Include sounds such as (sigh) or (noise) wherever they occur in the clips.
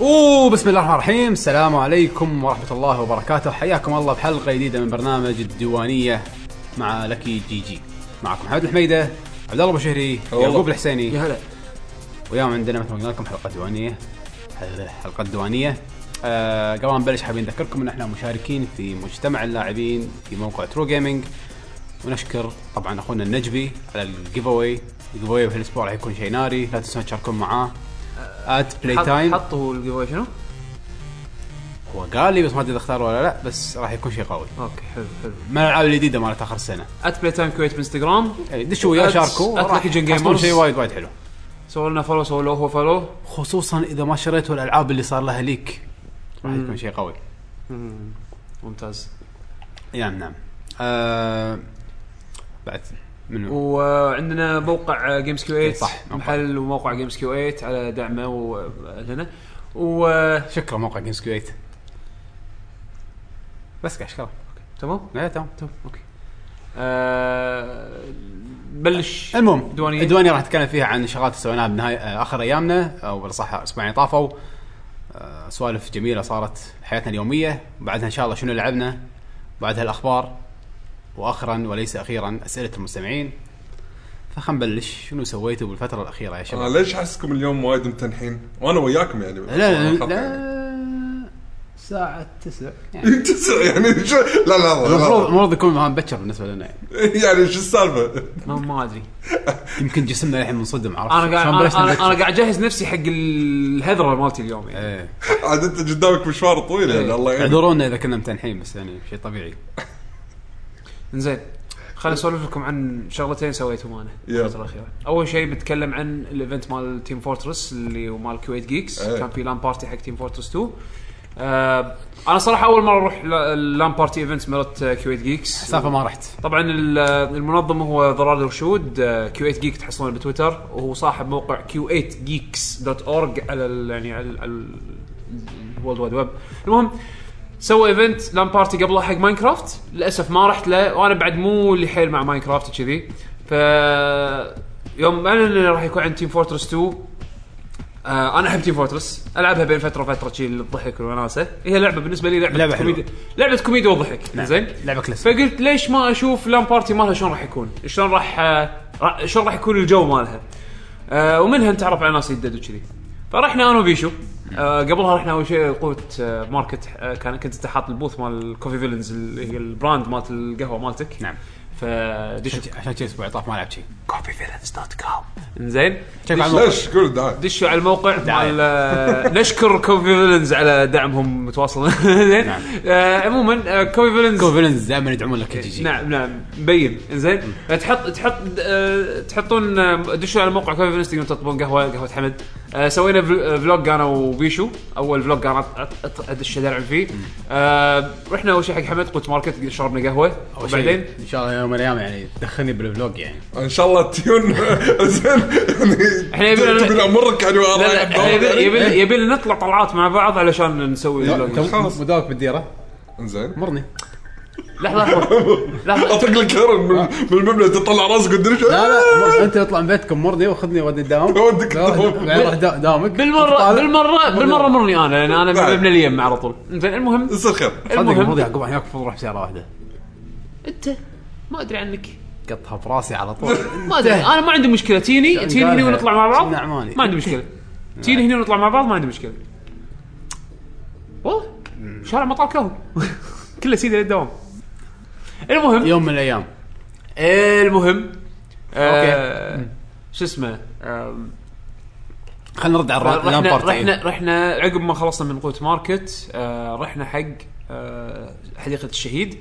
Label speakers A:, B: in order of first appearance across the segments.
A: اوه بسم الله الرحمن الرحيم السلام عليكم ورحمه الله وبركاته حياكم الله بحلقه جديده من برنامج الديوانيه مع لكي جي جي معكم حمد الحميده عبد الله ابو شهري
B: والله.
A: يعقوب الحسيني
C: يا هلا
A: وياهم عندنا مثل ما قلنا لكم حلقه ديوانيه حل- حلقه ديوانيه آه قبل ما نبلش حابين نذكركم ان احنا مشاركين في مجتمع اللاعبين في موقع ترو جيمنج ونشكر طبعا اخونا النجبي على الجيف اواي الجيف اواي بهالاسبوع راح يكون شيء ناري لا تنسون تشاركون معاه ات بلاي
C: آه، حط-
A: تايم
C: حطوا الجيفاوي شنو؟
A: هو قال لي بس ما ادري اذا اختار ولا لا بس راح يكون شيء قوي
C: اوكي حلو حلو
A: من الالعاب الجديده مالت اخر السنه
C: ات بلاي تايم كويت بانستغرام
A: يعني دشوا وياه
C: أت-
A: شاركوا
C: أت
A: راح
C: Lucky Jim
A: تحصلون
C: Gamers.
A: شيء وايد وايد حلو
C: سووا لنا فولو سووا له هو فولو
A: خصوصا اذا ما شريتوا الالعاب اللي صار لها ليك راح يكون شيء قوي
C: ممتاز
A: نعم نعم آه بعد منو
C: وعندنا آه، موقع آه، جيمز كيو 8
A: صح، موقع.
C: محل وموقع جيمز كيو 8 على دعمه و- لنا و آه،
A: شكرا موقع جيمز كويت بس قاعد شكرا
C: تمام
A: لا تمام
C: تمام اوكي آه، بلش
A: المهم الديوانيه
C: الديوانية.
A: الديوانيه راح نتكلم فيها عن شغلات سويناها بنهاية آه، اخر ايامنا او بالاصح اسبوعين طافوا آه، سوالف جميله صارت حياتنا اليوميه بعدها ان شاء الله شنو لعبنا بعدها الاخبار واخرا وليس اخيرا اسئله المستمعين فخلنا نبلش شنو سويتوا بالفتره الاخيره يا شباب
B: انا ليش احسكم اليوم وايد متنحين؟ وانا وياكم يعني
A: لا لا لا, لا ساعة تسع
B: (laughs)
A: يعني
B: تسع يعني شو لا لا
A: المفروض
B: لا
A: المفروض يكون مهام بكر بالنسبه لنا يعني
B: يعني شو السالفه؟
C: ما ما ادري
A: يمكن جسمنا الحين منصدم عرفت
C: انا قاعد
A: شلون
C: انا
A: بلشنا
C: أنا-
A: مبكر؟
C: انا قاعد اجهز نفسي حق الهذره مالتي اليوم يعني
A: إيه.
B: (laughs) عاد انت قدامك مشوار طويل يعني
C: إيه.
B: الله يعينك
A: اعذرونا اذا كنا متنحين بس يعني شيء طبيعي
C: زين خليني اسولف لكم عن شغلتين سويتهم انا
B: يلا.
C: الفتره الاخيره اول شيء بتكلم عن الايفنت مال تيم فورترس اللي هو مال كويت جيكس
B: ايه.
C: كان في لان بارتي حق تيم فورترس 2 آه انا صراحه اول مره اروح لا- لان بارتي ايفنتس مرات آه، كويت جيكس
A: سالفه ما رحت
C: طبعا ال- آه، المنظم هو ضرار الرشود آه، كيو 8 جيك تحصلونه بتويتر وهو صاحب موقع كيو 8 جيكس دوت اورج على ال يعني على ال- على الورد وايد ويب المهم سوى ايفنت لان بارتي قبله حق ماينكرافت للاسف ما رحت له وانا بعد مو اللي حيل مع ماينكرافت وكذي ف يوم اعلن انه راح يكون عند تيم فورترس 2 آه انا احب تيم فورترس العبها بين فتره وفتره شي للضحك والوناسه هي لعبه بالنسبه لي لعبه,
A: لعبة حلوة.
C: كوميديا لعبه كوميديا والضحك
A: نعم.
C: زين
A: لعبه كلاسيك
C: فقلت ليش ما اشوف لان بارتي مالها شلون راح يكون؟ شلون راح آه، را- شلون راح يكون الجو مالها؟ آه، ومنها نتعرف على ناس جدد وكذي. فرحنا انا وبيشو آه، قبلها رحنا اول شيء قوه آه، ماركت آه، كان كنت انت حاط البوث مال الكوفي فيلنز اللي هي البراند مالت القهوه مالتك
A: نعم
C: فدشوا
A: عشان شي اسبوع طاف ما لعبت شيء
C: كوفي فيلنز دوت كوم انزين
A: شوف على الموقع. نعم.
B: ليش قول داعي
C: دشوا على الموقع
A: دعاية.
C: مال آه، نشكر كوفي فيلنز على دعمهم (laughs) متواصل زين
A: نعم.
C: آه، عموما آه، كوفي فيلنز
A: كوفيلنز دائما يدعمون لك جي جي
C: نعم نعم مبين زين تحط تحط آه، تحطون آه، دشوا على موقع كوفي فينستغرام تطلبون قهوه قهوه حمد آه، سوينا فل- فلوج انا وبيشو اول فلوج انا أط- أط- أط- ادش العب فيه آه، رحنا اول شيء حق حمد قلت ماركت شربنا قهوه
A: أول شيء،
C: وبعدين
A: ان شاء الله يوم من الايام يعني تدخلني بالفلوج يعني
B: ان شاء الله تيون (laughs) زين يعني
C: إحنا يبينا-
B: تبين امرك يعني
C: لا لا
B: وراي
C: إحنا يبي- يبي
B: يعني.
C: يبي لنا نطلع طلعات مع بعض علشان نسوي فلوج
A: انت
B: خلاص.
A: مداوك بالديره
B: زين
A: مرني
C: لحظه لحظه
A: (laughs)
C: لحظه
B: اطق لك هرم
C: آه.
B: من من المبنى تطلع راسك
A: لا
B: آه. والدرجه
A: لا مر- انت اطلع من بيتكم مرني وخذني ودي
C: (laughs)
A: الدوام
B: ودك
A: لا،
B: الدوام.
A: بعدين روح دا- دامك
C: بالمره
A: طالع.
C: بالمره بالمره مرني انا لان انا
B: بعد.
C: من ابن اليم على طول زين المهم
B: يصير خير
A: صدق
C: المهم
A: المفروض يعقوب هناك المفروض اروح بسياره واحده
C: انت ما ادري عنك
A: قطها براسي على
C: (laughs)
A: طول
C: ما ادري انا ما عندي مشكله تيني
A: شلون
C: تيني هنا
A: قالها؟
C: ونطلع مع بعض
A: كنا عماني.
C: ما عندي (laughs) مشكله تيني هنا ونطلع مع بعض ما عندي مشكله والله شارع مطار كهو (laughs) كله سيدي للدوام المهم
A: يوم من الايام
C: المهم
A: أوكي.
C: اوكي شو اسمه آم،
A: خلينا نرد على الرا-
C: رحنا
A: اللامبارت
C: رحنا
A: إيه.
C: رحنا عقب ما خلصنا من قوه ماركت آه، رحنا حق آه، حديقه الشهيد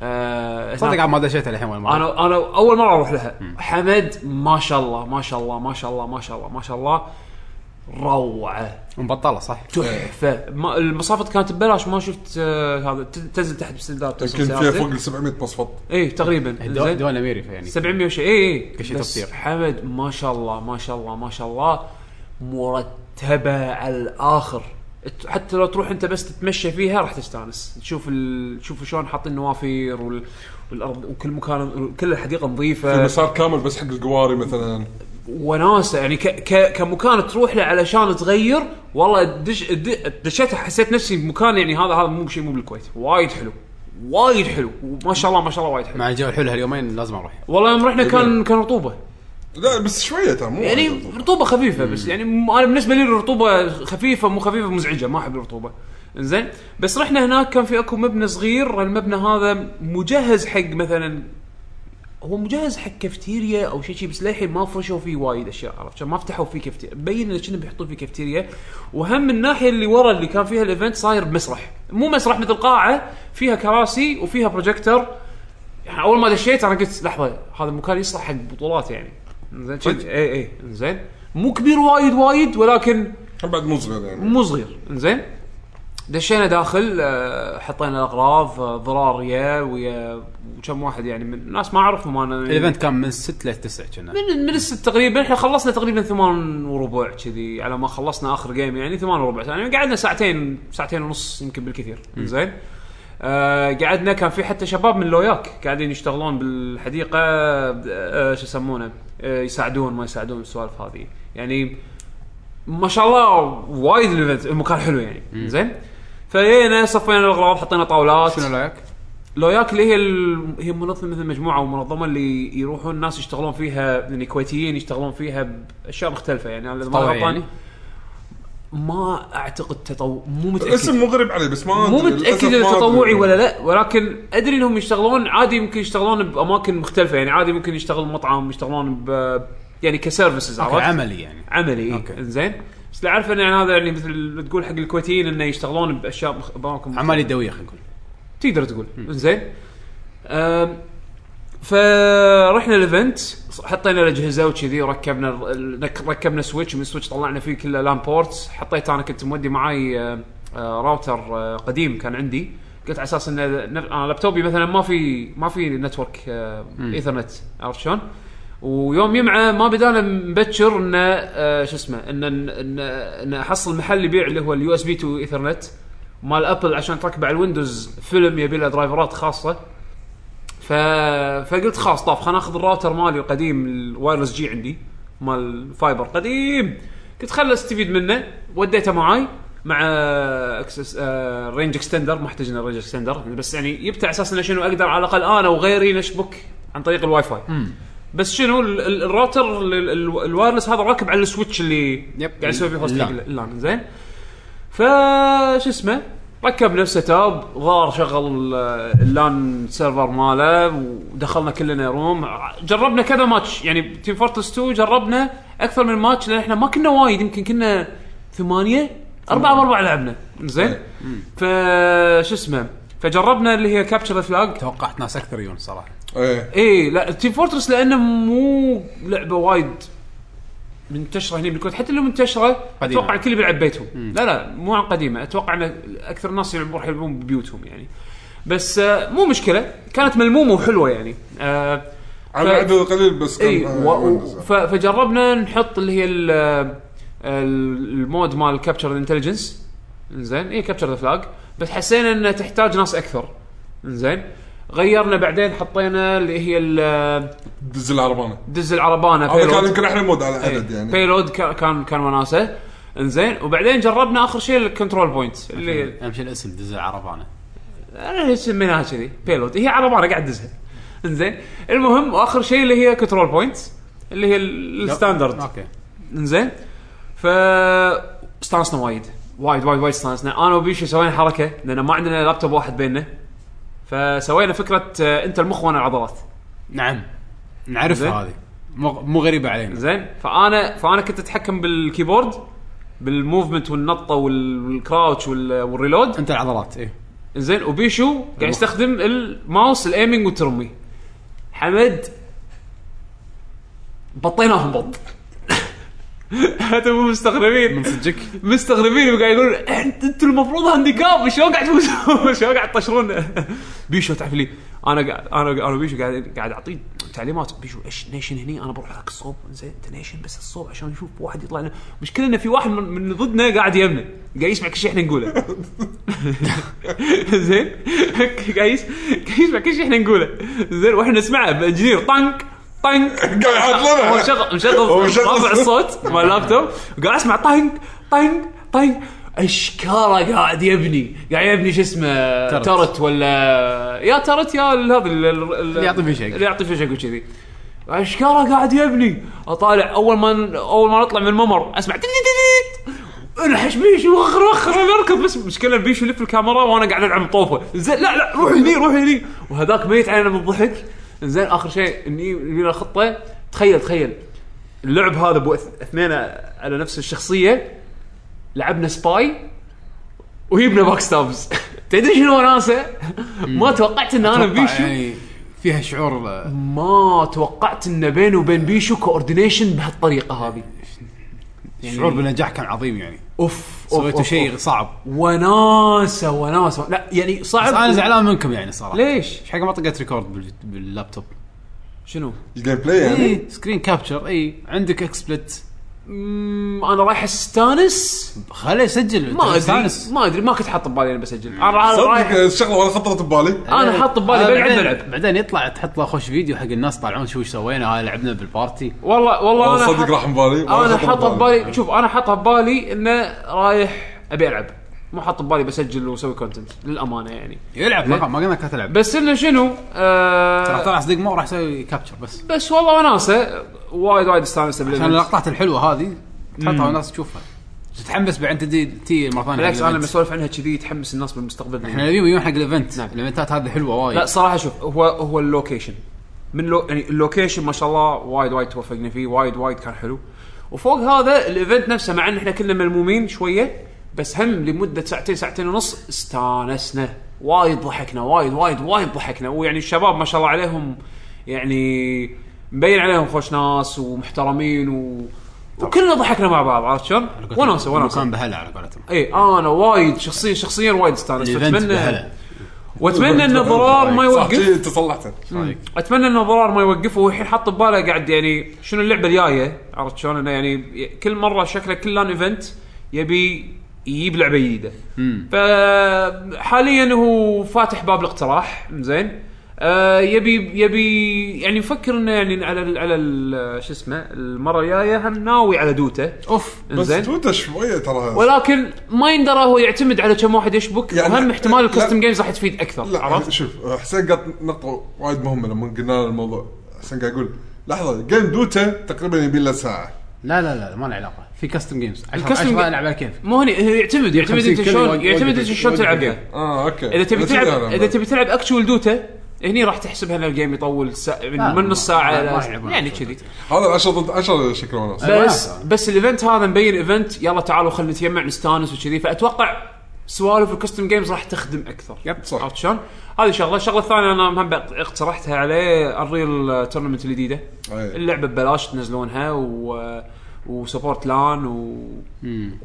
C: آه،
A: صدق عاد ما دشيت الحين وين ما
C: انا انا اول مره اروح لها حمد ما شاء الله ما شاء الله ما شاء الله ما شاء الله ما شاء الله روعه
A: مبطله صح؟
C: تحفه ما- المصافط كانت ببلاش ما شفت آه، هذا ت- تنزل تحت بسندات
B: يمكن فيها فوق ال 700 مصفط
C: اي تقريبا
A: دول,
C: زين.
A: دول امريكا يعني
C: 700 وشيء اي اي
A: إيه، كل شيء
C: بس
A: تفسير.
C: حمد ما شاء الله ما شاء الله ما شاء الله مرتبه على الاخر ت- حتى لو تروح انت بس تتمشى فيها راح تستانس تشوف ال... تشوف شلون حاطين النوافير وال... والارض وكل مكان كل الحديقه
B: في
C: نظيفه
B: مسار كامل بس حق القواري مثلا
C: وناسه يعني ك... ك... كمكان تروح له علشان تغير والله دش د- دشيت حسيت نفسي بمكان يعني هذا هذا مو شيء مو بالكويت وايد حلو وايد حلو وما شاء الله ما شاء الله وايد حلو
A: مع الجو الحلو هاليومين لازم اروح
C: والله يوم رحنا كان كان رطوبه
B: لا بس شويه ترى مو
C: يعني
B: وايد.
C: رطوبه خفيفه بس يعني م- انا بالنسبه لي الرطوبه خفيفه مو خفيفه مزعجه ما احب الرطوبه انزين بس رحنا هناك كان في اكو مبنى صغير المبنى هذا مجهز حق مثلا هو مجهز حق كافتيريا او شيء شيء بس للحين ما فرشوا فيه وايد اشياء عرفت شلون؟ ما فتحوا فيه كافتيريا مبين انه كنا بيحطون فيه كافتيريا وهم الناحيه اللي ورا اللي كان فيها الايفنت صاير بمسرح مو مسرح مثل قاعه فيها كراسي وفيها بروجيكتور يعني اول ما دشيت انا قلت لحظه هذا المكان يصلح حق بطولات يعني زين كذي اي اي زين إيه. مو كبير وايد وايد ولكن
B: بعد مو صغير يعني
C: مو صغير زين دشينا داخل آه، حطينا الاغراض آه، ضراريه ويا وكم واحد يعني من ناس ما اعرفهم انا
A: الايفنت كان من 6 ل 9 كنا
C: إيه. من من الست تقريبا احنا خلصنا تقريبا ثمان وربع كذي على ما خلصنا اخر جيم يعني ثمان وربع يعني قعدنا ساعتين ساعتين ونص يمكن بالكثير زين آه قعدنا كان في حتى شباب من لوياك قاعدين يشتغلون بالحديقه آه شو يسمونه آه يساعدون ما يساعدون السوالف هذه يعني ما شاء الله وايد الايفنت المكان حلو يعني زين فجينا صفينا الاغراض حطينا طاولات
A: شنو رايك؟
C: لوياك اللي هي ال... هي منظمه مثل مجموعه او منظمه اللي يروحون الناس يشتغلون فيها يعني كويتيين يشتغلون فيها باشياء مختلفه يعني انا إذا ما
A: تطوع
C: غلطان
A: يعني؟
C: ما اعتقد تطوع مو متاكد
B: اسم مغرب عليه بس ما
C: مو
B: أدري، للأسف
C: متاكد اذا
B: ما أدري. يعني.
C: تطوعي ولا لا ولكن ادري انهم يشتغلون عادي يمكن يشتغلون باماكن مختلفه يعني عادي ممكن يشتغلون مطعم يشتغلون ب يعني كسيرفيسز
A: أوكي،
C: عرفت؟
A: عملي يعني
C: عملي
A: أوكي.
C: اوكي زين بس اللي اعرفه إن يعني هذا يعني مثل تقول حق الكويتيين انه يشتغلون باشياء مخ- باماكن مختلفة.
A: اعمال يدويه خلينا نقول
C: تقدر تقول زين أم، فرحنا الايفنت حطينا الاجهزه وكذي ركبنا ال- ال- نك- ركبنا سويتش من السويتش طلعنا فيه كله لان بورتس حطيت انا كنت مودي معاي آه، آه، راوتر آه، قديم كان عندي قلت على اساس ان نف- انا لابتوبي مثلا ما في ما في نتورك آه، ايثرنت عرفت شلون؟ ويوم يمعه ما بدانا مبكر انه آه، شو اسمه انه انه انه احصل محل يبيع اللي هو اليو اس بي تو ايثرنت مال ابل عشان تركبه على الويندوز فيلم يبي له درايفرات خاصه ف... فقلت خلاص طاف خليني اخذ الراوتر مالي القديم الوايرلس جي عندي مال فايبر قديم قلت خل استفيد منه وديته معاي مع اكسس آه رينج اكستندر ما احتجنا رينج اكستندر بس يعني جبته على اساس انه شنو اقدر على الاقل انا وغيري نشبك عن طريق الواي فاي بس شنو ال- ال- الراوتر ال- ال- الوايرلس هذا راكب على السويتش اللي
A: يب.
C: قاعد يسوي فيه هوستنج
A: اللان.
C: اللان زين ف شو اسمه ركبنا السيت اب ظهر شغل ال- اللان سيرفر ماله ودخلنا كلنا روم ع- جربنا كذا ماتش يعني تيم فورتس 2 جربنا اكثر من ماتش لان احنا ما كنا وايد يمكن كنا ثمانيه اربعه باربعه لعبنا زين ف شو اسمه فجربنا اللي هي كابتشر فلاج
A: توقعت ناس اكثر يجون صراحه
B: ايه
C: ايه لا تيم فورترس لانه مو لعبه وايد منتشره هنا بالكويت حتى لو منتشره
A: قديمة.
C: اتوقع الكل بيلعب بيتهم لا لا مو عن قديمه اتوقع ان اكثر الناس يلعبون راح يلعبون ببيوتهم يعني بس آه، مو مشكله كانت ملمومه وحلوه يعني آه
B: على
C: ف-
B: العدد القليل بس كان
C: اي
B: آه،
C: و... و-
B: ويندوز.
C: ف... فجربنا نحط اللي هي ال... ال- المود مال كابتشر انتليجنس زين اي كابتشر ذا فلاج بس حسينا انه تحتاج ناس اكثر زين غيرنا بعدين حطينا اللي هي ال-
B: دز العربانه
C: دز العربانه
B: هذا كان
C: payload.
B: يمكن احلى مود على العدد
C: يعني
B: يعني
C: بيلود كان كان وناسه انزين وبعدين جربنا اخر شيء الكنترول بوينت اللي
A: اهم شيء الاسم دز العربانه
C: انا ليش سميناها كذي بيلود هي عربانه قاعد تدزها انزين المهم واخر شيء اللي هي كنترول بوينت اللي هي ال-
B: نعم.
C: الستاندرد
A: اوكي
C: انزين ف استانسنا وايد وايد وايد وايد استانسنا انا وبيشو سوينا حركه لان ما عندنا لابتوب واحد بيننا فسوينا فكره آه، انت المخ وانا العضلات
A: نعم نعرفها
C: زين.
A: هذه مو مو غريبه علينا
C: زين فانا فانا كنت اتحكم بالكيبورد بالموفمنت والنطه وال- والكراوتش وال- والريلود
A: انت العضلات ايه
C: زين وبيشو قاعد يستخدم الماوس الايمنج والترمي (laughs) حمد بطيناهم بط حتى مو مستغربين
A: من صدقك
C: مستغربين وقاعد يقولون انت انتوا المفروض هانديكاب شلون قاعد تفوزون (laughs) شلون قاعد تطشرون بيشو تعرف لي انا قاعد انا انا بيشو قاعد قاعد اعطيه تعليمات بيشو ايش نيشن هني انا بروح هذاك الصوب زين أنت نيشن بس الصوب عشان نشوف واحد يطلع لنا المشكله انه في واحد من- من ضدنا قاعد يمنا قاعد يسمع كل شيء احنا نقوله (laughs) زين قاعد يس- قاعد يسمع كل شيء احنا نقوله زين واحنا نسمعه بانجينير طنك طنك
B: (laughs) قاعد يحضرها.
C: هو شغل
B: هو
C: مشغل
B: مشغل.
C: رافع الصوت مال اللابتوب وقاعد اسمع طنق طنق طنق اشكاله قاعد يبني قاعد يبني شو اسمه
A: ترت.
C: ترت ولا يا ترت يا ال- هذا ال- ال- ال-
A: اللي يعطي فيشك.
C: اللي يعطي فيشك وكذي اشكاله قاعد يبني اطالع اول ما اول ما نطلع من الممر اسمع تيت تيت تيت. انحش بيشو وخر وخر اركض بس مشكله بيشو يلف الكاميرا وانا قاعد العب طوفه زين لا لا روح هني روح هني وهذاك ميت علينا من الضحك زين اخر شيء اني إني له خطه تخيل تخيل اللعب هذا بو أث- اثنين على نفس الشخصيه لعبنا سباي وهيبنا باك ستابز (laughs) تدري شنو وناسه؟ ما توقعت ان انا بيشو
A: يعني فيها شعور آه،
C: ما توقعت ان بينه وبين بيشو كوردينيشن بهالطريقه هذه
A: شعور يعني بالنجاح كان عظيم يعني
C: اوف أوف،
A: سويتوا
C: أوف،
A: شيء
C: أوف.
A: صعب
C: وناسه وناسه لا يعني صعب
A: بس انا زعلان منكم يعني صراحه
C: ليش؟
A: ايش حق ما طقيت ريكورد بال- باللابتوب
C: شنو؟
B: الجيم بلاي
C: إيه.
B: يعني
A: اي سكرين كابتشر اي عندك اكسبلت
C: مم، انا رايح استانس
A: خليه يسجل
C: ما
A: أنت
C: ادري
A: مستانس.
C: ما ادري ما كنت حاط ببالي انا بسجل انا را-
B: صدق
C: رايح
B: الشغله ولا خطرت ببالي
C: انا حاط ببالي
A: آه،
C: بلعب
A: بعدين-
C: بلعب
A: بعدين يطلع تحط له خوش فيديو حق الناس طالعون شو ايش سوينا هاي لعبنا بالبارتي
C: والله والله انا
B: صدق
C: حاط-
B: راح من بالي ولا
C: انا
B: خطر
C: حاطه ببالي شوف انا حاطه ببالي انه رايح ابي العب مو حاط ببالي بسجل واسوي كونتنت للامانه يعني
A: يلعب
C: زين.
A: ما ما قلنا كانت تلعب
C: بس انه شنو
A: راح
C: آه
A: طلع صديق مو راح يسوي كابتشر بس
C: بس والله وناسه وايد وايد استانست
A: عشان
C: بالإيفنت.
A: اللقطات الحلوه هذه تحطها والناس تشوفها تتحمس بعدين تجي تي مره ثانيه
C: بالعكس
A: حق
C: انا لما
A: الإيفنت.
C: اسولف عنها كذي يتحمس الناس بالمستقبل
A: احنا نبي يجون حق الايفنت
C: نعم.
A: الايفنتات هذه حلوه وايد
C: لا صراحه شوف هو هو اللوكيشن من لو يعني اللوكيشن ما شاء الله وايد وايد توفقنا فيه وايد وايد كان حلو وفوق هذا الايفنت نفسه مع ان احنا كنا ملمومين شويه بس هم لمده ساعتين ساعتين ونص استانسنا وايد ضحكنا وايد وايد وايد ضحكنا ويعني الشباب ما شاء الله عليهم يعني مبين عليهم خوش ناس ومحترمين و... وكلنا ضحكنا مع بعض عرفت شلون؟ وناسه وناسه
A: كان بهلا على قولتهم
C: اي انا إيه، وايد شخصيا شخصيا وايد استانست
A: الايفنت
C: واتمنى
A: بهلا
C: واتمنى ان الضرار ما
B: صح
C: يوقف
B: شي انت صلحته
A: صدق
C: اتمنى ان الضرار ما يوقفه والحين حاط بباله قاعد يعني شنو اللعبه الجايه عرفت شلون انه يعني كل مره شكله كل لان ايفنت يبي يجيب لعبه جديده فحاليا هو فاتح باب الاقتراح زين آه يبي يبي يعني مفكر انه يعني على ال على ال- شو اسمه المره الجايه هم ناوي على دوته
A: اوف
B: بس
C: زين
B: تويتر شويه ترى
C: ولكن ما يندرى هو يعتمد على كم واحد يشبك
B: يعني-
C: وهم احتمال
B: لا-
C: الكستم جيمز راح تفيد اكثر
B: لا يعني
C: عرفت؟
B: شوف حسين قط نقطه وايد مهمه لما قلنا له الموضوع حسين قاعد يقول لحظه جيم دوتا تقريبا يبي له ساعه
A: لا لا لا ما له علاقه في كاستم جيمز
C: الكاستم
A: الكاستم
C: جيم-
A: العب على كيف
C: مو هني هو يعتمد يعتمد انت
A: 50 كل
C: شلون
A: واجد-
C: يعتمد
A: واجد-
C: انت شلون
A: واجد
C: تلعبها
A: جيم.
B: اه اوكي
C: اذا تبي
B: بس
C: تلعب
B: لا، لا،
C: اذا تبي تلعب اكشوال دوتا هني راح تحسب ان الجيم يطول سا... من,
A: لا،
C: من
A: ما-
C: نص ساعه
A: ما- ما
C: الى
A: يلعبون
C: يعني
A: أكشوال
C: كذي
B: هذا 10 ضد 10 شكله وناس
A: لا،
C: بس
A: لا.
C: بس الايفنت هذا مبين ايفنت يلا تعالوا خلينا نتجمع نستانس وكذي فاتوقع سوالف الكستم جيمز راح تخدم اكثر
A: يب،
B: صح.
C: عرفت شلون؟ هذه شغله، الشغله الثانيه انا مهم بق- اقترحتها عليه الريل تورنمنت الجديده
B: أي.
C: اللعبه ببلاش تنزلونها و وسبورت لان و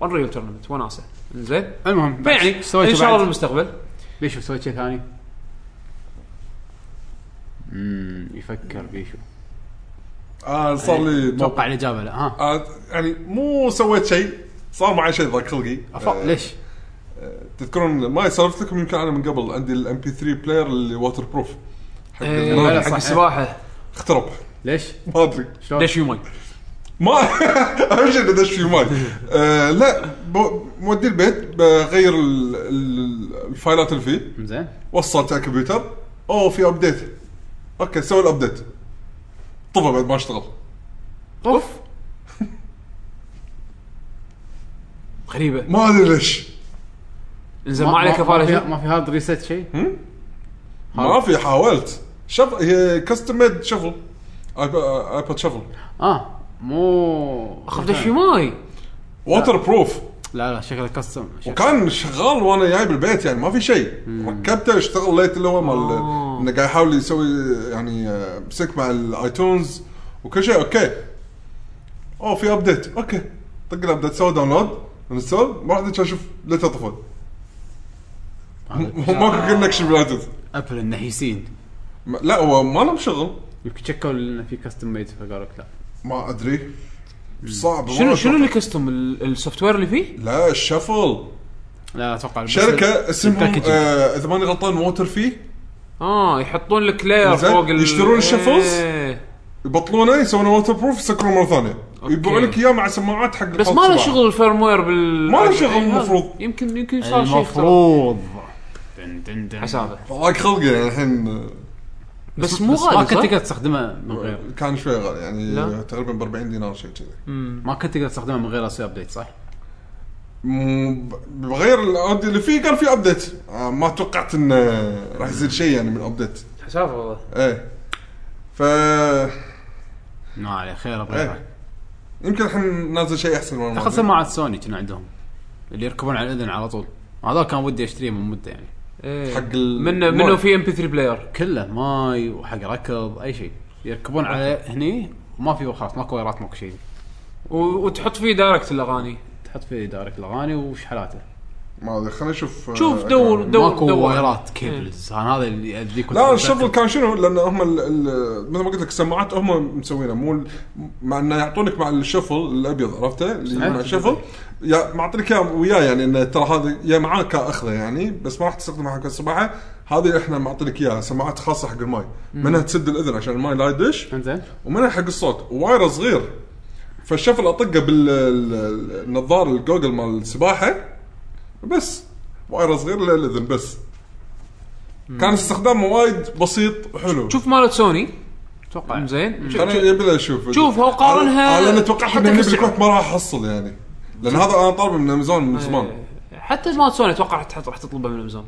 C: والريل تورنمنت وناسه زين
A: المهم
C: يعني ان
A: سويت
C: شاء الله بالمستقبل
A: بيشو سويت شيء ثاني امم يفكر بيشو
B: آه صار لي موقف
A: اتوقع الاجابه لا ها
B: آه يعني مو سويت شيء صار معي شيء ضاق خلقي
A: أفا-
B: آه
A: ليش؟
B: تذكرون ما سولفت لكم يمكن انا من قبل عندي الام بي 3 بلاير اللي ووتر بروف حق
A: لا،
C: إيه،
B: المراجع.
A: صح.
C: حق السباحه
B: اخترب
A: ليش؟
B: ما ادري
A: شلون؟
C: دش يومي
B: ما (laughs) اهم شيء إنه دش في ماي آه لا ب- مودي البيت بغير ال- ال- الفايلات اللي فيه
A: زين
B: وصلت على الكمبيوتر اوه في ابديت اوكي سوي الابديت طفى بعد ما اشتغل
C: اوف غريبه
B: ما ادري ليش
C: انزين ما عليك كفاله
A: ما في-
C: شيء
A: ما في هارد ريست شيء؟
B: ما في حاولت شف هي كاستم ميد شفل ايباد شفل
A: اه مو
C: اخاف دش في ماي
B: ووتر بروف
A: لا لا شكله كاستم
B: وكان شغال وانا جاي بالبيت يعني ما في شيء ركبته اشتغل ليت اللي هو مال
C: آه.
B: انه قاعد يحاول يسوي يعني آه، مسك مع الايتونز وكل شيء اوكي اوه في ابديت اوكي طق الابديت سوى داونلود انستول ما راح اشوف ليته طفل م- ماكو كونكشن بالبلوتوث
A: ابل النحيسين
B: م- لا هو ما لهم شغل
A: يمكن شكوا انه في كاستم ميد فقالوا لك لا
B: ما ادري صعب
C: شنو
B: مرة
C: شنو
B: صعب.
C: اللي كاستم السوفت وير اللي فيه؟
B: لا الشفل
A: لا اتوقع بس
B: شركه اسمهم
A: الباكجينج.
B: آه، اذا ماني غلطان موتر في
C: اه يحطون لك لاير
B: إنزين،
C: فوق ال-
B: يشترون الشفلز؟
C: إيه.
B: يبطلونه يسوونه ووتر بروف يسكرونه مره ثانيه
C: أوكي.
B: يبيعوا لك اياه مع سماعات حق
C: بس
B: الحوض
C: ما له
B: صباح.
C: شغل الفيرم وير بال
B: ما له
C: إيه،
B: شغل
C: هذا.
B: المفروض. يعني
C: يمكن يمكن صار شيء افتراضي.
A: المفروض دن دن دن.
C: حسابه
B: ضاق خلقي يعني الحين
C: بس مو
A: ما
C: غالي
A: كنت تقدر
C: صح؟
A: تستخدمه من غير
B: كان شوي غالي يعني
C: لا.
B: تقريبا ب 40 دينار شيء كذي
A: ما كنت تقدر تستخدمه من غير اسوي ابديت صح؟
B: مم، بغير الاوديو اللي فيه كان في ابديت آه، ما توقعت انه راح يصير شيء يعني من ابديت
C: حسابه والله
B: ايه ف
A: ما عليه خير
B: ايه
A: ابغى
B: يمكن الحين نازل شيء احسن من
A: تاخذ
B: الماضي.
A: سماعات سوني كانوا عندهم اللي يركبون على الاذن على طول هذا كان ودي اشتريه من مده يعني
C: إيه.
B: حق ال-
C: منه منه في ام بي 3 بلاير
A: كله ماي وحق ركض اي شيء يركبون على هني وما في خلاص ماكو وايرات ماكو شيء
C: وتحط فيه دايركت الاغاني
A: تحط في دارك الاغاني وشحالاته
B: ما ادري خلينا نشوف آه،
C: شوف،
B: أكمل.
C: دور- دور.
A: ماكو وايرات كيبلز انا هذا اللي يأذيك
B: لا الشفل كان شنو لان هم ال- ال- مثل ما قلت لك السماعات هم مسوينها مو ال- مع انه يعطونك مع الشفل الابيض عرفته اللي
A: سمعت.
B: مع الشفل يا- معطينك إياه وياه يعني انه ترى هذا يا معاك اخذه يعني بس ما راح تستخدمها حق الصباحه هذه احنا معطينك اياها سماعات خاصه حق الماي منها تسد الاذن عشان الماي لا يدش
A: انزين
B: ومنها حق الصوت وايره صغير فالشفل اطقه بالنظار الجوجل مال السباحه بس وايره صغير للاذن بس كان استخدامه وايد بسيط وحلو
C: شوف مالت سوني
A: اتوقع
C: زين
B: انا يبي لي اشوف
C: شوفها وقارنها
B: انا أنا توقعت
C: حتى
B: انه
C: كسعر.
B: بالكويت ما راح احصل يعني لان هذا انا طالبه من امازون من زمان
C: إيه. حتى مالت سوني اتوقع راح تحط- راح تطلبها من امازون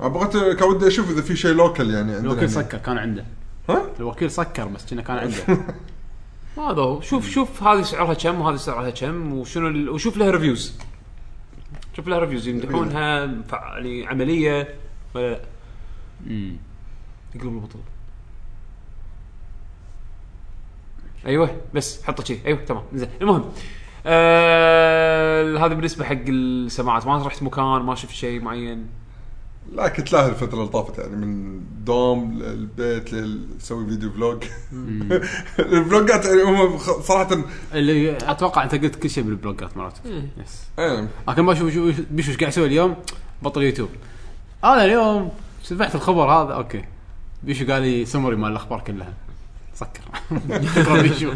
B: أنا بغيت كان ودي اشوف اذا في شيء لوكل يعني عندنا
A: الوكيل
B: هنا.
A: سكر كان عنده
B: ها؟
A: الوكيل سكر بس كنا كان عنده
C: هذا هو شوف شوف هذه سعرها كم وهذه سعرها كم وشنو ال... وشوف لها ريفيوز شوف لها ريفيوز يمدحونها فع- يعني عمليه ولا لا
A: أمم.
C: يقلب البطل ايوه بس حطه شيء ايوه تمام زين المهم آه هذا بالنسبه حق السماعات ما رحت مكان ما شفت شيء معين
B: لا كنت لاهي الفتره اللي طافت يعني من دوم للبيت لسوي فيديو فلوج (laughs) الفلوجات يعني هم خ- صراحه
A: اللي اتوقع انت قلت كل شيء بالبلوجات مراتك
C: إيه.
A: يس
B: ايه
A: لكن ما اشوف شو- بيش وش قاعد يسوي اليوم بطل يوتيوب انا اليوم سمعت الخبر هذا اوكي بيشو قال لي سمري مال الاخبار كلها سكر (laughs) شكرا بيشو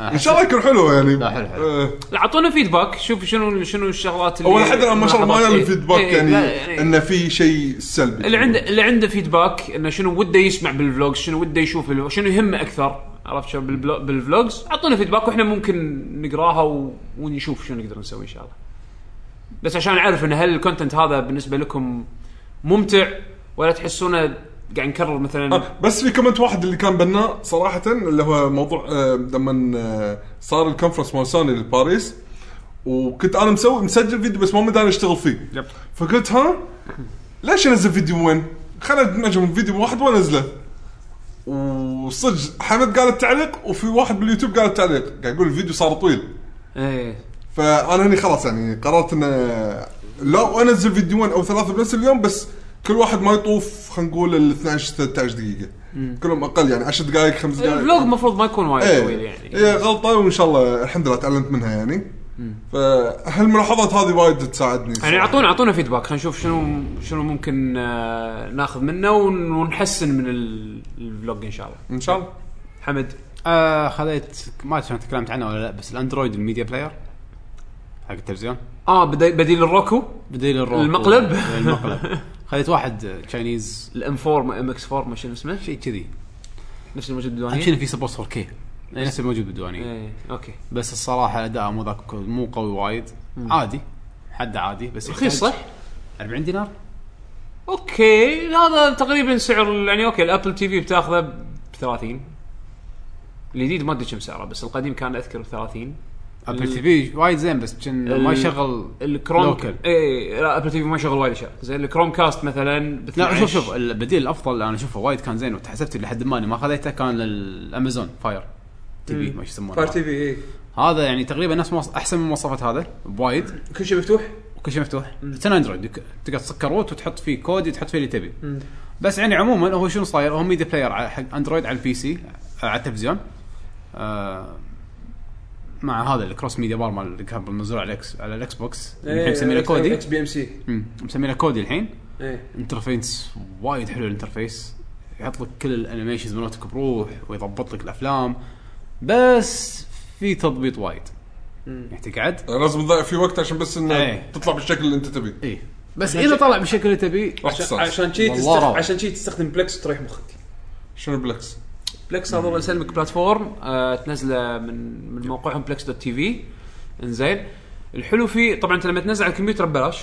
B: ان شاء الله يكون حلو يعني
A: لا، حلو، حلو.
B: آه.
C: لا اعطونا فيدباك شوف شنو شنو الشغلات اللي
B: هو لحد الان ما شاء الله ما
C: لاحظت.
B: يعمل فيدباك
C: إيه،
B: يعني,
C: لا، يعني
B: انه في شيء سلبي
C: اللي عنده اللي عنده فيدباك انه شنو وده يسمع بالفلوجز شنو وده يشوف بالفلوج شنو يهمه اكثر عرفت شلون بالبلو- بالفلوجز اعطونا فيدباك واحنا ممكن نقراها و... ونشوف شنو نقدر نسوي ان شاء الله بس عشان نعرف ان هل الكونتنت هذا بالنسبه لكم ممتع ولا تحسونه قاعد نكرر مثلا
B: آه، بس في كومنت واحد اللي كان بناء صراحه اللي هو موضوع آه، لما آه، صار الكونفرنس مال سوني لباريس وكنت انا مسوي مسجل فيديو بس ما مداني اشتغل فيه
C: يب.
B: فقلت ها ليش انزل فيديو وين؟ خلنا نجم فيديو واحد وانزله وصدق حمد قال التعليق وفي واحد باليوتيوب قال التعليق قاعد يقول الفيديو صار طويل
C: ايه
B: فانا هني خلاص يعني قررت ان لو انزل فيديوين او ثلاثه بنفس اليوم بس كل واحد ما يطوف خلينا نقول ال 12 13 دقيقه كلهم اقل يعني 10 دقائق خمس دقائق
C: الفلوج المفروض ما يكون وايد طويل
B: ايه
C: يعني
B: ايه غلطه وان شاء الله الحمد لله تعلمت منها يعني فهالملاحظات هذه وايد تساعدني
C: يعني
B: صراحة.
C: اعطونا اعطونا فيدباك خلينا نشوف شنو شنو ممكن آه، ناخذ منه ون- ونحسن من ال- الفلوج ان شاء الله
B: ان شا الله.
C: حمد
A: آه، خذيت ما ادري شلون تكلمت عنه ولا لا بس الاندرويد الميديا بلاير حق التلفزيون
C: اه بدي- بديل الروكو
A: بديل الروك
C: المقلب؟
A: المقلب خذيت واحد تشاينيز
C: الام 4 ام اكس 4 ما شنو اسمه
A: شيء كذي
C: نفس الموجود
A: اهم
C: بالديوانيه
A: شيء إنه في سبورت 4K نفس الموجود بالديوانيه
C: ايه اوكي
A: بس الصراحه اداءه مو ذاك مو قوي وايد عادي حد عادي بس
C: رخيص
A: يحتاج
C: صح؟
A: 40 دينار
C: اوكي هذا تقريبا سعر يعني اوكي الابل تي في بتاخذه ب 30 الجديد ما ادري كم سعره بس القديم كان اذكر ب 30
A: ابل
C: ال-
A: تي في وايد زين بس كان ما
C: ال-
A: يشغل
C: الكروم
A: لوكل.
C: اي لا ابل تي في ما شغل وايد اشياء زين الكروم كاست مثلا ب
A: لا
C: 12.
A: شوف شوف البديل الافضل اللي انا اشوفه وايد كان زين وتحسبت لحد ما اني ما خذيته كان الامازون فاير تي في ما شو يسمونه
C: فاير تي في إيه. اي
A: هذا يعني تقريبا نفس مواص... احسن من مواصفات هذا بوايد
C: كل شيء مفتوح
A: وكل شيء مفتوح حتى اندرويد يك- تقدر تسكر روت وتحط فيه كود وتحط فيه اللي تبي بس يعني عموما هو شنو صاير هو ميديا بلاير على- حق اندرويد على البي سي آه، على التلفزيون آه، مع هذا الكروس ميديا بار مال اللي كان منزول على الاكس على الاكس بوكس
C: إيه،
A: الحين مسمينه كودي
C: اكس بي ام سي إيه.
A: مم، مسمينه كودي الحين انترفيس وايد حلو الانترفيس يحط لك كل الانيميشنز مالتك بروح ويضبط لك الافلام بس في تضبيط وايد يعني تقعد
B: لازم تضيع في وقت عشان بس انه
A: إيه.
B: تطلع بالشكل اللي انت تبيه
A: اي
C: إيه.
A: بس اذا طلع بالشكل اللي تبيه
B: راح
C: عشان-
B: تصير
C: عشان شي
A: والله
C: تستخدم
A: روعة.
C: عشان شي تستخدم بلكس وتريح مخك
B: شنو بلكس؟ (laughs)
C: بلكس هذول يسلمك بلاتفورم آه تنزله من من موقعهم بلكس دوت تي في انزين الحلو فيه طبعا انت لما تنزل على الكمبيوتر ببلاش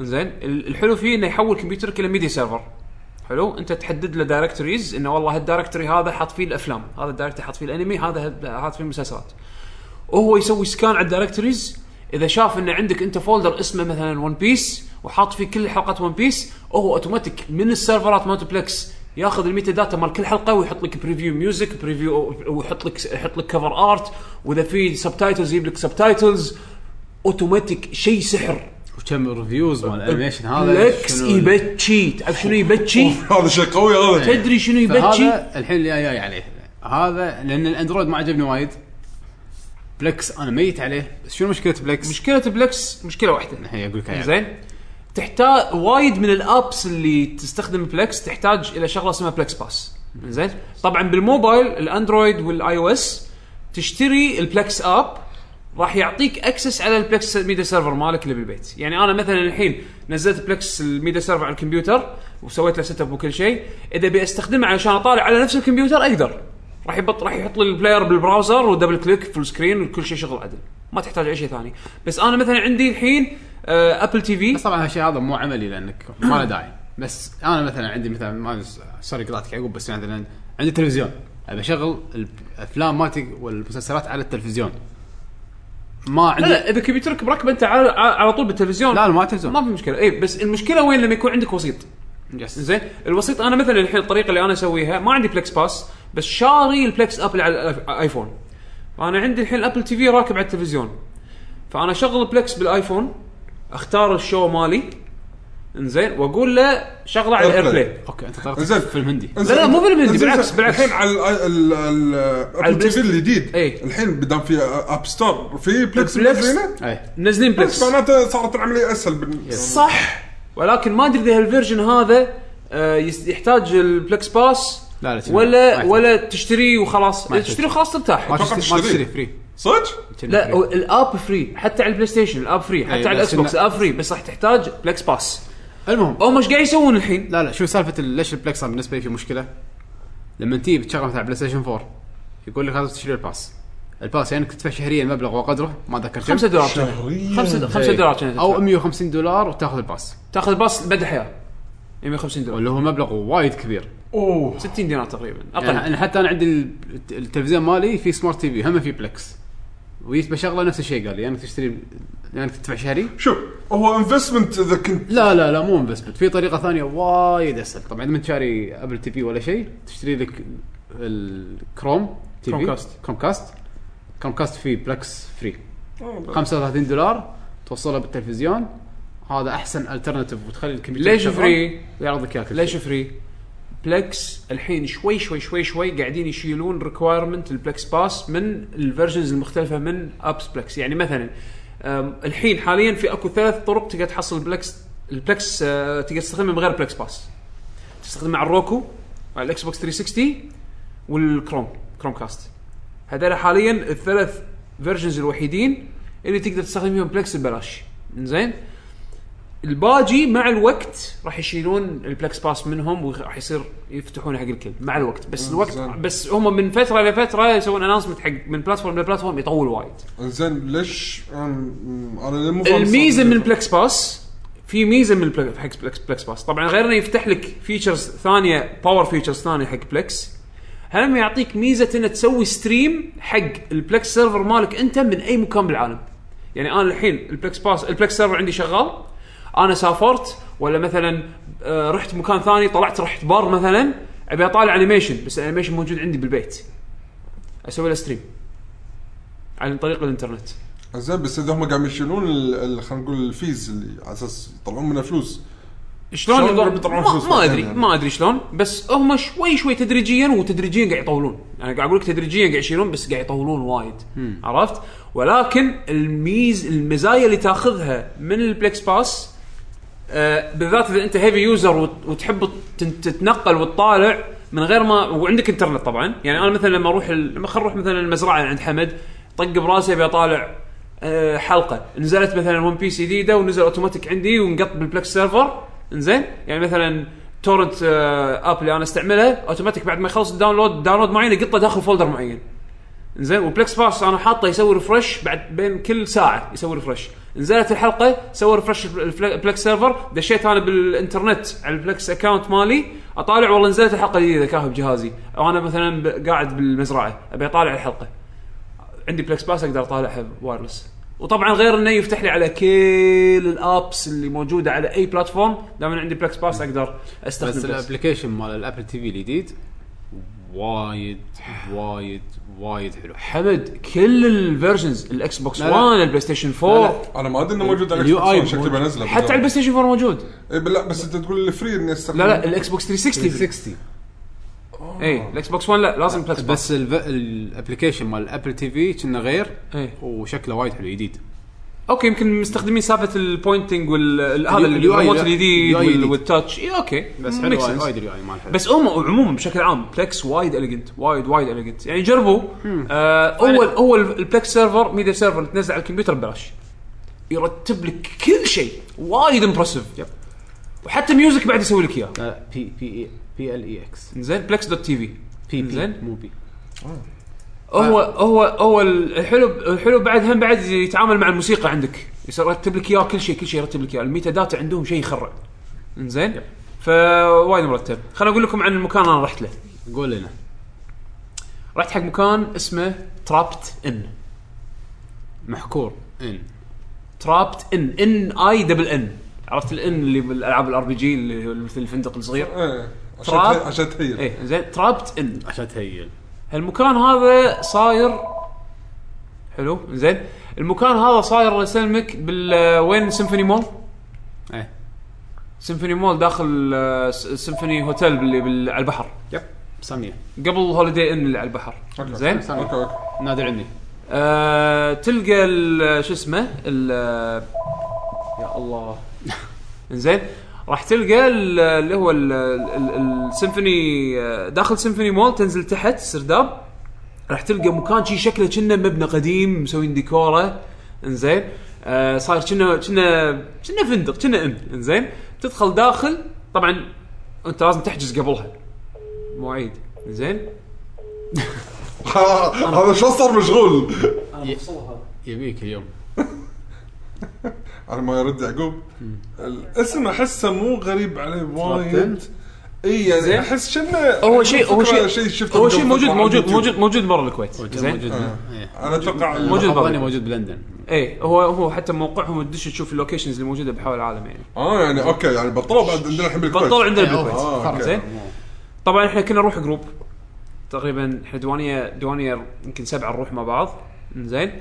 C: انزين ال- الحلو فيه انه يحول كمبيوترك الى ميديا سيرفر حلو انت تحدد له دايركتوريز انه والله هالدايركتوري هذا حاط فيه الافلام هذا الدايركتوري حاط فيه الانمي هذا حاط فيه المسلسلات وهو يسوي سكان على الدايركتوريز اذا شاف ان عندك انت فولدر اسمه مثلا ون بيس وحاط فيه كل حلقات ون بيس هو اوتوماتيك من السيرفرات مالت بلكس ياخذ الميتا داتا مال كل حلقه ويحط لك بريفيو ميوزك بريفيو ويحط لك يحط لك كفر ارت واذا في سبتايتلز يجيب لك سبتايتلز اوتوماتيك شيء سحر
A: وكم ريفيوز مال الانيميشن هذا
C: بلكس
A: شنو-
C: يبتشي تعرف شنو يبتشي
B: هذا شيء قوي هذا
C: تدري شنو يبتشي
A: فهذا الحين اللي جاي عليه هذا لان الاندرويد ما عجبني وايد بلكس انا ميت عليه بس شنو مشكله بلكس؟
C: مشكله بلكس مشكله واحده
A: الحين اقول لك إياها.
C: زين تحتاج وايد من الابس اللي تستخدم بلكس تحتاج الى شغله اسمها بلكس باس زين طبعا بالموبايل الاندرويد والاي او اس تشتري البلكس اب راح يعطيك اكسس على البلكس ميديا سيرفر مالك اللي بالبيت يعني انا مثلا الحين نزلت بلكس الميديا سيرفر على الكمبيوتر وسويت له سيت اب وكل شيء اذا ابي استخدمه علشان اطالع على نفس الكمبيوتر اقدر راح يبط راح يحط لي البلاير بالبراوزر ودبل كليك فول سكرين وكل شيء شغل عدل ما تحتاج اي شيء ثاني بس انا مثلا عندي الحين آه، ابل تي في
A: بس طبعا هالشيء هذا مو عملي لانك ما له داعي بس انا مثلا عندي مثلا ما أدري- سوري قطعتك يعقوب بس مثلا عندي تلفزيون ابي اشغل الافلام مالتي والمسلسلات على التلفزيون ما
C: لا
A: عندي
C: لا اذا كمبيوترك مركب انت على, على طول بالتلفزيون
A: لا لا ما
C: ما
A: تلفزيون
C: في مشكله اي بس المشكله وين لما يكون عندك وسيط
A: يس
C: زين الوسيط انا مثلا الحين الطريقه اللي انا اسويها ما عندي بلكس باس بس شاري البلكس اب اللي على الايفون فانا عندي الحين الابل تي في راكب على التلفزيون فانا اشغل بلكس بالايفون اختار الشو مالي انزين واقول له شغله على
B: Airplay.
C: الاير بلاي
A: اوكي انت طلعت
B: زين.
A: فيلم هندي
C: لا لا مو بالهندي
B: إنزين،
C: بالعكس بالعكس
B: الحين على الابل تي
C: البلاي
B: في
C: ستيشن.
B: الجديد
C: إيه.
B: الحين بدام في اب ستور في بلكس
C: البلاكس.
B: بلكس
A: اي
C: منزلين
B: بس
C: بلكس
B: معناته صارت العمليه اسهل بال-
C: صح ولكن ما ادري اذا هالفيرجن هذا آه، يس- يحتاج البلكس باس
A: لا لا، ما
C: ولا
A: يحتاج.
C: ولا تشتريه وخلاص
A: ما يحتاج.
C: تشتري وخلاص
A: ما
C: ترتاح
B: أتوقع
A: تشتري ما تشتري
B: تشتري.
A: فري
B: صدق؟
C: لا هو الاب فري حتى على البلاي ستيشن الاب فري
A: أي،
C: حتى على
A: بس
C: الاكس بوكس
A: إنه-
C: الاب فري بس راح تحتاج بلكس باس
A: المهم
C: هم ايش قاعد يسوون الحين؟
A: لا لا شو سالفه ال- ليش البلكس أنا بالنسبه لي في مشكله؟ لما تيجي بتشغل مثلا على بلاي ستيشن 4 يقول لك لازم تشتري الباس الباس يعني تدفع شهريا مبلغ وقدره ما ذكر كم
C: 5 دولار كنا.
B: شهريا
C: خمسة
B: إيه.
C: خمسة دولار كنا
A: او
C: او
A: 150 دولار وتاخذ الباس
C: تاخذ باص مدى حياه 150 دولار
A: واللي هو مبلغ وايد كبير
C: 60 دينار تقريبا
A: يعني
C: اقل
A: أنا حتى انا عندي ال- التلفزيون مالي في سمارت تي في هم في بلكس ويتبى شغله نفس الشيء قال لي يعني تشتري يعني تدفع شهري
B: شوف هو انفستمنت اذا كنت
A: لا لا لا مو انفستمنت في طريقه ثانيه وايد اسهل طبعا اذا ما أنت شاري ابل تي في ولا شيء تشتري لك الكروم تي في
C: كرومكاست.
A: كروم كاست كروم كاست في بلكس فري 35 دولار توصلها بالتلفزيون هذا احسن الترناتيف وتخلي الكمبيوتر
C: ليش
A: شغال
C: فري؟
A: ويعرض لك اياه كل
C: ليش
A: شيء.
C: فري؟ بلكس الحين شوي شوي شوي شوي قاعدين يشيلون ريكوايرمنت البلكس باس من الفيرجنز المختلفه من ابس بلكس يعني مثلا أم، الحين حاليا في اكو ثلاث طرق تقدر تحصل البلكس البلكس أه، تقدر تستخدمه من غير بلكس باس تستخدمه على الروكو على الاكس بوكس 360 والكروم كروم كاست هذول حاليا الثلاث فيرجنز الوحيدين اللي تقدر تستخدم فيهم بلكس ببلاش زين الباجي مع الوقت راح يشيلون البلكس باس منهم وراح يصير يفتحون حق الكل مع الوقت بس الوقت
B: زين.
C: بس هم من فتره لفتره يسوون اناونسمنت حق من بلاتفورم لبلاتفورم يطول وايد
B: زين ليش أم- أم- انا ليه مو فاهم
C: الميزه
B: الصوت.
C: من بلكس باس في ميزه من بلك- حق بلكس, بلكس باس طبعا غير انه يفتح لك فيتشرز ثانيه باور فيتشرز ثانيه حق بلكس هم يعطيك ميزه انه تسوي ستريم حق البلكس سيرفر مالك انت من اي مكان بالعالم يعني انا الحين البلكس باس البلكس سيرفر عندي شغال انا سافرت ولا مثلا آه، رحت مكان ثاني طلعت رحت بار مثلا ابي اطالع انيميشن بس الانيميشن موجود عندي بالبيت اسوي له ستريم عن طريق الانترنت
B: زين بس اذا هم قاعد يشيلون ال- ال- خلينا نقول الفيز اللي على اساس يطلعون منها فلوس
C: شلون
B: شلون
C: الوضع-
B: بيطلعون
C: ما,
B: فلوس
C: ما
B: بعدين
C: ادري
B: يعني؟
C: ما ادري شلون بس هم شوي شوي تدريجيا وتدريجيا قاعد يطولون انا قاعد اقول لك تدريجيا قاعد يشيلون بس قاعد يطولون وايد عرفت ولكن الميز المزايا اللي تاخذها من البلكس باس آه بالذات اذا انت هيفي يوزر وت- وتحب تن- تتنقل وتطالع من غير ما وعندك انترنت طبعا يعني انا مثلا لما اروح ال- لما خل اروح مثلا المزرعه عند حمد طق براسي ابي اطالع آه، حلقه نزلت مثلا ون بيس جديده ونزل اوتوماتيك عندي ونقط بالبلكس سيرفر انزين يعني مثلا تورنت آه، اب اللي انا استعمله اوتوماتيك بعد ما يخلص الداونلود داونلود معين يقطه داخل فولدر معين زين وبلكس باس انا حاطه يسوي ريفرش بعد بين كل ساعه يسوي ريفرش نزلت الحلقه سوى ريفرش البلكس سيرفر دشيت انا بالانترنت على البلكس اكونت مالي اطالع والله نزلت الحلقه الجديده كاهو بجهازي او انا مثلا ب- قاعد بالمزرعه ابي اطالع الحلقه عندي بلكس باس اقدر اطالعها وايرلس وطبعا غير انه يفتح لي على كل الابس اللي موجوده على اي بلاتفورم دام أنا عندي بلكس باس اقدر
A: بس
C: استخدم بلكس.
A: الابلكيشن مال الابل تي في الجديد وايد وايد وايد حلو
C: حمد كل الفيرجنز الاكس بوكس
A: لا لا.
C: 1 البلاي ستيشن 4
B: انا ما ادري انه موجود على
A: اليو آي
B: الاكس شكلي
A: موجود.
B: بنزله
C: حتى على البلاي ستيشن 4 موجود
B: إيه لا بس انت تقول الفري اني استخدم
C: لا لا الاكس بوكس 360
A: 360
C: اي الاكس بوكس 1 لا لازم بلاكس بوكس
A: بس الابلكيشن مال الابل تي في كنا غير
C: إيه.
A: وشكله وايد حلو جديد
C: اوكي يمكن مستخدمين سالفه البوينتنج وال هذا
A: ال UI
C: الريموت
A: لا.
C: الجديد
A: UI
C: E وال-
A: جديد.
C: والتاتش اي اوكي
A: بس
C: م-
A: حلو
C: Mm, makes
A: وايد
C: sense.
A: وايد اليو اي مال حلو
C: بس هم عموما بشكل عام بلكس وايد اليجنت وايد وايد اليجنت يعني جربوا
A: Hmm.
C: آه اول اول البلكس سيرفر ميديا سيرفر اللي تنزل على الكمبيوتر ببلاش يرتب لك كل شيء وايد امبرسيف
A: يب.
C: وحتى ميوزك بعد يسوي لك اياه
A: بي بي بي ال اي اكس
C: زين بلكس دوت تي في
A: بي بي
C: زين.
A: مو بي
C: هو هو هو الحلو الحلو بعد هم بعد يتعامل مع الموسيقى عندك يصير يرتب لك اياه كل شيء كل شيء يرتب لك اياه الميتا داتا عندهم شيء يخرع انزين فوايد مرتب خليني اقول لكم عن المكان اللي انا رحت له
A: قول لنا
C: رحت حق مكان اسمه ترابت ان
A: محكور ان
C: ترابت ان ان اي دبل ان عرفت الان اللي بالالعاب الار بي جي اللي هو مثل الفندق الصغير
B: إيه، عشان
C: تراب.
B: تهي- عشان تهيل
C: ايه زين ترابت ان
A: عشان تهيل
C: هالمكان هذا صاير حلو زين المكان هذا صاير الله يسلمك بال وين سيمفوني مول
A: ايه
C: سيمفوني مول داخل آه، س- سيمفوني هوتيل اللي بال- على البحر
A: يب ساميه
C: قبل هوليدي ان اللي على البحر
B: أوكي.
C: زين
B: اوكي اوكي
A: نادر عندي
C: آه تلقى ال- شو اسمه ال- يا الله زين راح تلقى ال- اللي هو ال- ال- السيمفوني آه، داخل سيمفوني مول تنزل تحت سرداب راح تلقى مكان شي شكله كنا مبنى قديم مسوين ديكوره انزين آه صاير كنا كنا كنا فندق كنا ان انزين تدخل داخل طبعا انت لازم تحجز قبلها مواعيد زين
B: (laughs) هذا شلون صار
C: (laughs)
B: مشغول؟
A: يبيك اليوم
B: على ما يرد يعقوب الاسم احسه مو غريب عليه وايد
A: Trapped
B: اي
C: زين.
B: يعني احس شنه
C: هو شيء هو
B: فكرة
C: شيء
B: شفته
C: هو شيء
B: بالضبط
C: موجود
B: على
C: موجود
B: اليوتيوب.
C: موجود موجود برا الكويت زين
A: موجود
B: آه.
A: إيه.
B: انا اتوقع
C: موجود.
A: موجود
C: بالبلد.
A: موجود بلندن
C: ايه هو هو حتى موقعهم تدش تشوف اللوكيشنز اللي موجوده بحول العالم يعني
B: اه يعني اوكي يعني بطلوا بعد عندنا الحين بالكويت
C: بطل عندنا بالكويت
B: آه، أوكي.
C: زين
A: إيه.
C: طبعا احنا كنا نروح جروب تقريبا احنا دوانيه دوانيه يمكن سبعه نروح مع بعض زين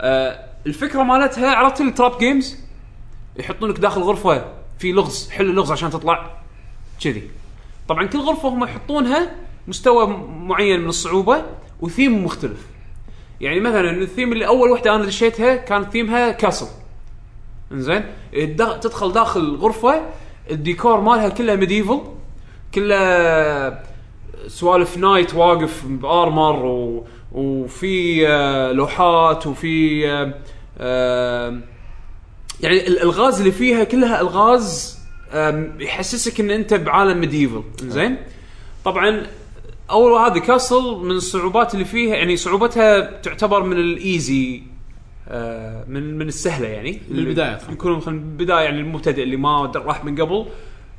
C: آه الفكره مالتها عرفت التراب جيمز يحطونك داخل غرفه في لغز حل اللغز عشان تطلع كذي طبعا كل غرفه هم يحطونها مستوى م- معين من الصعوبه وثيم مختلف يعني مثلا الثيم اللي اول وحده انا دشيتها كان ثيمها كاسل انزين الدغ- تدخل داخل غرفه الديكور مالها كله ميديفل كله سوالف نايت واقف بارمر و... وفي آه، لوحات وفي آه، آه، يعني ال- الالغاز اللي فيها كلها الغاز آم، يحسسك ان انت بعالم ميديفل زين طبعا اول هذه كاسل من الصعوبات اللي فيها يعني صعوبتها تعتبر من الايزي آه، من من السهله يعني
A: من البداية طبعاً.
C: يكون من البدايه يعني المبتدئ اللي ما د- راح من قبل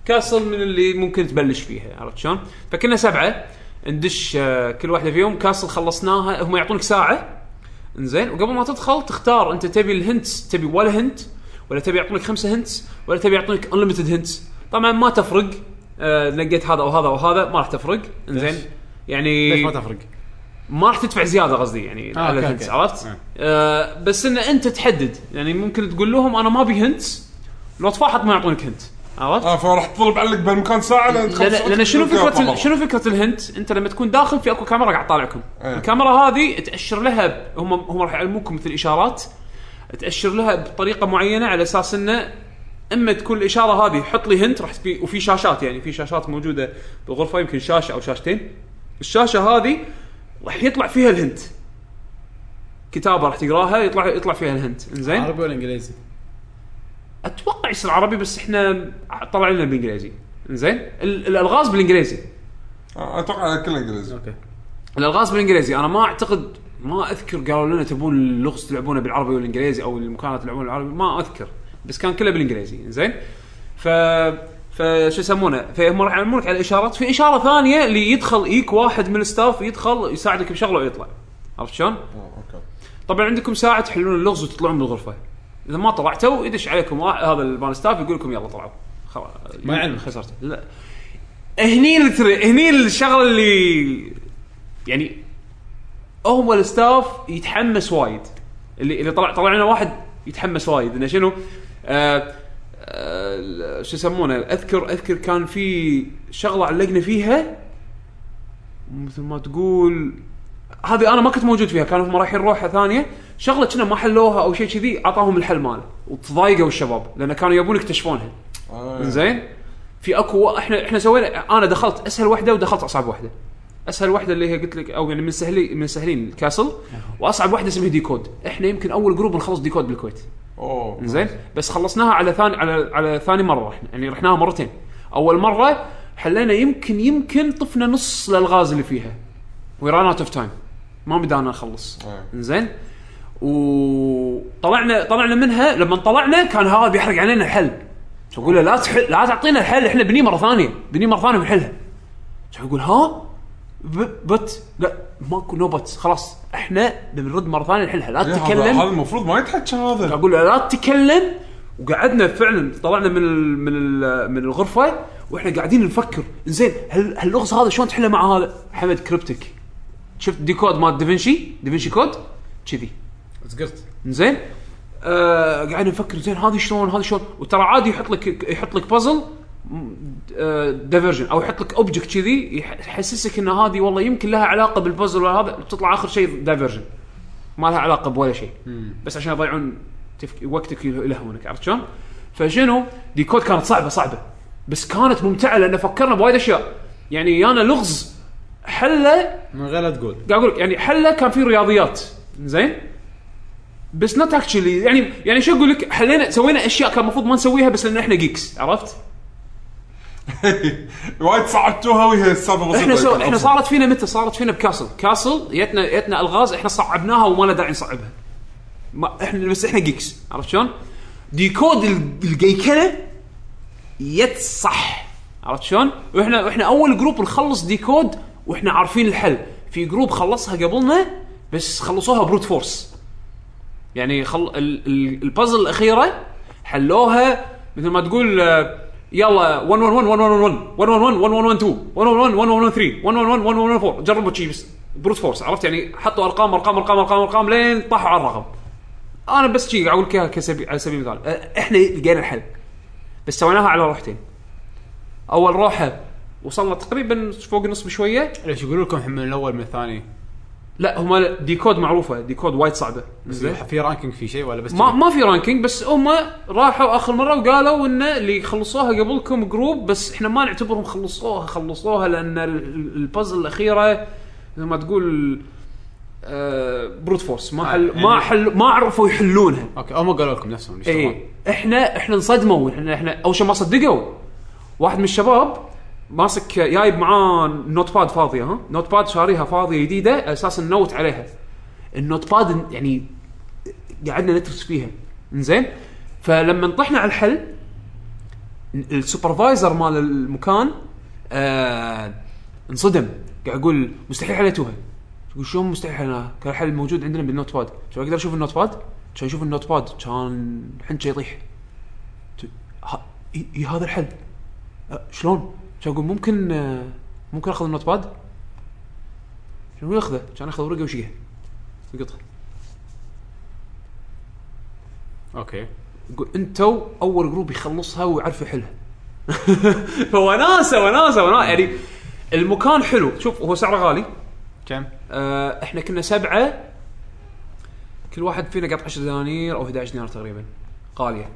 C: كاسل من اللي ممكن تبلش فيها عرفت شلون؟ فكنا سبعه ندش آه، كل واحده فيهم كاسل خلصناها هم يعطونك ساعه انزين وقبل ما تدخل تختار انت تبي الهنتس تبي ولا هنت ولا تبي يعطونك خمسه هنتس ولا تبي يعطونك انليمتد هنتس طبعا ما تفرق آه، نقيت هذا او هذا او هذا ما راح تفرق انزين
A: ليش؟
C: يعني
A: ليش ما تفرق؟
C: ما راح تدفع زياده قصدي يعني
A: آه،
C: على
A: أوكي،
C: الهنتس
A: أوكي.
C: عرفت؟
A: آه.
C: آه بس ان انت تحدد يعني ممكن تقول لهم انا ما ابي هنتس لو تفاحط ما يعطونك هنت عرفت؟
B: اه فراح تضرب علق بالمكان ساعه لين تخلص
C: لان لان شنو
B: وترجع
C: فكره
B: مرة.
C: ال- شنو فكره الهنت؟ انت لما تكون داخل في اكو كاميرا قاعد تطالعكم،
B: إيه.
C: الكاميرا هذه تاشر لها ب- هم هم راح يعلموكم مثل اشارات تاشر لها بطريقه معينه على اساس انه اما تكون الاشاره هذه حط لي هنت راح تبي وفي شاشات يعني في شاشات موجوده بالغرفه يمكن شاشه او شاشتين الشاشه هذه راح يطلع فيها الهنت كتابه راح تقراها يطلع يطلع فيها الهنت انزين
A: عربي ولا انجليزي؟
C: اتوقع يصير عربي بس احنا طلع لنا بالانجليزي انزين ال- الالغاز بالانجليزي
B: آه، اتوقع كله انجليزي
A: اوكي
C: الالغاز بالانجليزي انا ما اعتقد ما اذكر قالوا لنا تبون اللغز تلعبونه بالعربي والانجليزي او المكانات تلعبون بالعربي ما اذكر بس كان كله بالانجليزي زين ف فشو يسمونه فهم راح يعلمونك على الاشارات في اشاره ثانيه اللي يدخل يجيك واحد من الستاف يدخل يساعدك بشغله ويطلع عرفت شلون؟
B: آه، اوكي
C: طبعا عندكم ساعه تحلون اللغز وتطلعون من الغرفه اذا ما طلعتوا يدش عليكم وا- هذا البان ستاف يقول لكم يلا طلعوا خلاص
A: ما يعلمك.
C: خسرت لا هني التر... هني الشغله اللي يعني هم الستاف يتحمس وايد اللي اللي طلع طلع لنا واحد يتحمس وايد انه شنو آه آه شو يسمونه اذكر اذكر كان في شغله علقنا فيها مثل ما تقول هذه انا ما كنت موجود فيها كانوا هم رايحين روحه ثانيه شغله كنا ما حلوها او شيء كذي عطاهم الحل ماله وتضايقوا الشباب لان كانوا يبون يكتشفونها
B: آه،
C: زين في اكو وا- احنا احنا سوينا انا دخلت اسهل وحده ودخلت اصعب وحده اسهل وحده اللي هي قلت لك او يعني من سهلي من سهلين الكاسل واصعب وحده اسمها ديكود احنا يمكن اول جروب نخلص ديكود بالكويت
B: اوه
C: زين بس خلصناها على ثاني على على ثاني مره احنا يعني رحناها مرتين اول مره حلينا يمكن يمكن طفنا نص الالغاز اللي فيها ويران اوت اوف تايم ما بدانا نخلص
B: أي.
C: زين وطلعنا طلعنا منها لما طلعنا كان هذا بيحرق علينا الحل فقول له لا تحل لا تعطينا الحل احنا بني مره ثانيه بني مره ثانيه بنحلها شو يقول ها ب- بت لا ماكو نو بت خلاص احنا بنرد مره ثانيه نحلها لا
B: ليه هذا-
C: تتكلم
B: هذا المفروض ما يتحكى هذا
C: اقول له لا تتكلم وقعدنا فعلا طلعنا من ال من ال من الغرفه واحنا قاعدين نفكر زين هل هاللغز هذا شلون تحله مع هذا حمد كريبتك شفت ديكود مال دافنشي دافنشي كود كذي
A: زقرت
C: زين آه قاعد نفكر زين هذه شلون هذه شلون وترى عادي يحط لك يحط لك بازل ديفرجن او يحط لك اوبجكت كذي يح- يحسسك ان هذه والله يمكن لها علاقه بالبازل ولا هذا تطلع اخر شيء دايفرجن ما لها علاقه بولا شيء بس عشان يضيعون تفك... وقتك يله- يلهونك عرفت شلون؟ فشنو ديكود كانت صعبه صعبه بس كانت ممتعه لان فكرنا بوايد اشياء يعني يانا لغز حله
A: من غير لا تقول
C: قاعد اقول لك يعني حله كان في رياضيات زين بس نوت اكشلي يعني يعني شو اقول لك حلينا سوينا اشياء كان المفروض ما نسويها بس لان احنا جيكس عرفت؟
B: (laughs) وايد صعبتوها وهي السالفه بسيطه
C: احنا سو...
B: يمكن
C: احنا
B: أصلاً.
C: صارت فينا متى؟ صارت فينا بكاسل، كاسل جتنا جتنا الغاز احنا صعبناها وما له داعي نصعبها. ما احنا بس احنا جيكس عرفت شلون؟ ديكود ال- الجيكنه يت صح عرفت شلون؟ واحنا واحنا اول جروب نخلص ديكود واحنا عارفين الحل، في جروب خلصها قبلنا بس خلصوها بروت فورس. يعني خل... ال... ال... البازل الاخيره حلوها مثل ما تقول آه، يلا 1 1 1 1 1 1 1 1 1 1 1 2 1 1 1 1 1 3 1 1 1 1 1 4 جربوا شي بس بروت فورس عرفت يعني حطوا ارقام ارقام ارقام ارقام ارقام لين طاحوا على الرقم انا بس شي اقول لك إياها كسبي- على سبيل المثال آه، احنا لقينا الحل بس سويناها على روحتين اول روحه وصلنا تقريبا فوق النص بشويه
A: ليش يقولوا لكم حمل الاول من الثاني؟
C: لا هم ديكود معروفه ديكود وايد صعبه زين
A: في رانكينج في شيء ولا بس
C: ما
A: كذي؟
C: ما في رانكينج بس هم راحوا اخر مره وقالوا ان اللي خلصوها قبلكم جروب بس احنا ما نعتبرهم خلصوها خلصوها لان ال- ال- البازل الاخيره مثل ما تقول آه بروت فورس ما حل ما حل ما عرفوا يحلونها
A: اوكي هم قالوا لكم نفسهم ليش
C: اي
A: طبعاً.
C: احنا احنا إيه. انصدموا احنا احنا اول شيء ما صدقوا واحد من الشباب ماسك جايب معاه نوت باد فاضيه ها نوت باد شاريها فاضيه جديده على اساس ننوت عليها النوت باد يعني قعدنا ندرس فيها انزين فلما طحنا على الحل السوبرفايزر مال المكان آه انصدم قاعد يقول مستحيل حليتوها تقول شلون مستحيل حليناها؟ كان الحل موجود عندنا بالنوت باد شو اقدر اشوف النوت باد؟ كان يشوف النوت باد كان حن شي يطيح ت- ها- إي- إي هذا الحل أه، شلون؟ كان اقول ممكن آه، ممكن اخذ النوت باد؟ شو شنو ياخذه؟ كان ياخذ ورقه وشيها يقطها
A: اوكي
C: يقول انتوا اول جروب يخلصها ويعرف يحلها (laughs) فوناسه وناسه وناسه يعني المكان حلو شوف هو سعره غالي
A: كم؟
C: آه، احنا كنا سبعه كل واحد فينا قط 10 دنانير او 11 دينار تقريبا غاليه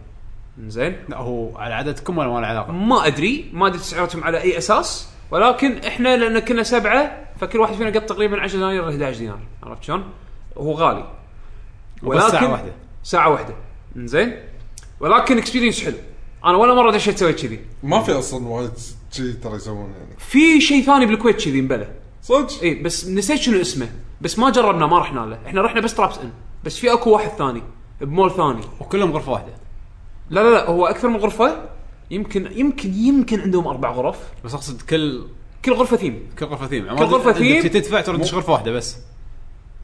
C: زين
A: لا هو على عددكم ولا ما له علاقه؟
C: ما ادري ما ادري تسعيرتهم على اي اساس ولكن احنا لان كنا سبعه فكل واحد فينا قط تقريبا 10 دنانير 11 دينار عرفت شلون؟ هو غالي
A: ولكن ساعه واحده
C: ساعه واحده زين ولكن اكسبيرينس حلو انا ولا مره دشيت سويت كذي
B: ما في اصلا وايد شي ترى يسوون يعني
C: في شيء ثاني بالكويت كذي مبلى
B: صدق
C: اي إيه، بس نسيت شنو اسمه بس ما جربنا ما رحنا له احنا رحنا بس ترابس ان بس في اكو واحد ثاني بمول ثاني
A: وكلهم غرفه واحده
C: لا لا لا هو اكثر من غرفه يمكن يمكن يمكن عندهم اربع غرف
A: بس اقصد كل
C: كل غرفه ثيم
A: كل غرفه ثيم يعني
C: كل غرفة ثيم. إيه.
A: تدفع تردش غرفه واحده بس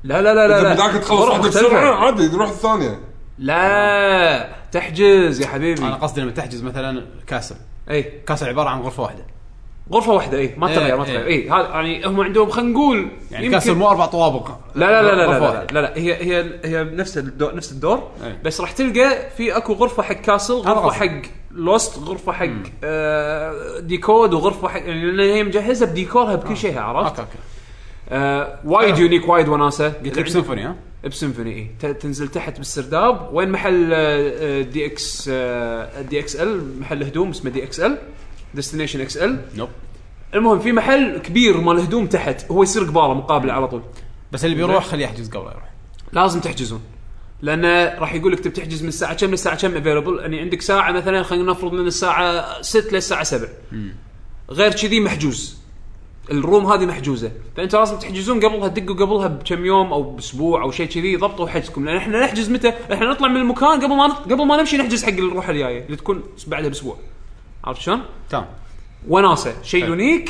C: لا لا لا لا
B: اذا
C: لا
B: بدك تخلص
C: غرف
B: واحده
C: مختلفة.
B: بسرعه عادي نروح الثانيه
C: لا تحجز يا حبيبي إيه،
A: انا قصدي لما تحجز مثلا كاسل
C: اي
A: كاسل عباره عن غرفه واحده
C: غرفه واحده اي ما
A: إيه،
C: تغير ما
A: إيه.
C: تغير اي هذا يعني هم عندهم خلينا نقول
A: يعني
C: يمكن-
A: كاسل مو اربع طوابق
C: لا لا لا لا
A: غرفة
C: لا, لا,
A: واحدة.
C: لا, لا هي هي هي نفس الدور نفس الدور
A: أي.
C: بس راح تلقى في اكو غرفه حق كاسل
A: هذا
C: غرفه
A: إيه. غرفة.
C: حق لوست غرفه حق آه ديكود وغرفه حق يعني لان هي مجهزه بديكورها بكل شيء
A: اوكي
C: عرفت
A: اوكي
C: آه وايد يونيك وايد وناسه
A: قلت لك سيمفوني ها
C: بسيمفوني اي إيه. ت- تنزل تحت بالسرداب وين محل آه، آه، دي اكس آه، دي اكس ال محل هدوم اسمه دي اكس ال ديستنيشن اكس ال
A: نوب
C: المهم في محل كبير مال هدوم تحت هو يصير قباله مقابله على طول
A: بس اللي بيروح خليه يحجز قبل يروح
C: لازم تحجزون لان راح يقول لك تبي تحجز من الساعه كم للساعه كم افيلبل يعني عندك ساعه مثلا خلينا نفرض من الساعه 6 للساعه 7 غير كذي محجوز الروم هذه محجوزه فانت لازم تحجزون قبلها تدقوا قبلها بكم يوم او باسبوع او شيء كذي ضبطوا حجزكم لان احنا نحجز متى؟ احنا نطلع من المكان قبل ما نط- قبل ما نمشي نحجز حق الروحه الجايه اللي تكون بعدها باسبوع عرفت شلون؟
A: تمام
C: وناسه شيء
A: حلو.
C: يونيك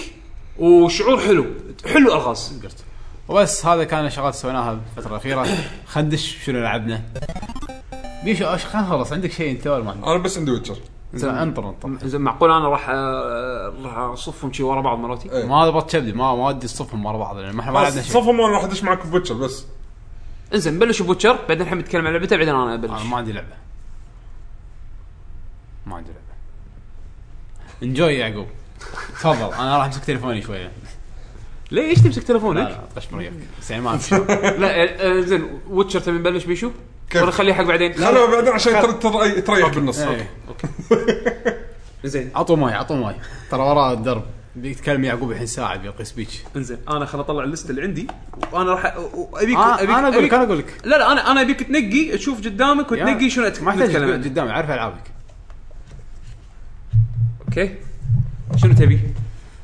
C: وشعور حلو حلو الغاز
A: قلت وبس هذا كان الشغلات سويناها بالفتره الاخيره خندش شنو لعبنا بيشو ايش خلينا نخلص عندك شيء انت ولا ما عندك؟
B: انا بس عندي ويتشر
A: زين، انطر انطر
C: زين معقول انا راح آه، راح اصفهم شي ورا بعض مراتي؟
B: إيه.
A: ما ابغى تشبدي ما ما ودي تصفهم ورا بعض لان ما احنا ما لعبنا شيء
B: صفهم انا راح ادش معك بويتشر بس
C: انزين بلش بوتشر بعدين حمد يتكلم عن لعبته بعدين انا ابلش
A: انا ما عندي لعبه ما عندي لعبه انجوي يا يعقوب تفضل انا راح امسك تليفوني شويه
C: ليش تمسك
A: لا
C: تليفونك؟
A: لا طش مريك بس يعني ما عندي (laughs) شيء.
C: لا آه، زين ويتشر تبي نبلش بيشو؟
B: كيف؟
C: ولا نخليه حق بعدين؟
B: لا لا بعدين عشان تر- تر- تريح بالنص
A: إيه.
C: زين
A: عطوا ماي عطوا ماي ترى ورا الدرب بيتكلم يعقوب الحين ساعه بيلقي سبيتش
C: انزين آه، انا خل اطلع الليست اللي عندي وانا راح أ- أ- ابيك
A: انا اقول آه، لك انا اقول لك
C: لا لا انا انا ابيك تنقي تشوف قدامك
A: يا-
C: وتنقي شنو أت-
A: ما احتاج
C: نتكلم عنه.
A: قدامي عارف العابك
C: اوكي شنو تبي؟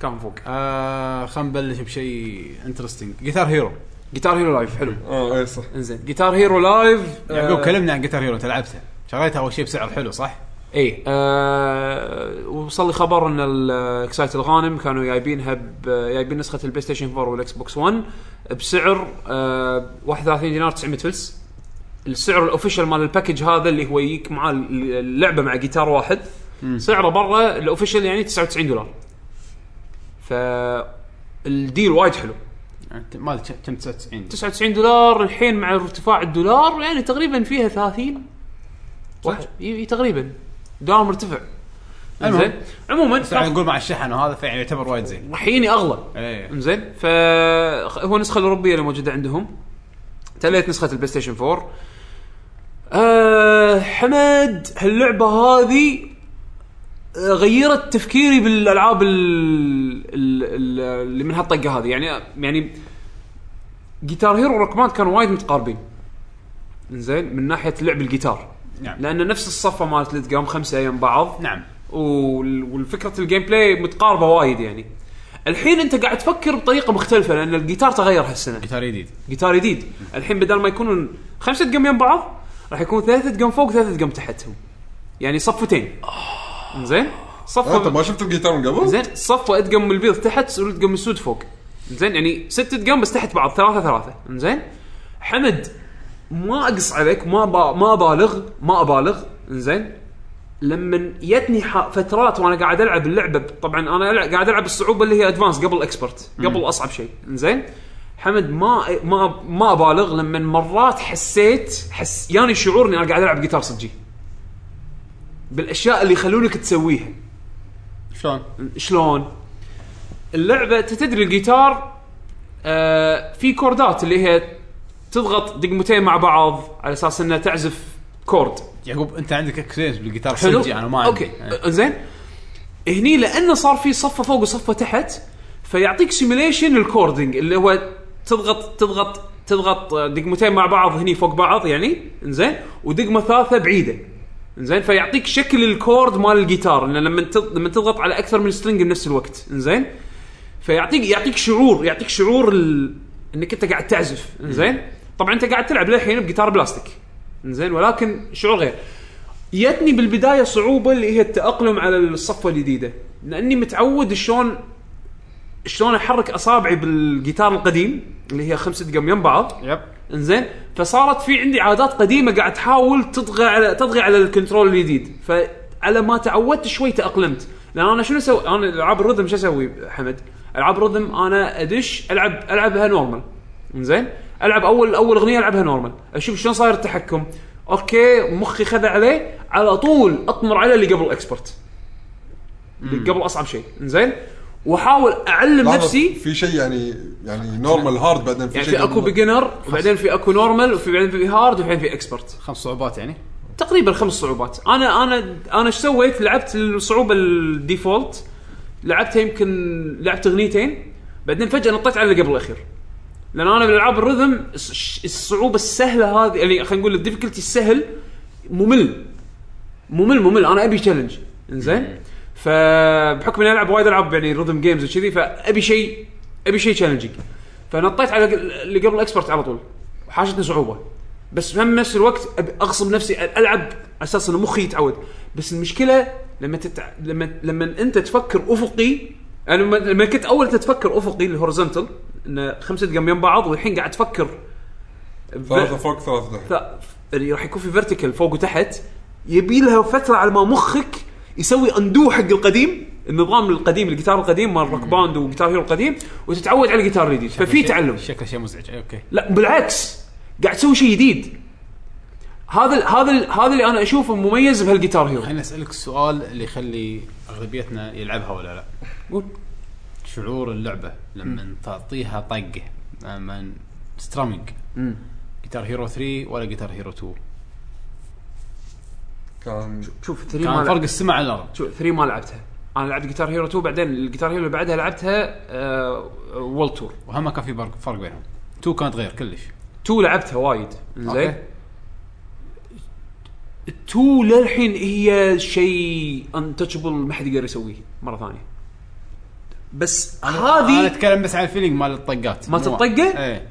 C: كان فوق
A: آه خلينا نبلش بشيء انترستنج جيتار هيرو
C: جيتار هيرو لايف حلو
B: اه اي صح
C: انزين جيتار هيرو لايف
A: يعقوب
C: آه،
A: كلمنا عن جيتار هيرو انت لعبته شريتها اول شيء بسعر حلو صح؟
C: اي إيه، آه وصل لي خبر ان الاكسايت الغانم كانوا جايبينها ب- جايبين نسخه البلاي ستيشن 4 والاكس بوكس 1 بسعر آه 31 دينار 900 فلس السعر الاوفيشال مال الباكج هذا اللي هو يجيك معاه اللعبه مع جيتار واحد سعره برا الاوفيشال يعني 99 دولار ف الديل وايد حلو
A: انت مال كم- كم 99
C: 99 دولار الحين مع ارتفاع الدولار يعني تقريبا فيها 30 واحد إي- إي تقريبا دولار مرتفع
A: المهم.
C: زين عموما
A: بس راح نقول مع الشحن وهذا فيعني يعتبر وايد زين
C: راح يجيني اغلى
A: ايه
C: زين فهو النسخه الاوروبيه اللي موجوده عندهم تليت نسخه البلاي ستيشن 4 أه حمد هاللعبه هذه آه، غيرت تفكيري بالالعاب ال- ال- ال- اللي من هالطقه هذه يعني يعني جيتار هيرو وركمان كانوا وايد متقاربين زين من ناحيه لعب الجيتار
A: نعم
C: لان نفس الصفه مالت ليت قام خمسه ايام بعض
A: نعم
C: وال- والفكره الجيم بلاي متقاربه وايد يعني الحين انت قاعد تفكر بطريقه مختلفه لان الجيتار تغير هالسنه
A: جيتار جديد
C: جيتار جديد الحين بدل ما يكونون خمسه دقم يم بعض راح يكون ثلاثه دقم فوق ثلاثه دقم تحتهم يعني صفتين زين
B: انت
C: صفه
B: ما شفت الجيتار من قبل؟
C: زين صفه ادقم البيض تحت وادقم السود فوق زين يعني ست ادقم بس تحت بعض ثلاثه ثلاثه زين حمد ما اقص عليك ما با ما ابالغ ما ابالغ زين لما يتني ح- فترات وانا قاعد العب اللعبه ب- طبعا انا ألع- قاعد العب الصعوبه اللي هي ادفانس قبل اكسبرت قبل اصعب شيء زين حمد ما ما ما ابالغ لما مرات حسيت حس ياني شعور اني انا قاعد العب جيتار صجي بالاشياء اللي يخلونك تسويها
A: شلون؟
C: شلون اللعبه أنت تدري الجيتار آه في كوردات اللي هي تضغط دقمتين مع بعض على اساس انها تعزف كورد
A: يعقوب انت عندك اكسبيرينس بالجيتار
C: حلو
A: صجي انا يعني، ما عندي
C: اوكي زين هني لانه صار في صفه فوق وصفه تحت فيعطيك سيميليشن الكوردنج اللي هو تضغط تضغط تضغط آه، دقمتين مع بعض هني فوق بعض يعني زين ودقمه ثالثه بعيده زين فيعطيك شكل الكورد مال الجيتار لان لما تض- لما تضغط على اكثر من سترنج بنفس الوقت زين فيعطيك يعطيك شعور يعطيك شعور ال... انك انت قاعد تعزف زين طبعا انت قاعد تلعب للحين بجيتار بلاستيك زين ولكن شعور غير جتني بالبدايه صعوبه اللي هي التاقلم على الصفه الجديده لاني متعود شلون شلون احرك اصابعي بالجيتار القديم اللي هي خمسة دقم يم بعض
A: يب
C: انزين فصارت في عندي عادات قديمه قاعد تحاول تطغى على تطغى على الكنترول الجديد فعلى ما تعودت شوي تاقلمت لان انا شنو اسوي انا العاب الرذم شو اسوي حمد العاب الرذم انا ادش العب العبها نورمال انزين العب اول اول اغنيه العبها نورمال اشوف شلون صاير التحكم اوكي مخي خذ عليه على طول اطمر على اللي قبل اكسبرت اللي قبل اصعب شيء انزين واحاول اعلم
B: لحظة،
C: نفسي
B: في شيء يعني يعني نورمال هارد بعدين في
C: يعني
B: شيء
C: في اكو
B: normal.
C: بيجنر وبعدين في اكو نورمال وفي بعدين في هارد وبعدين في اكسبرت
A: خمس صعوبات يعني
C: تقريبا خمس صعوبات انا انا انا ايش سويت لعبت الصعوبه الديفولت لعبتها يمكن لعبت اغنيتين بعدين فجاه نطيت على اللي قبل الاخير لان انا بالالعاب الرذم الص- الصعوبه السهله هذه يعني خلينا نقول الديفيكولتي السهل ممل ممل ممل انا ابي تشالنج انزين فبحكم اني العب وايد العب يعني ريذم جيمز وكذي فابي شيء ابي شيء تشالنجينج فنطيت على اللي قبل الاكسبرت على طول وحاشتني صعوبه بس هم نفس الوقت أبي اغصب نفسي العب على اساس ان مخي يتعود بس المشكله لما تتع... لما لما انت تفكر افقي انا لما- لما كنت اول تفكر افقي الهورزنتال انه خمسه دقم يم بعض والحين قاعد تفكر
B: ثلاثة فوق ثلاثة تحت
C: لا اللي راح يكون في فيرتيكال فوق وتحت يبي لها فتره على ما مخك يسوي اندو حق القديم النظام القديم الجيتار القديم مال روك باند وجيتار هيرو القديم وتتعود على الجيتار الجديد ففي
A: شيء-
C: تعلم
A: شكله شيء مزعج أي، اوكي
C: لا بالعكس قاعد تسوي شيء جديد هذا ال- هذا ال- هذا اللي انا اشوفه مميز بهالجيتار هيرو
A: خليني اسالك السؤال اللي يخلي اغلبيتنا يلعبها ولا لا
C: قول.
A: شعور اللعبه لما تعطيها طقه لما سترامينج
C: مم.
A: جيتار هيرو 3 ولا جيتار هيرو 2
B: كان
C: شوف 3
A: كان
C: مال
A: فرق السمع على الارض
C: شوف 3 ما لعبتها انا لعبت جيتار هيرو 2 بعدين الجيتار هيرو اللي بعدها لعبتها آه وول تور
A: وهم ما كان في فرق فرق بينهم 2 كانت غير كلش
C: 2 لعبتها وايد زين
A: أوكي.
C: 2 للحين هي شيء انتشبل ما حد يقدر يسويه مره ثانيه بس
A: انا
C: هذه
A: اتكلم بس عن الفيلينج مال الطقات
C: مالت
A: مو-
C: الطقة؟
A: ايه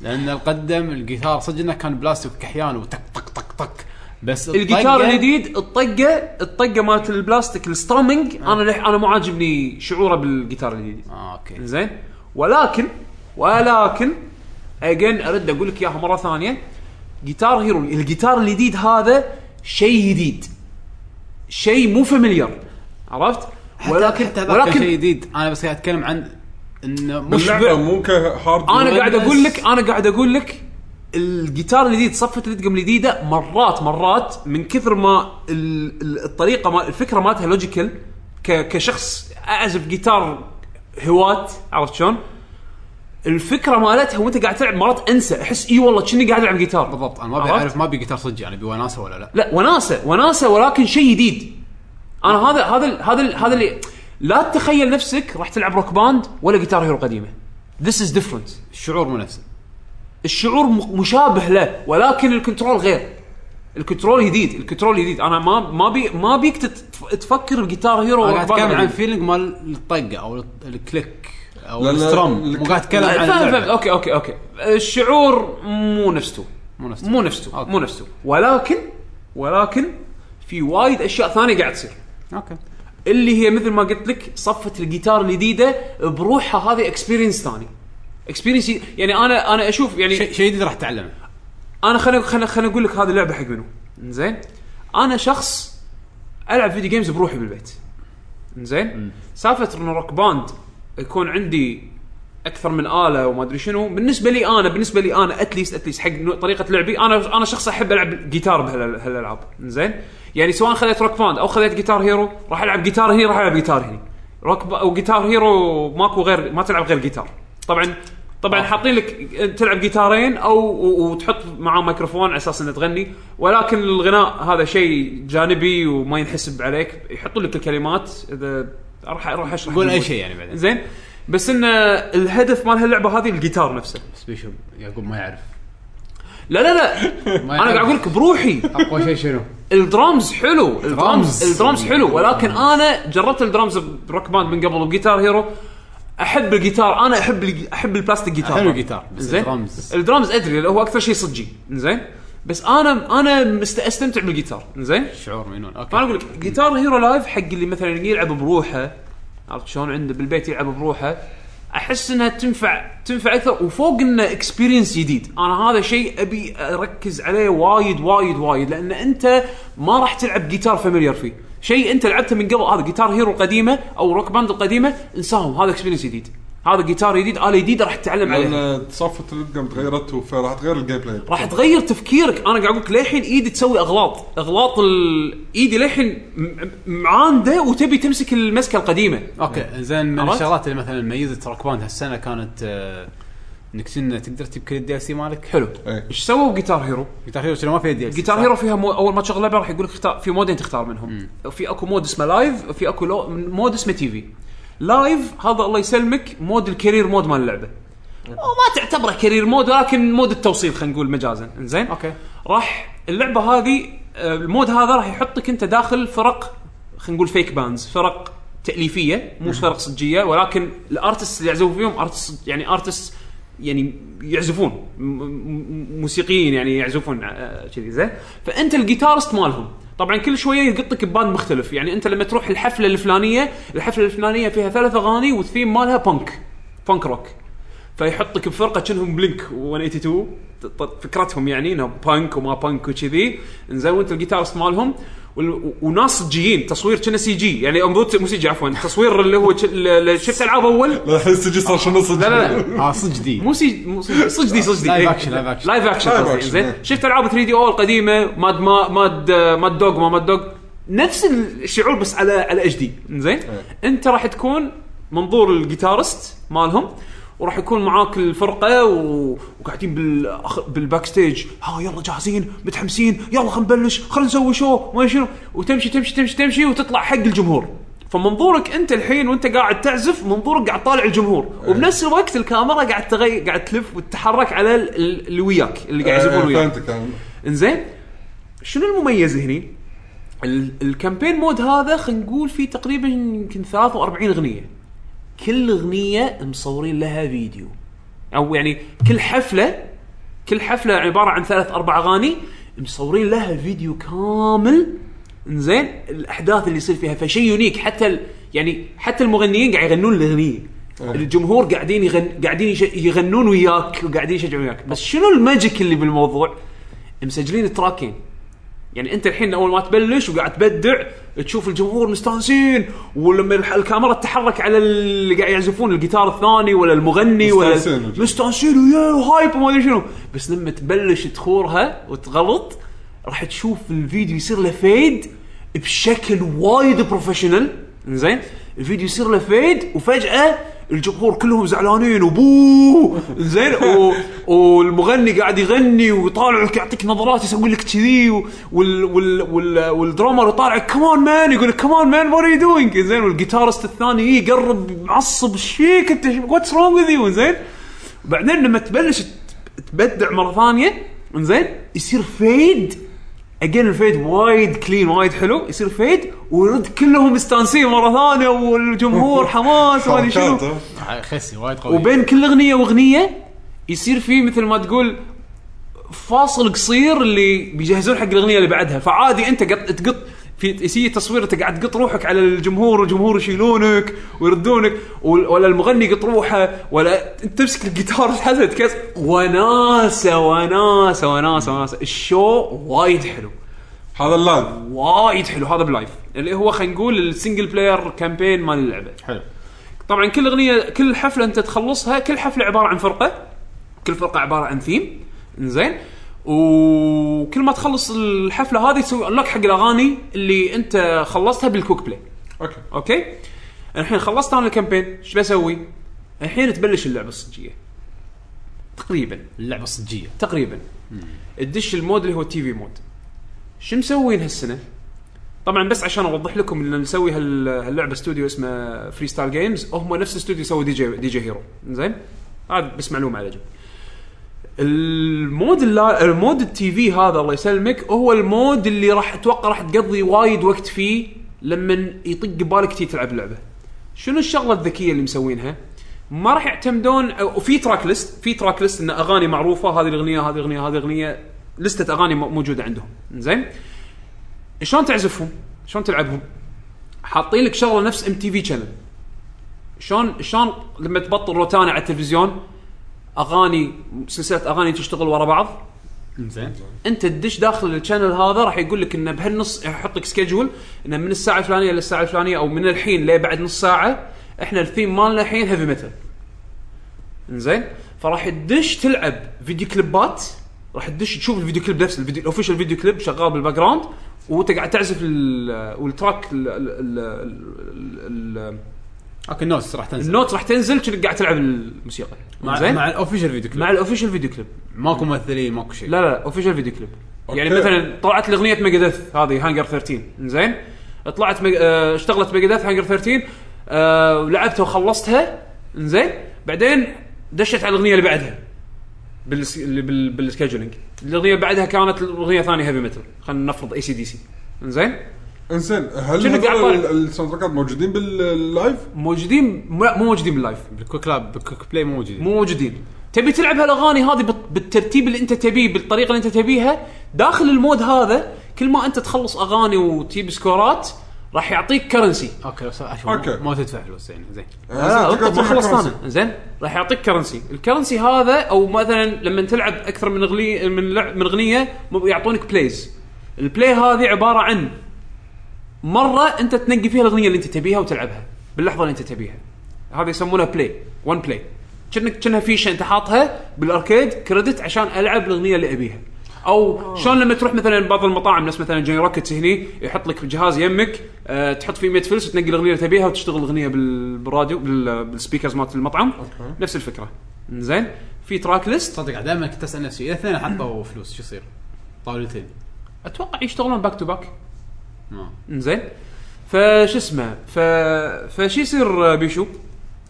A: لان القدم الجيتار صدقنا كان بلاستيك كحيان وتك تك تك تك بس
C: الجيتار
A: الطقة-
C: الجديد الطقه الطقه مالت البلاستيك السترامينج انا لح- انا مو عاجبني شعوره بالجيتار الجديد
A: آه اوكي
C: زين ولكن ولكن اجين ارد اقول لك اياها مره ثانيه جيتار هيرو الجيتار الجديد هذا شيء جديد شيء مو فاميليار عرفت ولكن
A: حتى هذاك كان شيء
C: ولكن
A: جديد انا بس قاعد اتكلم عن انه مشبع
B: اللعبة مو كهارد
C: انا قاعد
A: بس-
C: اقول لك انا قاعد اقول لك الجيتار الجديد صفه الادقم الجديده مرات مرات من كثر ما ال- ال- الطريقه ما الفكره مالتها لوجيكال كشخص اعزف جيتار هواة عرفت شلون؟ الفكره مالتها وانت قاعد تلعب مرات انسى احس اي والله كني قاعد العب جيتار
A: بالضبط انا ما ابي
C: عرفت؟
A: اعرف ما ابي جيتار صجي انا ابي وناسه ولا لا
C: لا وناسه وناسه ولكن شيء جديد انا هذا هذا ال- هذا ال- هذا اللي لا تتخيل نفسك راح تلعب روك باند ولا جيتار هيرو قديمه This is different
A: الشعور مو نفسه
C: الشعور م- مشابه له ولكن الكنترول غير الكنترول جديد الكنترول جديد انا ما ما بي ما بيك تت- تفكر بجيتار هيرو يعني.
A: انا قاعد اتكلم عن
C: عن
A: الفيلينج مال الطقه او الط- الكليك او
B: لأن
A: السترم
B: الك-
A: مو قاعد اتكلم عن اللعبة.
C: اوكي اوكي اوكي الشعور مو نفسه
A: مو نفسه.
C: مو نفسه
A: أوكي.
C: مو نفسه ولكن ولكن في وايد اشياء ثانيه قاعد تصير
A: اوكي
C: اللي هي مثل ما قلت لك صفه الجيتار الجديده بروحها هذه اكسبيرينس ثاني اكسبيرينس يعني انا انا اشوف يعني
A: شيء شيء جديد راح تتعلمه
C: انا خليني خليني خليني اقول لك هذه اللعبه حق منو زين انا شخص العب فيديو جيمز بروحي بالبيت زين سالفه انه روك باند يكون عندي اكثر من اله وما ادري شنو بالنسبه لي انا بالنسبه لي انا اتليست اتليست حق نوع- طريقه لعبي انا انا شخص احب العب جيتار بهال- بهالالعاب زين يعني سواء خذيت روك باند او خذيت جيتار هيرو راح العب جيتار هنا راح العب جيتار هنا روك با او جيتار هيرو ماكو غير ما تلعب غير جيتار طبعا
A: آه.
C: طبعا حاطين لك تلعب جيتارين او و- وتحط معاه ميكروفون على اساس انه تغني ولكن الغناء هذا شيء جانبي وما ينحسب عليك يحطوا لك الكلمات اذا راح راح اشرح
A: قول اي
C: بالموجة.
A: شيء يعني بعدين
C: زين بس ان الهدف مال هاللعبه هذه الجيتار نفسه
A: بس بيشو يعقوب ما يعرف
C: لا لا لا
A: (laughs) ما
C: انا
A: يعرف.
C: قاعد اقول لك بروحي
A: اقوى شيء
C: (laughs)
A: شنو؟
C: الدرامز حلو الدرامز
A: درامز.
C: الدرامز حلو ولكن انا جربت الدرامز بروك باند من قبل وجيتار هيرو احب الجيتار انا احب الج- احب البلاستيك جيتار
A: حلو الجيتار بس
C: زين
A: الدرامز
C: الدرامز ادري اللي هو اكثر شيء صجي زين بس انا انا مست- استمتع بالجيتار زين
A: شعور مجنون اوكي
C: فانا اقول لك جيتار هيرو لايف حق اللي مثلا يلعب بروحه عرفت شلون عنده بالبيت يلعب بروحه احس انها تنفع تنفع اكثر وفوق انه اكسبيرينس جديد انا هذا شيء ابي اركز عليه وايد وايد وايد لان انت ما راح تلعب جيتار فاميليار فيه شيء انت لعبته من قبل هذا جيتار هيرو القديمه او روك باند القديمه انساهم هذا اكسبيرينس جديد هذا جيتار جديد اله جديده راح تتعلم عليها
B: لان تصفت القم تغيرت فراح تغير الجيم بلاي
C: راح تغير تفكيرك انا قاعد اقول لك للحين ايدي تسوي اغلاط اغلاط ال... ايدي للحين م- م- معانده وتبي تمسك المسكه القديمه
A: اوكي زين من
C: إيه. عرفت؟
A: الشغلات اللي مثلا ميزت روك باند هالسنه كانت آه، انك كنا تقدر تجيب كل الدي ال سي مالك
C: حلو
B: إيه.
C: ايش سووا جيتار هيرو
A: جيتار هيرو شنو ما فيها دي ال سي
C: جيتار هيرو فيها مو... اول ما تشغل لعبه راح يقول لك اختار في مودين تختار منهم في اكو مود اسمه لايف وفي اكو لو... مود اسمه تي في لايف هذا الله يسلمك مود الكارير مود مال اللعبه وما تعتبره كارير مود ولكن مود التوصيل خلينا نقول مجازا زين
A: اوكي
C: راح اللعبه هذه آه، المود هذا راح يحطك انت داخل فرق خلينا نقول فيك باندز فرق تاليفيه مو فرق صجيه ولكن الارتست اللي يعزفون فيهم ارتست يعني ارتست يعني يعزفون م- م- موسيقيين يعني يعزفون آه، كذي زين فانت الجيتارست مالهم طبعا كل شويه يقطك بباند مختلف يعني انت لما تروح الحفله الفلانيه الحفله الفلانيه فيها ثلاث اغاني والثيم مالها بانك بانك روك فيحطك بفرقه شنهم بلينك 182 ط- ط- فكرتهم يعني انه بانك وما بانك وكذي انزين وانت الجيتارست مالهم وال- و- وناس صجيين تصوير كنا سي جي يعني أمبوت- مو سي جي عفوا تصوير اللي هو ش- اللي شفت العاب اول
B: لا الحين سجي صار شنو صدق
C: لا لا لا
A: اه صدق دي
C: مو سي مو سي صجدي صجدي
A: لايف
C: إيه.
A: أكشن، لايف أكشن.
C: لايف اكشن
B: لايف
C: قصدي
B: أكشن،
C: زين
B: إيه.
C: شفت العاب 3 دي او القديمه ماد ما ماد ماد دوغ ما ماد دوغ نفس الشعور بس على على اتش دي زين انت راح تكون منظور الجيتارست مالهم وراح يكون معاك الفرقه و... وقاعدين بال... بالباك ستيج ها يلا جاهزين متحمسين يلا خلينا نبلش خلينا نسوي شو ما شنو وتمشي تمشي تمشي تمشي وتطلع حق الجمهور فمنظورك انت الحين وانت قاعد تعزف منظورك قاعد طالع الجمهور وبنفس الوقت الكاميرا قاعد تغي... قاعد تلف وتتحرك على ال- ال- اللي وياك اللي قاعد يعزفون
B: إيه،
C: وياك
B: فهمتك أنا.
C: انزين شنو المميز هني؟ ال- الكامبين مود هذا خلينا نقول فيه تقريبا يمكن 43 اغنيه كل اغنيه مصورين لها فيديو او يعني كل حفله كل حفله عباره عن ثلاث اربع اغاني مصورين لها فيديو كامل انزين الاحداث اللي يصير فيها فشيء يونيك حتى ال يعني حتى المغنيين قاعد يغنون الاغنيه الجمهور قاعدين يغن قاعدين يش- يغنون وياك وقاعدين يشجعون وياك بس شنو الماجيك اللي بالموضوع؟ مسجلين التراكين يعني انت الحين اول ما تبلش وقاعد تبدع تشوف الجمهور مستانسين ولما الح- الكاميرا تتحرك على اللي قاعد يعزفون الجيتار الثاني ولا المغني ولا
B: مستانسين.
C: مستانسين ويا وهايب وما ادري شنو بس لما تبلش تخورها وتغلط راح تشوف الفيديو يصير له فيد بشكل وايد بروفيشنال زين الفيديو يصير له فيد وفجاه الجمهور كلهم زعلانين وبو زين و... (laughs) والمغني قاعد يغني ويطالعك يعطيك نظرات يسوي لك كذي و... وال... وال... وال... والدرامر يطالعك كمان مان يقول لك كمان مان وات يو دوينج زين والجيتارست الثاني يقرب معصب شيك انت واتس رونج وذ يو زين بعدين لما تبلش ت- تبدع مره ثانيه زين يصير فيد اجين الفيد وايد كلين وايد حلو يصير فيد ويرد كلهم مستانسين مره ثانيه والجمهور حماس وما ادري شنو
B: حركاته.
A: آه، خسي وايد قوي
C: وبين كل اغنيه واغنيه يصير في مثل ما تقول فاصل قصير اللي بيجهزون حق الاغنيه اللي بعدها فعادي انت قط تقط في يصير تصوير انت قاعد تقط روحك على الجمهور والجمهور يشيلونك ويردونك وال- ولا المغني يقط روحه ولا انت تمسك الجيتار (laughs) تحزن تكس وناسه وناسه وناسه وناسه الشو وايد حلو
B: هذا اللايف
C: وايد حلو هذا بلايف اللي هو خلينا نقول السنجل بلاير كامبين مال اللعبه
A: حلو
C: طبعا كل اغنيه كل حفله انت تخلصها كل حفله عباره عن فرقه كل فرقه عباره عن ثيم زين وكل ما تخلص الحفله هذه تسوي انلوك حق الاغاني اللي انت خلصتها بالكوك بلاي
B: اوكي
C: اوكي الحين خلصت انا الكامبين ايش بسوي الحين تبلش اللعبه الصجيه تقريبا
A: اللعبه صجيه
C: تقريبا تدش المود اللي هو التي في مود شو مسوين هالسنه؟ طبعا بس عشان اوضح لكم ان مسوي هال- هاللعبه استوديو اسمه فري ستايل جيمز هم نفس الاستوديو سووا دي جي دي جي هيرو زين هذا بس معلومه على جنب المود اللا... المود التي في هذا الله يسلمك هو المود اللي راح اتوقع راح تقضي وايد وقت فيه لما يطق بالك تي تلعب لعبه شنو الشغله الذكيه اللي مسوينها؟ ما راح يعتمدون أو- وفي تراك ليست في تراك ليست ان اغاني معروفه هذه الاغنيه هذه الاغنيه هذه الاغنيه لستة اغاني م- موجوده عندهم زين شلون تعزفهم؟ شلون تلعبهم؟ حاطين لك شغله نفس ام تي في شانل شلون شلون لما تبطل روتانا على التلفزيون اغاني سلسله اغاني تشتغل ورا بعض
A: زين
C: انت تدش داخل الشانل هذا راح يقول لك انه بهالنص يحط لك سكجول انه من الساعه الفلانيه للساعه الفلانيه او من الحين لبعد نص ساعه احنا الثيم مالنا الحين هيفي ميتال انزين فراح تدش تلعب فيديو كليبات راح تدش تشوف الفيديو كليب نفسه الفيديو الاوفيشال فيديو كليب شغال بالباك جراوند وانت قاعد تعزف ال- والتراك ال- ال- ال- ال-
A: اوكي النوتس راح تنزل
C: النوت راح تنزل كأنك قاعد تلعب الموسيقى
A: مع,
C: زين
A: مع الاوفيشال فيديو كليب
C: مع الاوفيشال فيديو كليب
A: ماكو ممثلين ماكو شيء
C: لا لا اوفيشال فيديو كليب يعني
B: أوكي.
C: مثلا طلعت الاغنيه ميجاديث هذه هانجر 13 زين طلعت مج... آه، اشتغلت ميجاديث هانجر 13 آه، ولعبتها وخلصتها زين بعدين دشت على الاغنيه اللي بعدها بالس... اللي بال... بالسكجولينج الاغنيه اللي بعدها كانت الاغنيه الثانيه هيفي ميتال خلينا نفرض اي سي دي سي زين
B: انزين هل
C: شنو قاعد
B: هذول
C: طالع؟
B: ال- الساوند تراكات موجودين باللايف؟
C: موجودين مو مو موجودين باللايف
A: بالكويك لاب بالكويك بلاي مو موجودين
C: مو موجودين تبي تلعب هالاغاني هذه بال- بالترتيب اللي انت تبيه بالطريقه اللي انت تبيها داخل المود هذا كل ما انت تخلص اغاني وتجيب سكورات راح يعطيك كرنسي
A: اوكي بس أشوف
B: أوكي.
A: ما تدفع فلوس يعني زين
B: آه،
C: لا
B: الساوند تراكات
C: انت ما
B: فيها
C: خلصت
B: كرنسي.
C: انا زين راح يعطيك كرنسي الكرنسي هذا او مثلا لما تلعب اكثر من اغنيه من لع- من اغنيه م- يعطونك بلايز البلاي هذه عباره عن مره انت تنقي فيها الاغنيه اللي انت تبيها وتلعبها باللحظه اللي انت تبيها هذا يسمونها بلاي وان بلاي كأنك كأنها فيشه انت حاطها بالاركيد كريدت عشان العب الاغنيه اللي ابيها او شلون لما تروح مثلا بعض المطاعم نفس مثلا جاي روكيتس هني يحط لك جهاز يمك أه تحط فيه 100 فلس وتنقي الاغنيه اللي تبيها وتشتغل الاغنيه بال- بالراديو بال- بالسبيكرز مالت المطعم
B: أوكي.
C: نفس الفكره زين في تراك ليست
A: صدق دائما كنت اسال نفسي اذا اثنين حطوا فلوس شو يصير؟ طاولتين
C: اتوقع يشتغلون باك تو باك
A: ما
C: انزين فش اسمه ف فش يصير آه، بيشو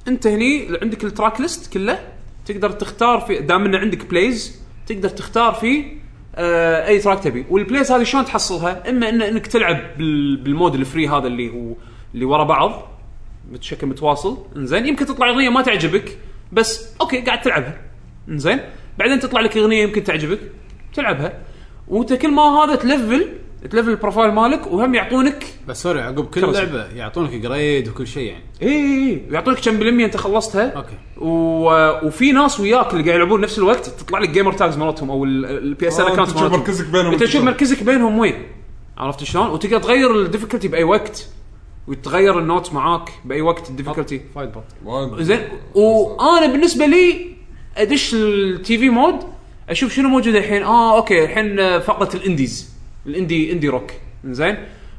C: انت هني عندك التراك ليست كله تقدر تختار في دام انه عندك بلايز تقدر تختار فيه آه اي تراك تبي والبلايز هذه شلون تحصلها اما إن انك تلعب بال- بالمود الفري هذا اللي هو اللي ورا بعض بشكل متواصل انزين يمكن تطلع اغنيه ما تعجبك بس اوكي قاعد تلعبها انزين بعدين تطلع لك اغنيه يمكن تعجبك تلعبها وانت كل ما هذا تلفل تلفل البروفايل مالك وهم يعطونك
A: بس سوري عقب كل
C: كرسي.
A: لعبه يعطونك جريد وكل شيء يعني
C: اي اي اي إيه، يعطونك كم بالمية انت خلصتها
A: أوكي.
C: و... وفي ناس وياك اللي قاعد يلعبون نفس الوقت تطلع لك جيمر تاجز مالتهم او البي اس
B: آه،
C: ال
B: أنت
C: اكونت
B: تشوف
C: مالتهم
B: مركزك بينهم
C: انت تشوف
B: شلون.
C: مركزك بينهم وين عرفت شلون؟ وتقدر تغير الديفيكولتي باي وقت وتغير النوت معاك باي وقت الديفيكولتي
A: وايد بط
B: وايد.
C: زين وانا بالنسبه لي ادش التي في مود اشوف شنو موجود الحين اه اوكي الحين فقره الانديز الاندي اندي روك زين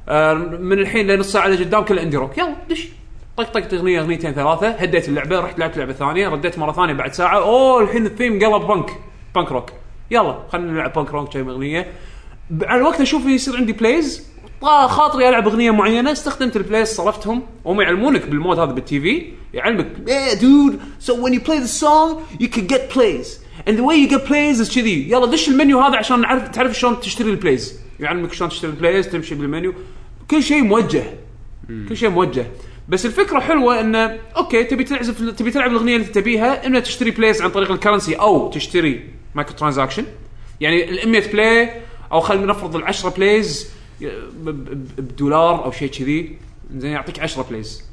C: آه من الحين لنص ساعه لقدام كله اندي روك يلا دش طق طق اغنيه اغنيتين ثلاثه هديت اللعبه رحت لعبت لعبه ثانيه رديت مره ثانيه بعد ساعه اوه الحين الثيم قلب بنك بنك روك يلا خلينا نلعب بنك روك كم اغنيه ب- على الوقت اشوف يصير عندي بلايز طا- خاطري العب اغنيه معينه استخدمت البلايز صرفتهم وهم يعلمونك بالمود هذا بالتي في يعلمك ايه دود سو وين يو بلاي ذا سونج يو كان جيت بلايز اند ذا واي يو جيت بلايز از كذي يلا دش المنيو هذا عشان نعرف تعرف شلون تشتري البلايز يعلمك شلون تشتري البلايز تمشي بالمنيو كل شيء موجه كل شيء موجه بس الفكره حلوه انه اوكي تبي تعزف تبي تلعب الاغنيه اللي تبيها اما تشتري بلايز عن طريق الكرنسي او تشتري مايكرو ترانزاكشن يعني ال 100 بلاي او خلينا نفرض ال 10 بلايز ب- ب- بدولار او شيء كذي زين يعطيك 10 بلايز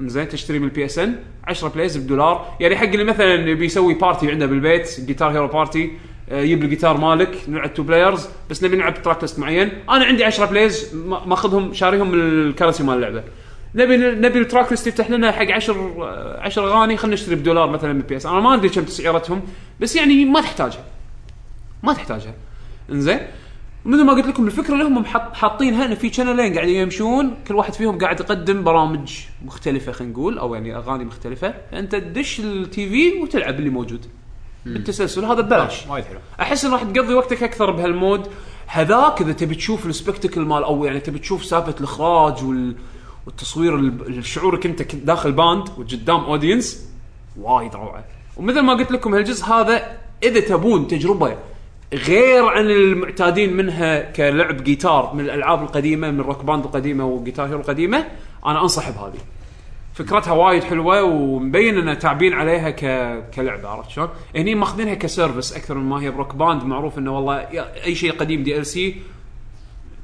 C: زين تشتري بالبي اس ان 10 بلايز بدولار يعني حق اللي مثلا يبي يسوي بارتي عندنا بالبيت جيتار هيرو بارتي آه، يجيب الجيتار مالك نلعب تو بلايرز بس نبي نلعب تراك ليست معين انا عندي 10 بلايز ما- ماخذهم شاريهم من الكرنسي مال اللعبه نبي نبي التراك ليست يفتح لنا حق 10 10 اغاني خلينا نشتري بدولار مثلا من بي اس انا ما ادري كم تسعيرتهم بس يعني ما تحتاجها ما تحتاجها انزين مثل ما قلت لكم الفكره اللي هم محط- حاطينها ان في شانلين قاعدين يمشون كل واحد فيهم قاعد يقدم برامج مختلفه خلينا نقول او يعني اغاني مختلفه فانت تدش التي في وتلعب اللي موجود بالتسلسل هذا ببلاش
A: وايد حلو
C: احس انه راح تقضي وقتك اكثر بهالمود هذاك اذا تبي تشوف السبكتكل مال او يعني تبي تشوف سالفه الاخراج وال... والتصوير ال- شعورك انت كنت داخل باند وقدام اودينس وايد روعه ومثل ما قلت لكم هالجزء هذا اذا تبون تجربه غير عن المعتادين منها كلعب جيتار من الالعاب القديمه من روك باند القديمه وجيتار هيرو القديمه انا انصح بهذه فكرتها وايد حلوه ومبين انه تعبين عليها ك... كلعبه عرفت شلون؟ هني ماخذينها كسيرفس اكثر من ما هي بروك باند معروف انه والله يا- اي شيء قديم دي ال سي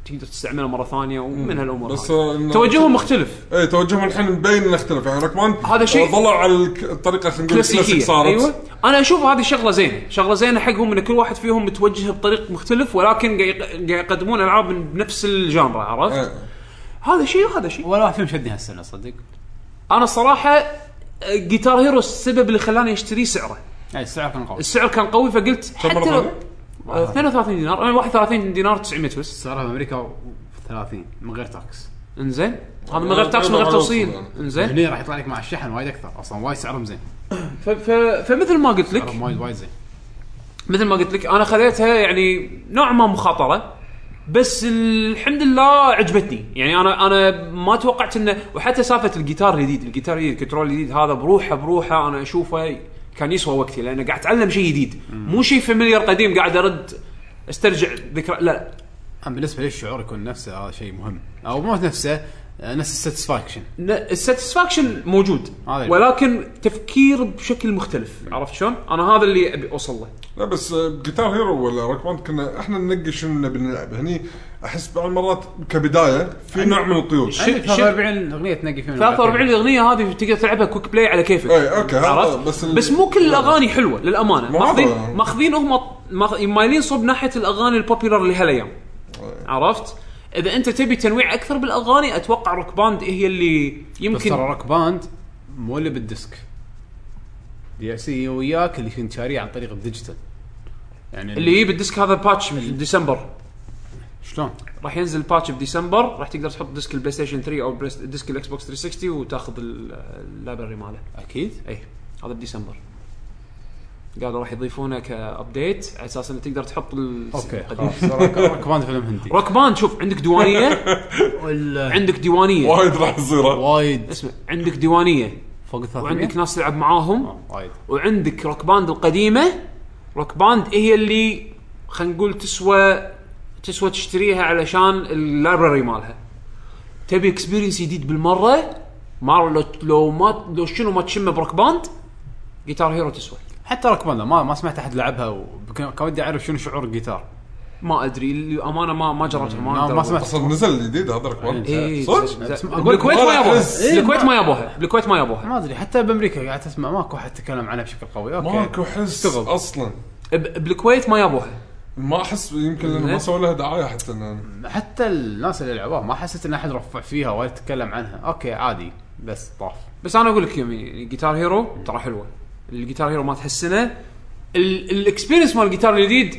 C: تقدر تستعمله مره ثانيه ومن هالامور
B: بس
C: هذه.
B: إنه-
C: توجههم مختلف
B: ايه توجههم الحين مبين انه اختلف يعني ركمان
C: هذا شيء-
B: ضلوا على الك- الطريقه خلينا نقول كلاسيك
C: كلاسيكيه
B: صارت
C: ايوه انا اشوف هذه شغله زينه شغله زينه حقهم ان كل واحد فيهم متوجه بطريق مختلف ولكن قاعد قاعد يقدمون العاب من نفس الجانرا عرفت؟
B: إيه.
C: هذا شيء وهذا شيء
A: ولا واحد فيهم شدني هالسنه صدق
C: انا الصراحه آه، جيتار هيرو السبب اللي خلاني اشتريه سعره
A: اي يعني السعر كان قوي
C: السعر كان قوي فقلت
B: كم
C: حتى لو
B: مرة ثانية؟
C: آه، 32 دينار آه، 31 دينار 900 بس
A: سعرها بامريكا 30 من غير تاكس
C: انزين هذا من
B: أنا
C: غير تاكس من
B: أتكلم
C: غير
B: عن
C: توصيل
B: الوصول يعني.
C: انزين
A: هني راح يطلع لك مع الشحن وايد اكثر اصلا وايد سعرهم زين
C: ف- ف- فمثل ما قلت لك
A: سعرهم وايد وايد زين
C: مثل ما قلت لك انا خذيتها يعني نوع ما مخاطره بس الحمد لله عجبتني يعني انا انا ما توقعت انه وحتى سالفه الجيتار الجديد الجيتار الجديد الكنترول الجديد هذا بروحه بروحه انا اشوفه كان يسوى وقتي لان قاعد اتعلم شيء جديد مو شيء فاميليار قديم قاعد ارد استرجع ذكرى لا
A: اما بالنسبه لي الشعور يكون نفسه هذا شيء مهم او مو نفسه آه، نفس الساتسفاكشن
C: الساتسفاكشن موجود
A: هذا اللي-
C: ولكن تفكير بشكل مختلف عرفت شلون؟ انا هذا اللي ابي اوصل له
B: لا بس جيتار هيرو ولا روك كنا احنا ننقي شنو نبي نلعب هني احس بعض المرات كبدايه في نوع من القيود
C: شو-
A: عندك 43 اغنيه تنقي فيهم
C: 43 الاغنيه هذه تقدر تلعبها كويك بلاي على كيفك
B: إيه، أوكي، هذا
C: عرفت
B: بس
C: بس,
B: ال-
C: بس مو كل الاغاني حلوه للامانه
B: ما
C: ماخذين
B: هذا-
C: ماخذين هم ماخ- مايلين صوب ناحيه الاغاني البوبيلر اللي هالايام عرفت اذا انت تبي تنويع اكثر بالاغاني اتوقع روك باند هي اللي
A: بس ترى
C: يمكن
A: روك باند مو اللي بالديسك دي ال سي وياك اللي كنت شاريه عن طريق الديجيتال يعني
C: اللي يجيب الديسك هذا باتش في ديسمبر
A: شلون؟
C: راح ينزل باتش بديسمبر راح تقدر تحط ديسك البلاي ستيشن 3 او بريس- ديسك الاكس بوكس 360 وتاخذ ال- اللايبرري ماله
A: اكيد
C: اي إيه، هذا بديسمبر قالوا راح يضيفونه كابديت على اساس انه تقدر تحط ال-
A: اوكي
C: القديم
A: خلاص روك روك باند فيلم هندي
C: روك باند شوف عندك ديوانيه عندك ديوانيه
B: وايد راح يصير
A: وايد
C: اسمع عندك ديوانيه
A: فوق ال 300
C: وعندك ناس تلعب معاهم
A: آه، وايد
C: وعندك روك باند القديمه روك باند هي اللي خلينا نقول تسوى تسوى تشتريها علشان اللايبرري مالها تبي اكسبيرينس جديد بالمره ما لو لو ما لو شنو ما تشمه بروك باند جيتار هيرو تسوى
A: حتى روك باند ما ما سمعت احد لعبها وكان كان ودي اعرف شنو شعور الجيتار
C: ما ادري الامانه ما ما جربتها ما
A: ما-
C: أقدر
A: نعم، ما
C: أقول.
A: سمعت.
B: اصلا نزل الجديد هذا ركمان
C: إيه،
B: صدق؟
C: زين.
A: اسمع، أقول لك
C: بالكويت ما
B: والله
C: يبوها
B: أحس.
A: إيه،
C: بالكويت
A: ما-
C: ما يبوها بالكويت ما يبوها
A: ما ادري حتى بامريكا قاعد اسمع ماكو احد تكلم عنها بشكل قوي اوكي
B: ماكو حس
A: اشتغل.
B: اصلا
C: ب- بالكويت ما يبوها
B: ما احس يمكن لانه ما
C: زين.
B: سووا لها دعايه حتى إنه-
A: حتى الناس اللي لعبوها ما حسيت ان احد رفع فيها ولا تكلم عنها اوكي عادي بس طاف
C: بس انا اقول لك يمي جيتار هيرو ترى حلوه الجيتار هيرو مالت هالسنه ال- الاكسبيرينس مال الجيتار الجديد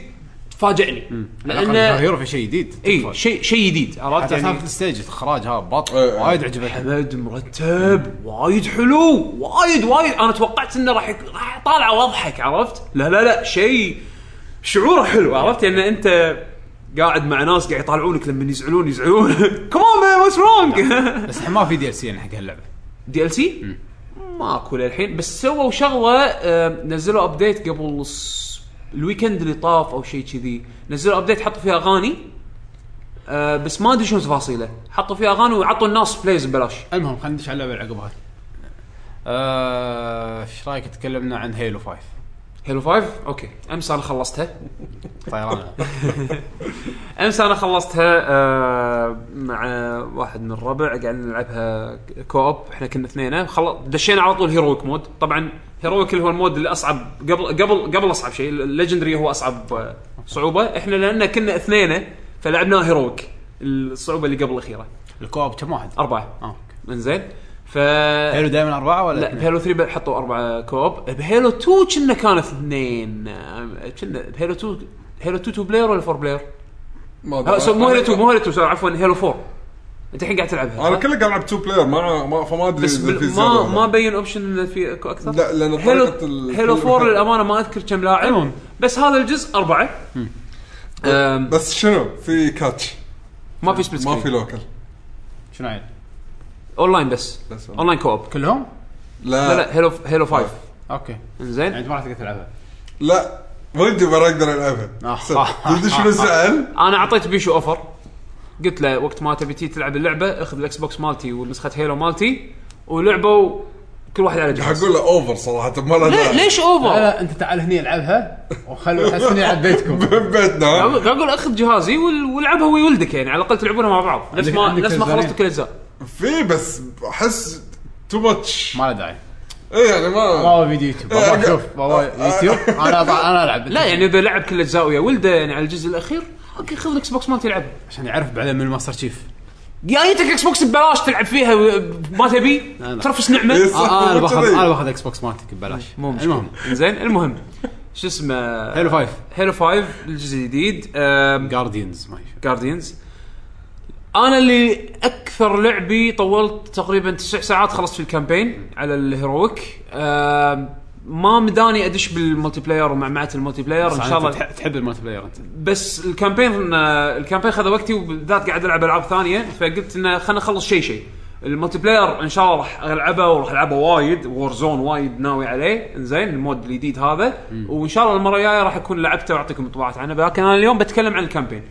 C: فاجئني لان
A: هيرو في شيء جديد
C: اي شيء شيء جديد عرفت
A: حتى
C: يعني
A: سالفه الستيج الاخراج هذا بط
B: إيه، إيه.
A: وايد عجبتني
C: حمد مرتب وايد حلو وايد وايد انا توقعت انه راح يك- راح طالع واضحك عرفت؟ لا لا لا شيء شعوره حلو عرفت؟ يعني انت قاعد مع ناس قاعد يطالعونك لما يزعلون يزعلون (laughs) كمان مان واتس (laughs) رونج
A: بس الحين ما في دي ال سي يعني حق هاللعبه
C: دي ال سي ماكو للحين بس سووا شغله آه، نزلوا ابديت قبل الس- الويكند اللي طاف او شيء كذي نزلوا ابديت حطوا فيها اغاني آه، بس ما ادري شنو تفاصيله حطوا فيها اغاني وعطوا الناس بلايز ببلاش
A: المهم خلينا ندش على اللعبه اللي عقبها آه، ايش رايك تكلمنا عن هيلو 5
C: هيلو 5 اوكي امس انا خلصتها (laughs)
A: طيران
C: امس انا خلصتها آه، مع واحد من الربع قاعدين نلعبها كوب احنا كنا اثنين خلص دشينا على طول هيرويك مود طبعا هيرويك اللي هو المود اللي اصعب قبل قبل قبل اصعب شيء الليجندري هو اصعب آه، صعوبه احنا لان كنا اثنين فلعبنا هيرويك الصعوبه اللي قبل الاخيره
A: الكوب كم واحد؟
C: اربعه
A: آه، أوكي.
C: انزين ف
A: حلو دائما اربعه ولا
C: لا
A: اثنين؟
C: بهيلو 3 حطوا اربعه كوب بهيلو 2 كنا كان اثنين آه، كنا بهيلو 2 هيلو 2 2 بلاير ولا 4 بلاير؟
B: ما
C: لا، سو- مو
B: أنا-
C: هيلو 2 مو هيلو 2 سوري، عفوا هيلو 4 انت الحين قاعد تلعبها
B: انا
C: صح؟
B: كله قاعد العب 2 بلاير ما ما فما ادري
C: بس
B: إذا في
C: بال...
B: زيادة
C: ما
B: ولا
C: ما
B: لا.
C: بين اوبشن إن في اكو اكثر
B: لا، لأن
C: هيلو
B: طريقة ال- أيوة.
C: هيلو 4 للامانه ما اذكر كم لاعب
A: المهم.
C: بس هذا الجزء اربعه أم،
B: بس شنو في كاتش
C: ما في سبليت
B: ما في
C: سكرين
B: لوكل
A: شنو عيل؟
C: اونلاين بس
B: بس أونلاين.
C: اونلاين كوب
A: كلهم؟
C: لا
B: لا لا
C: لا هيلو هيلو 5
A: اوكي يعني
C: انزين
A: انت ما راح تقدر تلعبها
B: لا ودي ما اقدر العبها
A: آه.
B: صدق. تدري شنو زعل؟
C: انا اعطيت بيشو اوفر قلت له وقت ما تبي تي تلعب اللعبه اخذ الاكس بوكس مالتي ونسخه هيلو مالتي ولعبوا كل واحد على
B: راح
C: جهاز
B: اقول له اوفر صراحه ما له
C: ليه-
B: داعي.
C: ليش
A: لا
C: اوفر؟
A: لا انت تعال هني العبها
C: (laughs)
A: وخلوا حسني على بيتكم
B: بيتنا ها؟
C: قاعد اقول اخذ جهازي وال- والعبها ويا ولدك يعني على الاقل تلعبونها مع بعض نفس
A: عندك-
C: ما
A: عندك
C: نفس ما
A: جزارين.
C: خلصتوا كل الاجزاء
B: في بس احس تو ماتش
A: ما له داعي
B: اي يعني ما
A: بابا فيديو يوتيوب بابا شوف بابا يوتيوب انا أضع- انا العب
C: لا يعني اذا لعب كل اجزاء ويا ولده يعني على الجزء الاخير اوكي خذ الاكس بوكس مالتي يلعبها
A: عشان يعرف بعدين من ماستر
C: (laughs)
A: تشيف
C: جايتك اكس بوكس ببلاش تلعب فيها و- ما تبي
A: لا.
C: ترفس نعمه
B: يس.
A: آه، آه، انا باخذ
B: كذي.
A: انا باخذ اكس بوكس مالتك ببلاش
C: مو مشكلة.
A: المهم
C: زين المهم شو اسمه
A: هيلو فايف
C: هيلو 5 الجزء الجديد
A: جارديانز ما يشوف.
C: جارديانز انا اللي اكثر لعبي طولت تقريبا تسع ساعات خلصت في الكامبين على الهيرويك آم، ما مداني ادش بالملتي بلاير ومعمعه الملتي بلاير
A: بس
C: ان شاء
A: أنت
C: الله
A: تح- تحب المالتي بلاير انت
C: بس الكامبين آه، الكامبين خذ وقتي وبالذات قاعد العب العاب ثانيه فقلت انه خلينا نخلص شيء شيء الملتي بلاير ان شاء الله راح العبه وراح العبه وايد وور زون وايد ناوي عليه انزين المود الجديد هذا وان شاء الله المره الجايه راح اكون لعبته واعطيكم انطباعات عنه لكن انا اليوم بتكلم عن الكامبين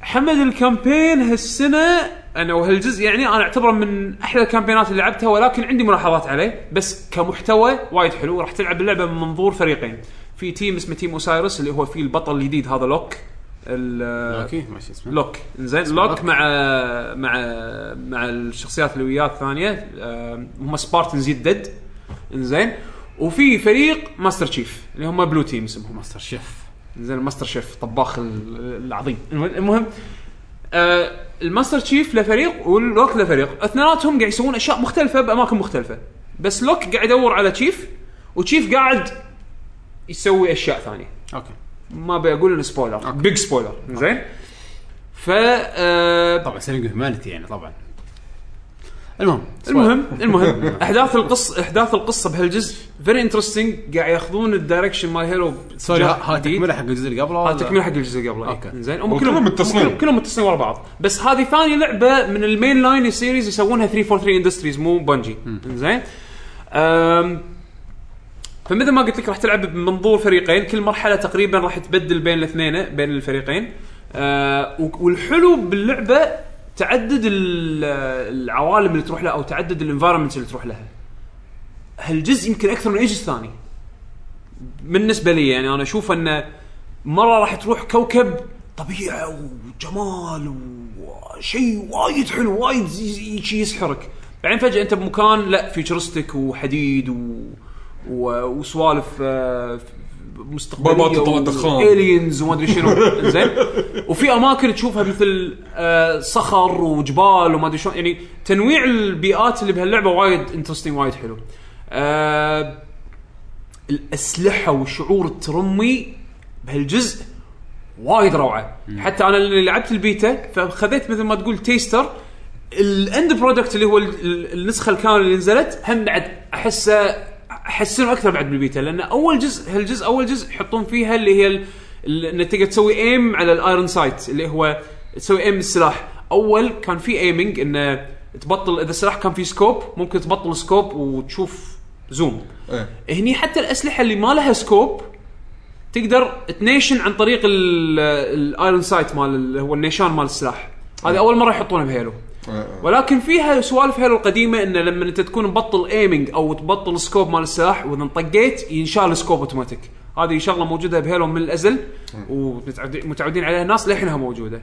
C: حمد الكامبين هالسنه انا وهالجزء يعني انا اعتبره من احلى الكامبينات اللي لعبتها ولكن عندي ملاحظات عليه بس كمحتوى وايد حلو راح تلعب اللعبه من منظور فريقين في تيم اسمه تيم اوسايرس اللي هو فيه البطل الجديد هذا لوك ال-
A: اوكي ماشي اسمه
C: لوك انزين لوك مع مع مع الشخصيات اللي وياه الثانيه آم، هم سبارتنز يدد انزين وفي فريق ماستر تشيف اللي هم بلو تيم اسمهم
A: ماستر شيف
C: زين الماستر شيف طباخ ال- العظيم المهم- المهم آه الماستر شيف له فريق واللوك له فريق اثنيناتهم قاعد يسوون اشياء مختلفه باماكن مختلفه بس لوك قاعد يدور على تشيف وتشيف قاعد يسوي اشياء ثانيه
A: اوكي
C: ما بقول انه سبويلر بيج سبويلر زين ف آه،
A: طبعا سيلينج هيومانيتي يعني طبعا المهم
C: المهم (laughs) المهم احداث القصه احداث القصه بهالجزء فيري انترستنج قاعد ياخذون الدايركشن مال هيلو
A: سوري ه- هذا
C: جديد.
A: تكمله حق الجزء اللي قبله
C: هذا
A: ولا؟
C: تكمله حق الجزء اللي قبله إيه،
A: أوكي.
C: زين
B: وكلهم متصلين.
C: كلهم- كلهم متصلين ورا بعض بس هذه ثاني لعبه من المين لاين السيريز يسوونها 343 اندستريز مو بنجي زين فمثل ما قلت لك راح تلعب بمنظور فريقين كل مرحله تقريبا راح تبدل بين الاثنين بين الفريقين آه و- والحلو باللعبه تعدد ال- العوالم اللي تروح لها او تعدد الانفايرمنت اللي تروح لها هالجزء يمكن اكثر من اي جزء ثاني بالنسبه لي يعني انا اشوف انه مره راح تروح كوكب طبيعه وجمال وشيء وايد حلو وايد ي- ي- شي يسحرك بعدين فجاه انت بمكان لا فيوتشرستك وحديد و... و... وسوالف آه، ف-
B: بابات
C: مستقبليه
B: وطلع دخان.
C: الينز وما ادري شنو زين وفي اماكن تشوفها مثل آه، صخر وجبال وما ادري شلون يعني تنويع البيئات اللي بهاللعبه وايد انترستنج وايد حلو آه، الاسلحه والشعور الترمي بهالجزء وايد روعه حتى انا اللي لعبت البيتا فخذيت مثل ما تقول تيستر الاند برودكت اللي هو ال- ال- النسخه الكامله اللي نزلت هم بعد احسه احسنه اكثر بعد بالبيتا لان اول جزء هالجزء اول جزء يحطون فيها اللي هي ال- ال- انك تقدر تسوي ايم على الايرون سايت اللي هو تسوي ايم السلاح اول كان في ايمنج انه تبطل اذا السلاح كان في سكوب ممكن تبطل سكوب وتشوف زوم
B: إيه.
C: هني حتى الاسلحه اللي ما لها سكوب تقدر تنيشن عن طريق ال- الايرون سايت مال اللي هو النيشان مال السلاح هذه اول مره يحطونها بهيلو
B: إيه.
C: ولكن فيها سوالف هيلو القديمه انه لما انت تكون مبطل ايمنج او تبطل سكوب مال السلاح واذا انطقيت ينشال السكوب اوتوماتيك هذه شغله موجوده بهيلو من الازل ومتعودين عليها الناس للحينها موجوده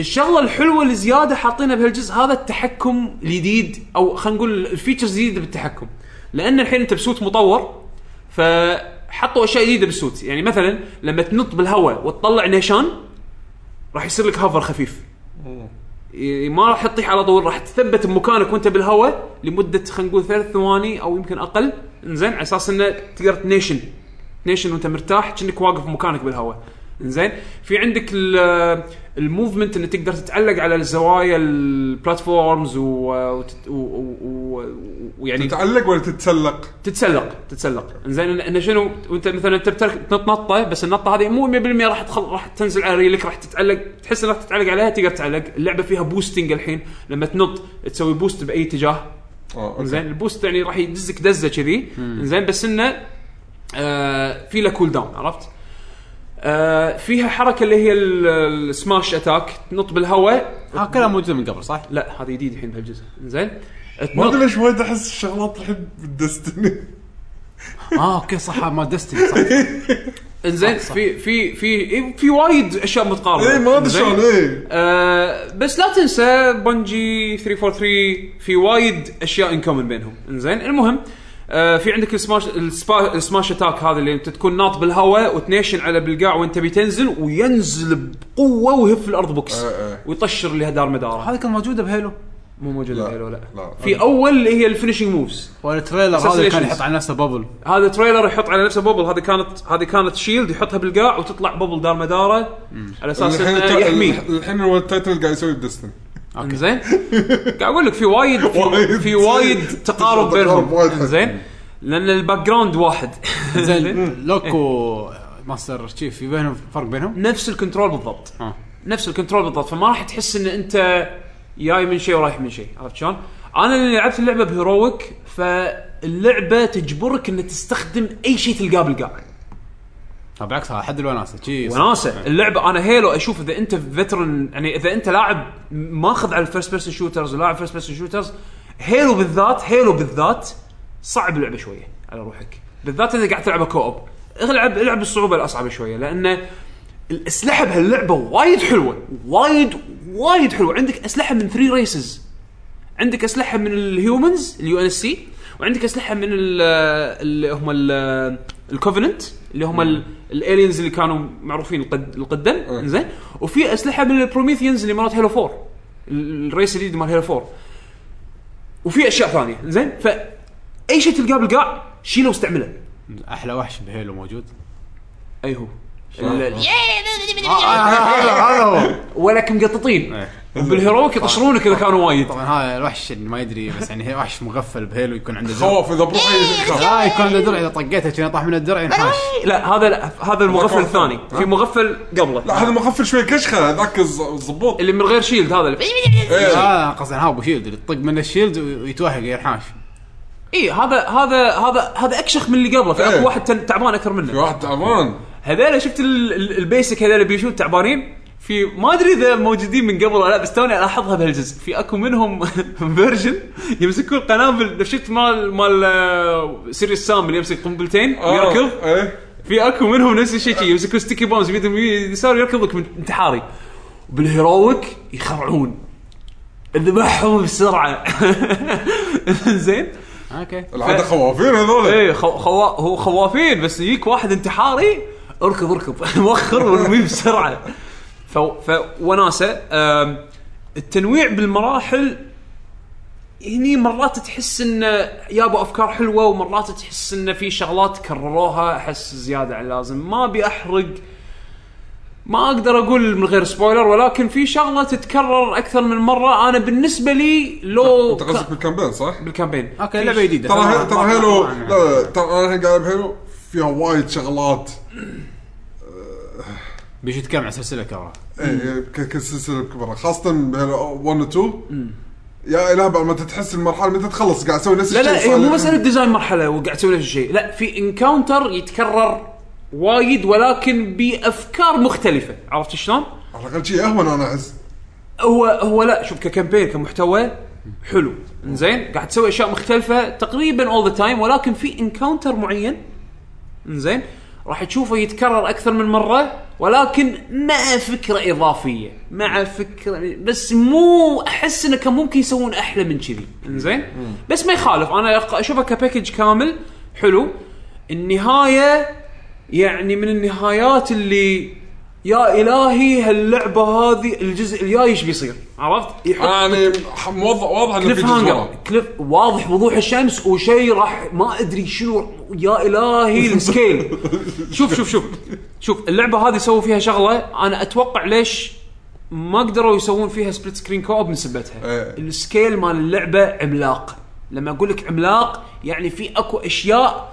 C: الشغله الحلوه اللي زياده حاطينها بهالجزء هذا التحكم الجديد او خلينا نقول الفيتشرز الجديده بالتحكم لان الحين انت بسوت مطور فحطوا اشياء جديده بالسوت يعني مثلا لما تنط بالهواء وتطلع نيشان راح يصير لك هافر خفيف ي- إيه، ما راح تطيح على طول راح تثبت بمكانك وانت بالهواء لمده خلينا نقول ثلاث ثواني او يمكن اقل انزين على اساس انه تقدر تنيشن تنيشن وانت مرتاح كأنك واقف مكانك بالهواء انزين في عندك ال- الموفمنت اللي تقدر تتعلق على الزوايا البلاتفورمز ويعني
B: تتعلق ولا تتسلق؟
C: تتسلق تتسلق زين انه شنو وانت مثلا انت بترك- تنطه بس النطه هذه مو 100% راح تخل... راح تنزل على رجلك راح تتعلق تحس انك تتعلق عليها تقدر تعلق اللعبه فيها بوستنج الحين لما تنط تسوي بوست باي اتجاه
B: اه اوكي
C: زين البوست يعني راح يدزك دزه كذي زين بس انه آه في له كول داون عرفت؟ آه فيها حركه اللي هي ال- السماش اتاك تنط بالهواء
A: ها كلها موجود من قبل صح؟
C: لا هذا جديد الحين بهالجزء زين
B: ما ادري ليش وايد احس الشغلات الحين (laughs) بالدستني
A: اه اوكي صح ما دستني (laughs) صح
C: انزين في في في في وايد اشياء متقاربه
B: اي إيه، ما ادري
C: إنزين؟
B: شلون إيه. اي
C: آه بس لا تنسى بنجي 343 في وايد اشياء ان كومن بينهم انزين المهم آه في عندك السماش السبا السماش اتاك هذا اللي انت تكون ناط بالهواء وتنيشن على بالقاع وانت بتنزل وينزل بقوه ويهف الارض بوكس
B: آه، آه.
C: ويطشر اللي هدار مداره
A: هذه كانت موجوده بهيلو
C: مو موجوده
B: لا،
C: بهيلو لا
B: لا.
C: في اول اللي هي الفينشينج موفز
A: والتريلر هذا كان
C: Assassinations.
A: يحط على نفسه بابل
C: هذا تريلر يحط على نفسه بوبل هذه كانت هذه كانت شيلد يحطها بالقاع وتطلع بوبل دار مداره على اساس
B: الحين
C: انه
B: الت-
C: يحميه
B: يعني الحين هو التايتل قاعد يسوي بدستني
C: زين قاعد اقول لك في وايد في,
B: وايد.
C: في وايد تقارب بينهم
B: وايد حلو.
C: زين لان الباك جراوند
B: (laughs)
C: واحد إيه،
A: زين لوك وماستر تشيف في بينهم فرق بينهم؟
C: نفس الكنترول بالضبط
B: آه.
A: اه
C: نفس الكنترول بالضبط فما راح تحس ان انت جاي من شيء ورايح من شيء عرفت شلون؟ انا اللي لعبت اللعبه بهيرويك فاللعبه تجبرك ان تستخدم اي شيء تلقاه بالقاع
A: ها بالعكس هذا حد الوناسه شي إيه، صح.
C: وناسه اللعبه انا هيلو اشوف اذا انت فترن يعني اذا انت لاعب ماخذ على الفيرست بيرسون شوترز ولاعب فيرست بيرسون شوترز هيلو بالذات هيلو بالذات صعب اللعبه شويه على روحك بالذات اذا قاعد تلعبها كو اوب العب العب الصعوبه الاصعب شويه لان الاسلحه بهاللعبه وايد حلوه وايد وايد حلوه عندك اسلحه من ثري ريسز عندك اسلحه من الهيومنز اليو ان سي وعندك اسلحه من ال- اللي هم الكوفننت اللي هم الالينز اللي كانوا معروفين القد- القدم زين وفي اسلحه من البروميثيانز اللي مرات هيلو 4 ال- الريس الجديد مال هيلو 4 وفي اشياء ثانيه زين فاي شيء تلقاه بالقاع شيله واستعمله
A: احلى وحش بهيلو موجود
C: اي هو ال-
A: هذا هذا
C: آه.
A: هو
C: ولك مقططين وبالهيرويك يطشرونك اذا كانوا وايد
A: طبعا هذا الوحش اللي ما يدري بس يعني هي وحش مغفل بهيلو يكون عنده درع
B: خواف اذا بروحي يخاف.
A: لا يكون عنده درع اذا طقيته كذا طاح من الدرع ينحاش
C: لا هذا لا هذا المغفل
B: مغفل.
C: الثاني في مغفل قبله
B: لا هذا مخفل شوي كشخه ذاك الز- الزبوط
C: اللي من غير شيلد هذا اللي
B: إيه.
A: لا آه، قصدي ها ابو شيلد اللي تطق منه الشيلد ويتوهق ينحاش
C: اي إيه، هذا هذا هذا هذا اكشخ من اللي قبله في اكو
B: إيه.
C: واحد تن- تعبان اكثر
B: في
C: منه
B: واحد تعبان
C: هذول شفت ال- ال- البيسك هذول بيشو تعبانين في ما ادري اذا موجودين من قبل ولا لا بس توني الاحظها بهالجزء في اكو منهم (laughs) فيرجن يمسكون قنابل شفت مال مال آه، سيريس سام اللي يمسك قنبلتين
B: آه،
C: ويركض
B: ايه
C: في اكو منهم نفس الشيء شي، يمسكون ستيكي بومز بيدهم يسار يركض لك من انتحاري بالهيرويك يخرعون ذبحهم بسرعه (laughs) زين
A: اوكي
C: إيه.
B: العاده خوافين هذول
C: ايه خو... خوا... هو خوافين بس يجيك واحد انتحاري اركض (laughs) اركض وخر وارميه بسرعه ف... فوناسه أم، التنويع بالمراحل هني مرات تحس انه يابا افكار حلوه ومرات تحس انه في شغلات كرروها احس زياده عن اللازم ما ابي احرق ما اقدر اقول من غير سبويلر ولكن في شغله تتكرر اكثر من مره انا بالنسبه لي لو
B: انت قصدك بالكامبين صح؟
C: بالكامبين
A: اوكي لعبه جديده
B: ترى
A: ما- ما-
B: ترى هيلو
A: ما-
B: لا لا، ترى انا الحين قاعد بهيلو فيها وايد شغلات
A: بيش يتكلم عن سلسله كبرى
B: ايه ك- كسلسله كبيره خاصه بهيلو 1 و 2 يا اله بعد ما تحس المرحله متى تخلص قاعد اسوي نفس
C: لا
B: الشيء
C: لا هي
B: صار
C: مو
B: لي-
C: مساله ديزاين مرحله وقاعد تسوي نفس الشيء لا في انكاونتر يتكرر وايد ولكن بافكار مختلفه عرفت شلون؟
B: على الاقل شيء اهون انا احس
C: هو هو لا شوف ككامبين كمحتوى حلو زين قاعد تسوي اشياء مختلفه تقريبا اول ذا تايم ولكن في انكاونتر معين زين راح تشوفه يتكرر اكثر من مره ولكن مع فكره اضافيه مع فكره بس مو احس انه كان ممكن يسوون احلى من كذي زين بس ما يخالف انا أق- اشوفه كباكج كامل حلو النهايه يعني من النهايات اللي يا الهي هاللعبه هذه الجزء الجاي ايش بيصير عرفت؟ يحط
B: يعني ح- موضح واضح انه في
C: كليف
B: جزء
C: هانجر
B: ورا.
C: كليف واضح وضوح الشمس وشيء راح ما ادري شنو يا الهي (laughs) السكيل شوف شوف شوف شوف اللعبه هذه سووا فيها شغله انا اتوقع ليش ما قدروا يسوون فيها سبليت سكرين كوب من سبتها
B: إيه.
C: السكيل مال اللعبه عملاق لما اقول لك عملاق يعني في اكو اشياء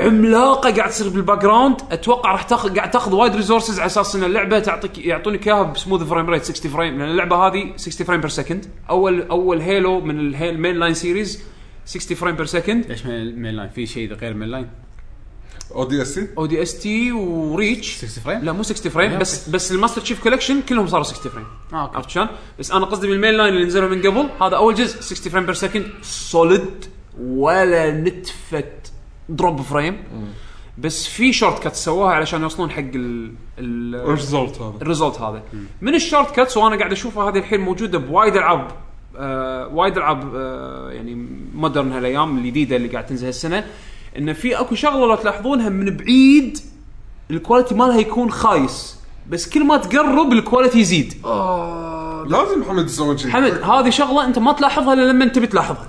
C: عملاقه قاعد تصير بالباك جراوند اتوقع راح تاخذ قاعد تاخذ وايد ريسورسز على اساس ان اللعبه تعطيك يعطونك اياها بسموث فريم ريت 60 فريم لان اللعبه هذه 60 فريم بير سكند اول اول هيلو من الهي- المين لاين سيريز 60 فريم بير سكند
A: ليش مين مين لاين؟ في شيء غير مين لاين؟
B: او دي اس سي
C: او دي اس تي وريتش
A: 60 فريم؟
C: لا مو 60 فريم بس بس الماستر تشيف كولكشن كلهم صاروا 60 فريم
A: آه، أوكي.
C: عرفت شلون؟ بس انا قصدي بالمين لاين اللي نزلوا من قبل هذا اول جزء 60 فريم بير سكند سوليد ولا نتفه دروب فريم بس في شورت كات سووها علشان يوصلون حق ال ال
B: ايش زلط هذا؟
C: الريزولت هذا من الشورت كاتس وانا قاعد اشوفها هذه الحين موجوده بوايد العاب آه وايد العاب آه يعني مودرن هالايام الجديده اللي قاعد تنزل هالسنه ان في اكو شغله لو تلاحظونها من بعيد الكواليتي مالها يكون خايس بس كل ما تقرب الكواليتي يزيد
B: لازم محمد يسوي شيء
C: حمد هذه شغله انت ما تلاحظها الا لما انت بتلاحظها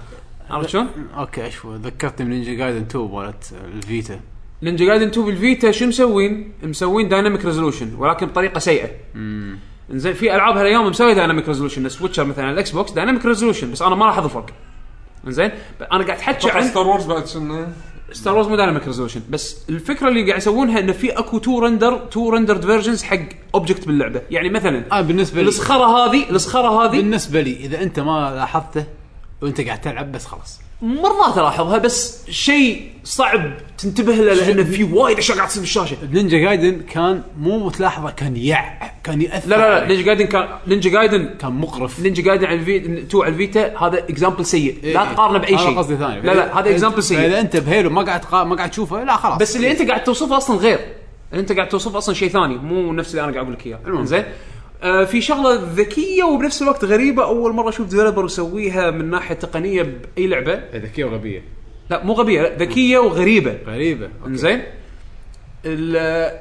C: عرفت شلون؟
A: اوكي ايش هو؟ ذكرتني من نينجا جايدن 2 مالت الفيتا
C: نينجا جايدن 2 بالفيتا شو مسوين؟ مسوين دايناميك ريزولوشن ولكن بطريقه سيئه. زين في العاب هالايام مسوي دايناميك ريزولوشن سويتشر مثلا الاكس بوكس دايناميك ريزولوشن بس انا ما راح اضفك. زين انا قاعد احكي عن
B: ستار وورز بعد شنو؟
C: ستار وورز مو دايناميك ريزولوشن بس الفكره اللي قاعد يسوونها انه في اكو تو رندر تو رندرد فيرجنز حق اوبجكت باللعبه، يعني مثلا
B: آه.
A: اه بالنسبه لي
C: الصخره هذه الصخره هذه
A: بالنسبه لي اذا انت ما لاحظته وانت قاعد تلعب بس خلاص
C: مرات تلاحظها بس شيء صعب تنتبه له لانه في وايد اشياء قاعد تصير بالشاشه.
A: نينجا جايدن كان مو متلاحظه كان يع كان ياثر
C: لا لا إيه، لا
A: عليك.
C: نينجا جايدن كان نينجا جايدن
A: كان مقرف
C: نينجا جايدن على الفي 2 على الفيتا هذا اكزامبل سيء لا
A: إيه.
C: تقارنه باي
A: أنا
C: شيء
A: قصدي ثاني إيه.
C: لا لا هذا اكزامبل سيء
A: فاذا انت بهيلو ما قاعد تقا... ما قاعد تشوفه لا خلاص
C: بس اللي انت قاعد توصفه اصلا غير اللي انت قاعد توصفه اصلا شيء ثاني مو نفس اللي انا قاعد اقول لك اياه
A: المهم.
C: زين آه في شغله ذكيه وبنفس الوقت غريبه اول مره اشوف ديفلوبر يسويها من ناحيه تقنيه باي لعبه
A: ذكيه وغبيه
C: لا مو غبيه لا ذكيه وغريبه
A: غريبه
C: انزين ال-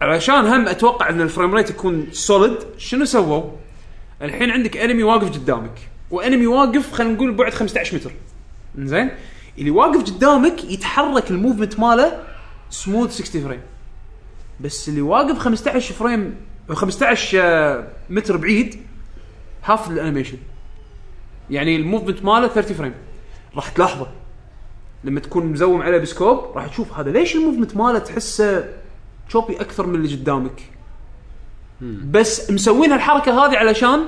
C: علشان هم اتوقع ان الفريم ريت يكون سوليد شنو سووا؟ الحين عندك انمي واقف قدامك وانمي واقف خلينا نقول بعد 15 متر انزين اللي واقف قدامك يتحرك الموفمنت ماله سموث 60 فريم بس اللي واقف 15 فريم 15 آه، متر بعيد هاف الانيميشن يعني الموفمنت ماله 30 فريم راح تلاحظه لما تكون مزوم عليه بسكوب راح تشوف هذا ليش الموفمنت ماله تحسه تشوبي اكثر من اللي قدامك بس مسوين هالحركه هذه علشان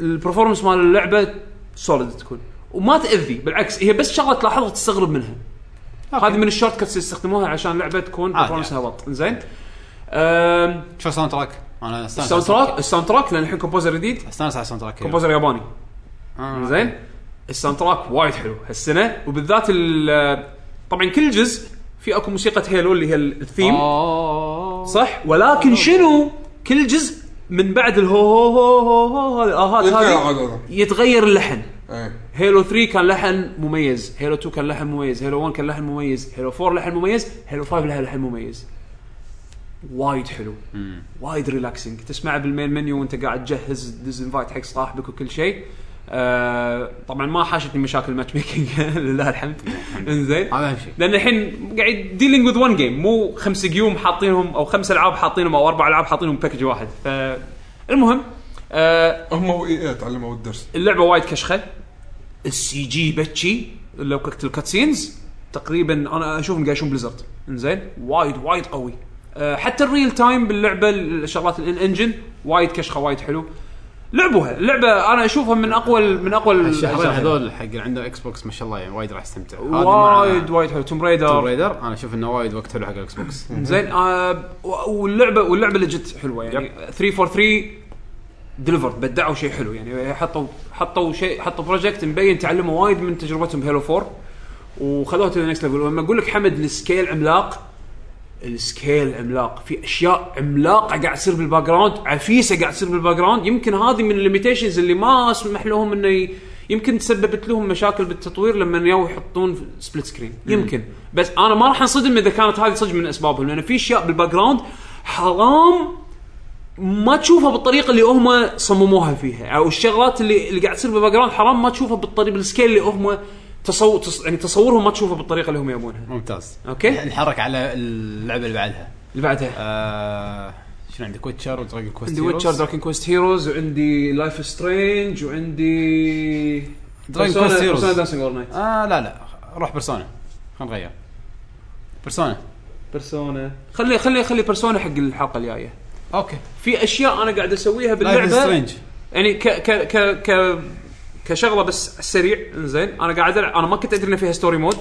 C: البرفورمانس مال اللعبه سوليد تكون وما تاذي بالعكس هي بس شغله تلاحظها تستغرب منها هذه من الشورت كاتس اللي يستخدموها عشان اللعبه تكون
A: عادي
C: برفورمانسها
A: عادي.
C: بط زين أم،
A: شو الساوند تراك؟ انا استانس
C: الساوند تراك الساوند تراك لان الحين كومبوزر جديد
A: استانس على الساوند تراك
C: كومبوزر ياباني
A: آه،
C: زين الساوند تراك وايد حلو هالسنه وبالذات ال- طبعا كل جزء في اكو موسيقى هيلو اللي هي
A: آه.
C: الثيم
A: أوه.
C: صح ولكن شنو كل جزء من بعد الهو هو هو هو هو هذه- آهات
B: يتغير
C: هذه
B: عاد-
C: يتغير اللحن
B: إيه.
C: هيلو 3 كان لحن مميز هيلو 2 كان لحن مميز هيلو 1 كان لحن مميز هيلو 4 لحن مميز هيلو 5 لها لحن مميز وايد حلو وايد ريلاكسنج تسمعه بالمين منيو وانت قاعد تجهز ديزنفايت حق صاحبك وكل شيء آه طبعا ما حاشتني مشاكل ماتش ميكنج (laughs) لله الحمد انزين
A: هذا اهم شيء
C: لان الحين قاعد ديلينج وذ ون جيم مو خمس جيوم حاطينهم او خمس العاب حاطينهم او اربع العاب حاطينهم باكج واحد ف المهم آه
B: هم واي اي تعلموا الدرس
C: اللعبه وايد كشخه السي جي بتشي لو كت الكاتسينز تقريبا انا اشوفهم قاعد يشون بليزرد انزين وايد وايد قوي أه حتى الريل تايم باللعبه الشغلات الانجن وايد كشخه وايد حلو لعبوها اللعبه انا اشوفها من اقوى من اقوى
A: الشهرين
C: الأجزاء.
A: هذول حق اللي عنده اكس بوكس ما شاء الله يعني وايد راح يستمتع هذه مع
C: وايد وايد حلو توم
A: توم
C: ريدر
A: ريدر انا اشوف انه وايد وقت حلو حق الاكس
C: (laughs)
A: بوكس
C: زين آه و- واللعبه واللعبه لجت حلوه يعني 343 ديليفرد بدعوا شيء حلو يعني حطوا حطوا شيء حطوا بروجكت مبين تعلموا وايد من تجربتهم بهيلو 4 وخذوها تو نكست ليفل ولما اقول لك حمد السكيل عملاق السكيل عملاق في اشياء عملاقه قاعد تصير بالباك جراوند عفيسه قاعد تصير بالباك جراوند يمكن هذه من الليميتيشنز اللي ما سمح لهم انه ي... يمكن تسببت لهم مشاكل بالتطوير لما يو يحطون سبليت سكرين يمكن بس انا ما راح انصدم اذا كانت هذه صدق من اسبابهم لان في اشياء بالباك جراوند حرام ما تشوفها بالطريقه اللي هم صمموها فيها او الشغلات اللي اللي قاعد تصير بالباك جراوند حرام ما تشوفها بالطريقه بالسكيل اللي هم تصور تص... يعني تصورهم ما تشوفه بالطريقه اللي هم يبونها
A: ممتاز
C: أوكي.
A: نتحرك على اللعبه اللي بعدها
C: اللي بعدها
A: آه شنو عندك ويتشر ودراجون كويست
C: عندي ويتشر دراكن كويست هيروز وعندي لايف سترينج وعندي
A: Dragon Quest Heroes.
C: دانسينج اور نايت
A: اه لا لا روح بيرسونا خلينا نغير بيرسونا
C: بيرسونا خلي خلي خلي بيرسونا حق الحلقه الجايه
A: اوكي
C: في اشياء انا قاعد اسويها
A: لايف
C: باللعبه
A: سترينج
C: يعني ك ك ك ك كشغله بس على السريع انزين انا قاعد العب انا ما كنت ادري ان فيها ستوري مود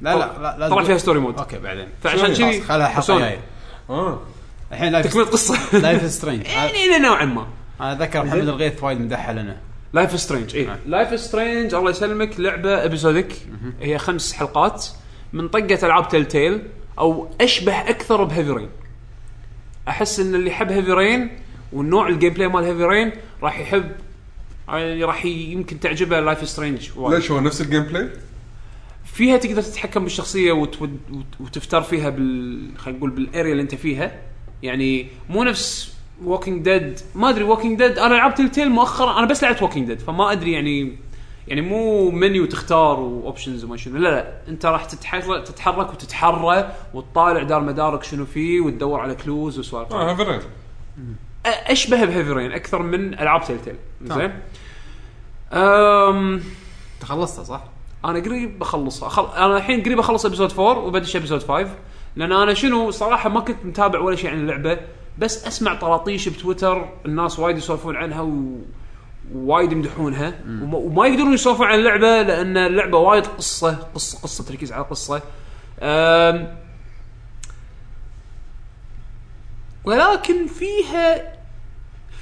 A: لا لا لا لازم-
C: طلع فيها ستوري مود
A: اوكي بعدين
C: فعشان
A: خلاص،
C: كذي
A: خلها حلقه
C: Persona.
A: جايه
B: اه
A: الحين لايف
C: تكمله
A: (laughs)
C: قصه (laughs)
A: لايف سترينج
C: يعني إلى نوعا ما
A: انا اتذكر محمد الغيث وايد مدحها لنا
C: لايف سترينج اي
A: آه.
C: لايف سترينج الله يسلمك لعبه ابيزوديك هي خمس حلقات من طقه العاب تيل تيل او اشبه اكثر بهيفي رين احس ان اللي يحب هيفي رين والنوع الجيم بلاي مال هيفي رين راح يحب يعني راح ي- يمكن تعجبه لايف سترينج وايد
B: ليش هو نفس الجيم بلاي؟
C: فيها تقدر تتحكم بالشخصيه وت... وت... وت- وتفتر فيها بال خلينا نقول بالاريا اللي انت فيها يعني مو نفس ووكينج ديد ما ادري ووكينج ديد انا لعبت التيل مؤخرا انا بس لعبت ووكينج ديد فما ادري يعني يعني مو منيو تختار واوبشنز وما شنو لا لا انت راح تتحرك تتحرك وتتحرى وتطالع دار مدارك شنو فيه وتدور على كلوز وسوالف
B: اه هافرين
C: أ- اشبه بهيفي رين اكثر من العاب تيل تيل زين أم...
A: تخلصتها صح؟
C: انا قريب بخلصها خل... انا الحين قريب اخلص ابيسود 4 وبدش ابيسود 5 لان انا شنو صراحه ما كنت متابع ولا شيء عن اللعبه بس اسمع طراطيش بتويتر الناس وايد يسولفون عنها و... وايد يمدحونها وما, وما يقدرون يسولفون عن اللعبه لان اللعبه وايد قصه قصه قصه تركيز على قصه أم... ولكن فيها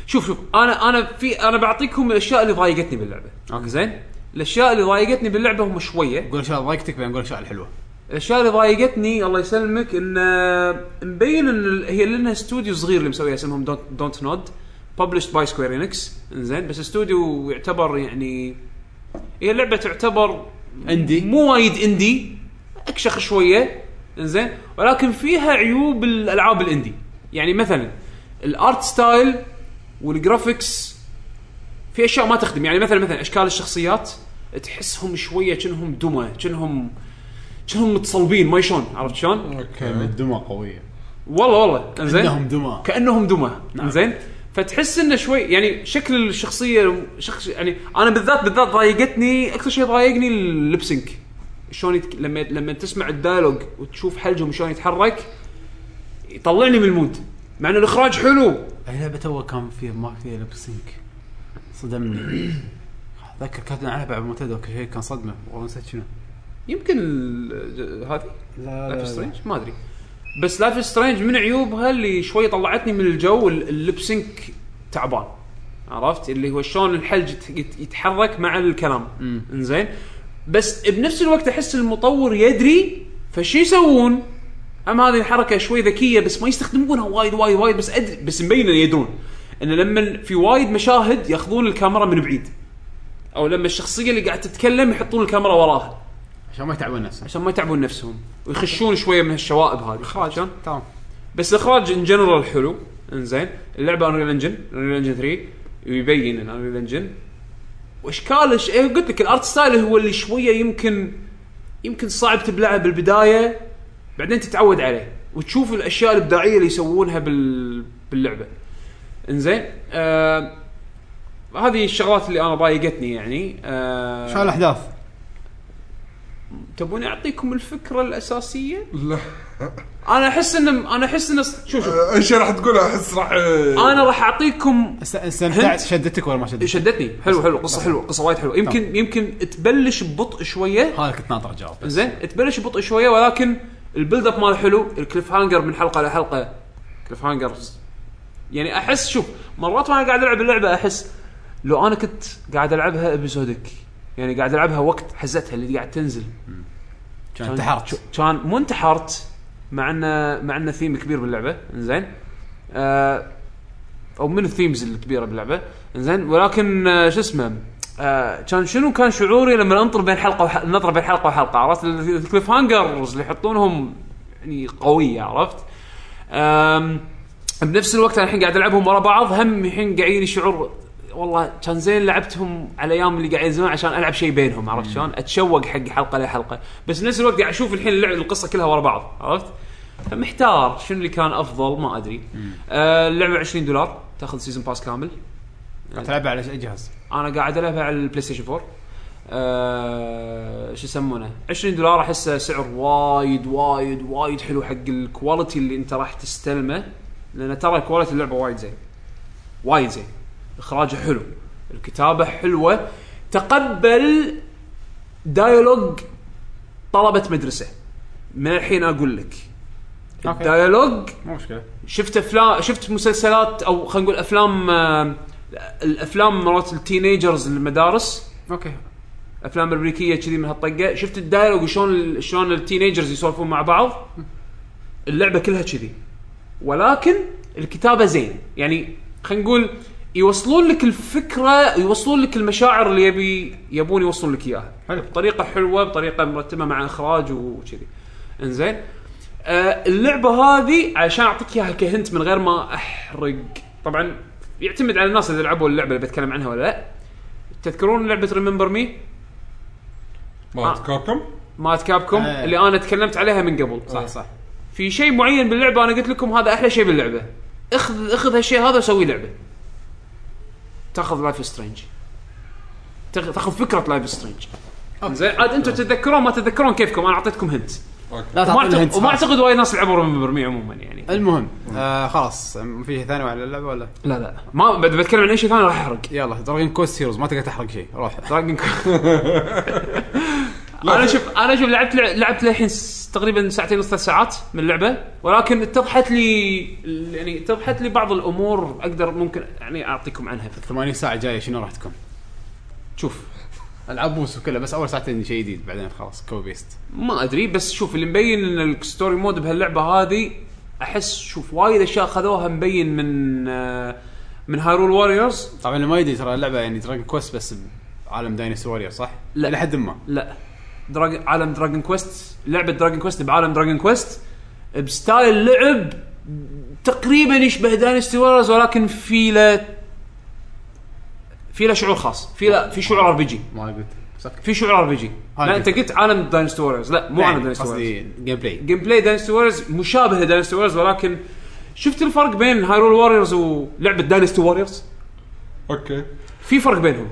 C: شوف شوف انا انا في انا بعطيكم الاشياء اللي ضايقتني باللعبه
A: أوكي.
C: زين الاشياء اللي ضايقتني باللعبه هم شويه
A: قول اشياء ضايقتك بعدين قول اشياء الحلوه
C: الاشياء اللي ضايقتني الله يسلمك ان آه، مبين ان ال- هي لانها استوديو صغير اللي مسويها اسمهم دونت نود ببلشد باي سكوير انكس زين بس استوديو يعتبر يعني هي اللعبه تعتبر
A: عندي.
C: مو وايد اندي اكشخ شويه انزين ولكن فيها عيوب الالعاب الاندي يعني مثلا الارت ستايل والجرافيكس في اشياء ما تخدم يعني مثلا مثلا اشكال الشخصيات تحسهم شويه كأنهم دمى كأنهم كأنهم متصلبين ما يشون عرفت شلون؟
A: إيه،
B: اوكي
A: دمى قويه
C: والله والله انزين
A: عندهم دمى
C: كانهم دمى نعم. زين فتحس انه شوي يعني شكل الشخصيه شخص يعني انا بالذات بالذات ضايقتني اكثر شيء ضايقني اللبسنك شلون يتك... لما لما تسمع الدايلوج وتشوف حلجهم شلون يتحرك يطلعني من المود مع ان الاخراج حلو
A: اي لعبه تو كان فيها ما فيها لب سينك صدمني اتذكر كانت لعبه بعد معتاد وكل شيء كان صدمه والله نسيت شنو
C: يمكن ال- هذه
A: لا
C: لايف سترينج ما ادري بس لايف سترينج من عيوبها اللي شوي طلعتني من الجو ال- اللبسنك تعبان عرفت اللي هو شلون الحلج يت- يت- يتحرك مع الكلام انزين بس بنفس الوقت احس المطور يدري فشي يسوون هم هذه الحركه شوي ذكيه بس ما يستخدمونها وايد وايد وايد بس أدري بس مبين إنه يدرون ان لما في وايد مشاهد ياخذون الكاميرا من بعيد او لما الشخصيه اللي قاعد تتكلم يحطون الكاميرا وراها
A: عشان ما يتعبون نفسهم
C: عشان ما يتعبون نفسهم ويخشون شويه من هالشوائب هذه عشان
A: تمام
C: بس الاخراج ان جنرال حلو انزين اللعبه انريل انجن انريل انجن 3 يبين ان انريل انجن واشكال ش... إيه قلت لك الارت ستايل هو اللي شويه يمكن يمكن صعب تبلعه بالبدايه بعدين تتعود عليه وتشوف الاشياء الابداعيه اللي يسوونها بال... باللعبه انزين آه... هذه الشغلات اللي انا ضايقتني يعني آه...
A: شو الاحداث؟
C: تبون اعطيكم الفكره الاساسيه
B: لا
C: انا احس ان انا احس ان شوف شوف
B: اي شيء راح تقوله احس راح آه،
C: انا راح اعطيكم
A: است- استمتعت
C: هنت.
A: شدتك ولا ما شدتك؟
C: شدتني حلو حلو قصه حلوه قصه وايد حلوه يمكن يمكن تبلش ببطء شويه
A: هذا كنت ناطر جواب بس
C: زين تبلش ببطء شويه ولكن البيلد اب مال حلو الكليف هانجر من حلقه لحلقه كليف هانجر يعني احس شوف مرات وانا قاعد العب اللعبه احس لو انا كنت قاعد العبها ابيسودك يعني قاعد العبها وقت حزتها اللي قاعد تنزل
A: كان انتحرت
C: كان مو انتحرت مع انه مع انه ثيم كبير باللعبه زين آه او من الثيمز الكبيره باللعبه زين ولكن آه شو اسمه آه كان شنو كان شعوري لما انطر بين حلقه وح... نطر بين حلقه وحلقه عرفت ال- الكليف هانجرز اللي يحطونهم يعني قويه عرفت آم بنفس الوقت انا الحين قاعد العبهم ورا بعض هم الحين قاعد يجيني شعور والله كان زين لعبتهم على ايام اللي قاعد زمان عشان العب شيء بينهم عرفت شلون؟ اتشوق حق حلقه لحلقه بس بنفس الوقت قاعد اشوف الحين اللعب القصه كلها ورا بعض عرفت؟ محتار شنو اللي كان افضل ما ادري. آه اللعبه 20 دولار تاخذ سيزون باس كامل.
A: راح تلعبها على اي جهاز؟
C: انا قاعد العبها على البلاي ستيشن 4 آه شو يسمونه 20 دولار احسه سعر وايد وايد وايد حلو حق الكواليتي اللي انت راح تستلمه لان ترى كواليتي اللعبه وايد زين وايد زين اخراجه حلو الكتابه حلوه تقبل دايلوج طلبه مدرسه من الحين اقول لك
A: أوكي.
C: الدايلوج
A: مو مشكله
C: شفت افلام شفت مسلسلات او خلينا نقول افلام آه، الافلام مرات التينيجرز المدارس
A: اوكي
C: افلام امريكيه كذي من هالطقه شفت الدايلوج وشون ال- شلون التينيجرز يسولفون مع بعض اللعبه كلها كذي ولكن الكتابه زين يعني خلينا نقول يوصلون لك الفكره يوصلون لك المشاعر اللي يبي يبون يوصلون لك اياها
A: حلو
C: بطريقه حلوه بطريقه مرتبه مع اخراج وكذي انزين آه اللعبه هذه عشان اعطيك اياها كهنت من غير ما احرق طبعا يعتمد على الناس اللي لعبوا اللعبه اللي بتكلم عنها ولا لا تذكرون لعبه ريمبر مي
B: مالت
C: آه.
B: كابكم
C: مالت كابكوم
A: آه.
C: اللي انا تكلمت عليها من قبل
A: صح صح
C: في شيء معين باللعبه انا قلت لكم هذا احلى شيء باللعبه اخذ اخذ هالشيء هذا وسوي لعبه تاخذ لايف سترينج تاخذ فكره لايف سترينج زين عاد انتم تتذكرون ما تتذكرون كيفكم انا اعطيتكم هنت
B: اوكي
A: لا
C: وما
A: تعطينا
C: اعتقد
A: hints.
C: وما اعتقد وايد ناس لعبوا ريمبر مي عموما يعني
A: المهم آه خلاص ما في شيء ثاني على اللعبه ولا؟
C: لا لا ما ب- بتكلم عن اي شيء ثاني راح احرق
A: يلا دراجون كوست هيروز ما تقدر تحرق شيء روح
C: دراجون (laughs) انا شوف انا شوف لعبت لعبت للحين س- تقريبا ساعتين ونص ثلاث ساعات من اللعبه ولكن اتضحت لي يعني اتضحت لي بعض الامور اقدر ممكن يعني اعطيكم عنها
A: 80 ساعه جايه شنو راح تكون؟
C: شوف
A: العاب بوس وكلها بس اول ساعتين شيء جديد بعدين خلاص كوبي بيست
C: ما ادري بس شوف اللي مبين ان الستوري مود بهاللعبه هذه احس شوف وايد اشياء خذوها مبين من آه، من هايرول واريورز
A: طبعا اللي ما يدري ترى اللعبه يعني دراجون كوست بس بعالم داينوسور وارير صح؟
C: لا.
A: لحد ما
C: لا دراج... عالم دراجون كويست لعبه دراجون كويست بعالم دراجون كويست بستايل لعب تقريبا يشبه داينستي وورز ولكن في له في له شعور خاص في له في شعور ار بي جي
A: ما قلت سكت
C: في شعور ار بي جي
A: هاي
C: لا انت قلت عالم داينستي وورز لا مو عالم
A: يعني
C: داينستي وورز
A: قصدي جيم بلاي
C: جيم بلاي داينستي ووريرز مشابه لداينستي ووريرز ولكن شفت الفرق بين هايرول ووريرز ولعبه داينستي ووريرز
B: اوكي
C: في فرق بينهم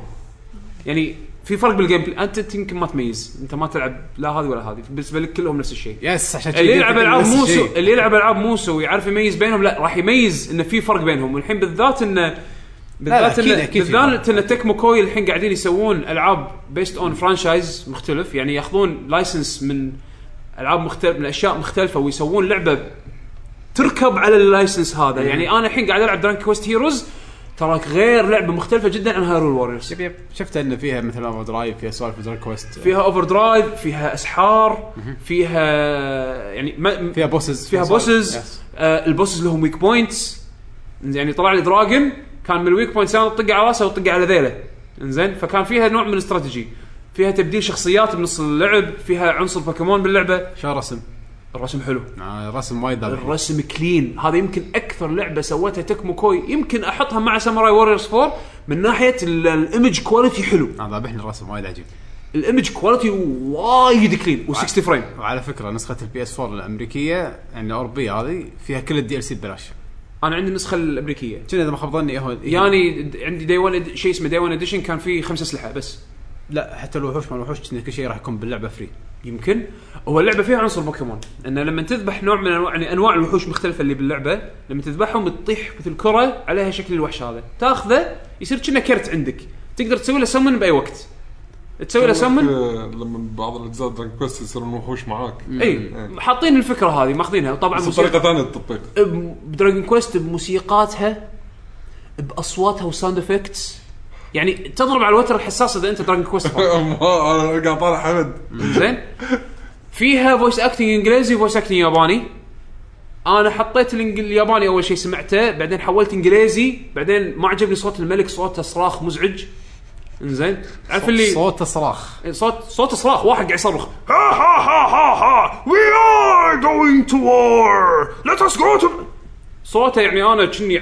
C: يعني في فرق بالجيم بلاي انت يمكن ما تميز انت ما تلعب لا هذه ولا هذه بالنسبه لك كلهم نفس الشيء
A: يس عشان
C: اللي يلعب العاب
A: نفس
C: موسو
A: الشيء.
C: اللي يلعب العاب موسو ويعرف يميز بينهم لا راح يميز انه في فرق بينهم والحين بالذات انه بالذات
A: أكيد-
C: انه
A: أكيد في
C: بالذات ان تكمو كوي الحين قاعدين يسوون العاب بيست اون فرانشايز مختلف يعني ياخذون لايسنس من العاب مختلف من اشياء مختلفه ويسوون لعبه تركب على اللايسنس هذا
A: إيه.
C: يعني انا الحين قاعد العب درانك كويست هيروز تراك غير لعبه مختلفه جدا عن هايرول ووريرز
A: يب يب شفت انه فيها مثل اوفر درايف فيها سوالف دراجون كويست
C: فيها اوفر درايف فيها اسحار فيها يعني ما
A: فيها بوسز
C: فيها بوسز
A: يس.
C: آه البوسز لهم ويك بوينتس يعني طلع لي دراجون كان من الويك بوينتس انا طق على راسه وطق على ذيله انزين فكان فيها نوع من الاستراتيجي فيها تبديل شخصيات بنص اللعب فيها عنصر بوكيمون باللعبه
A: شو الرسم؟
C: الرسم حلو
A: آه، الرسم وايد دابح.
C: الرسم كلين هذا يمكن اكثر لعبه سوتها تكمو كوي يمكن احطها مع ساموراي ووريرز 4 من ناحيه ال- الايمج كواليتي حلو
A: انا آه، ذابحني الرسم وايد عجيب
C: الايمج كواليتي وايد كلين و60 فريم
A: وعلى فكره نسخه البي اس 4 الامريكيه يعني الاوروبيه هذه فيها كل الدي ال سي ببلاش
C: انا عندي النسخه الامريكيه
A: كنا اذا ما خاب ظني هو
C: يعني د- عندي دي 1 شيء اسمه دي 1 اديشن كان فيه خمسة اسلحه بس
A: لا حتى الوحوش ما الوحوش كنا كل شيء راح يكون باللعبه فري
C: يمكن هو اللعبه فيها عنصر بوكيمون انه لما تذبح نوع من انواع يعني انواع الوحوش مختلفه اللي باللعبه لما تذبحهم تطيح مثل كره عليها شكل الوحش هذا تاخذه يصير كأنه كرت عندك تقدر تسوي له سمن باي وقت تسوي له سمن
B: آه، لما بعض الاجزاء دراجون كويست يصيرون وحوش معاك
C: اي حاطين الفكره هذه ماخذينها طبعا
B: بس
C: موسيقى
B: بطريقه ثانيه التطبيق
C: بدراجون كويست بموسيقاتها باصواتها وساوند افكتس يعني تضرب على الوتر الحساس اذا انت دراجون كويست فان.
B: (laughs) ما انا قاعد طالع حمد
C: زين فيها فويس اكتنج انجليزي وفويس اكتنج ياباني انا حطيت الإنج- الياباني اول شيء سمعته بعدين حولت انجليزي بعدين ما عجبني صوت الملك صوته صراخ مزعج انزين عارف اللي
A: صوت صراخ
C: صوت صوت صراخ واحد قاعد يصرخ ها ها ها ها ها وي ار جوينج تو وور ليت اس جو تو صوته يعني انا كني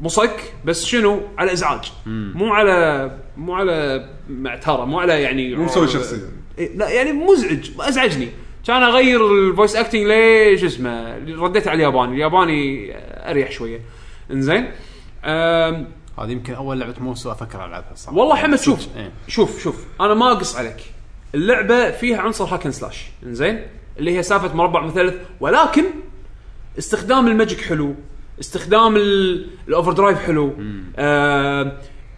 C: مصك بس شنو على ازعاج مو على مو على معتره مو على يعني
B: مو مسوي شخصيه
C: إيه، لا يعني مزعج ازعجني كان اغير الفويس اكتنج ليش اسمه رديت على الياباني الياباني اريح شويه انزين أم،
A: هذه يمكن اول لعبه موسو افكر العبها صح
C: والله حمد شوف
A: إيه.
C: شوف شوف انا ما اقص عليك اللعبه فيها عنصر هاكن سلاش انزين اللي هي سالفه مربع مثلث ولكن استخدام الماجيك حلو استخدام ال- الاوفر درايف حلو آه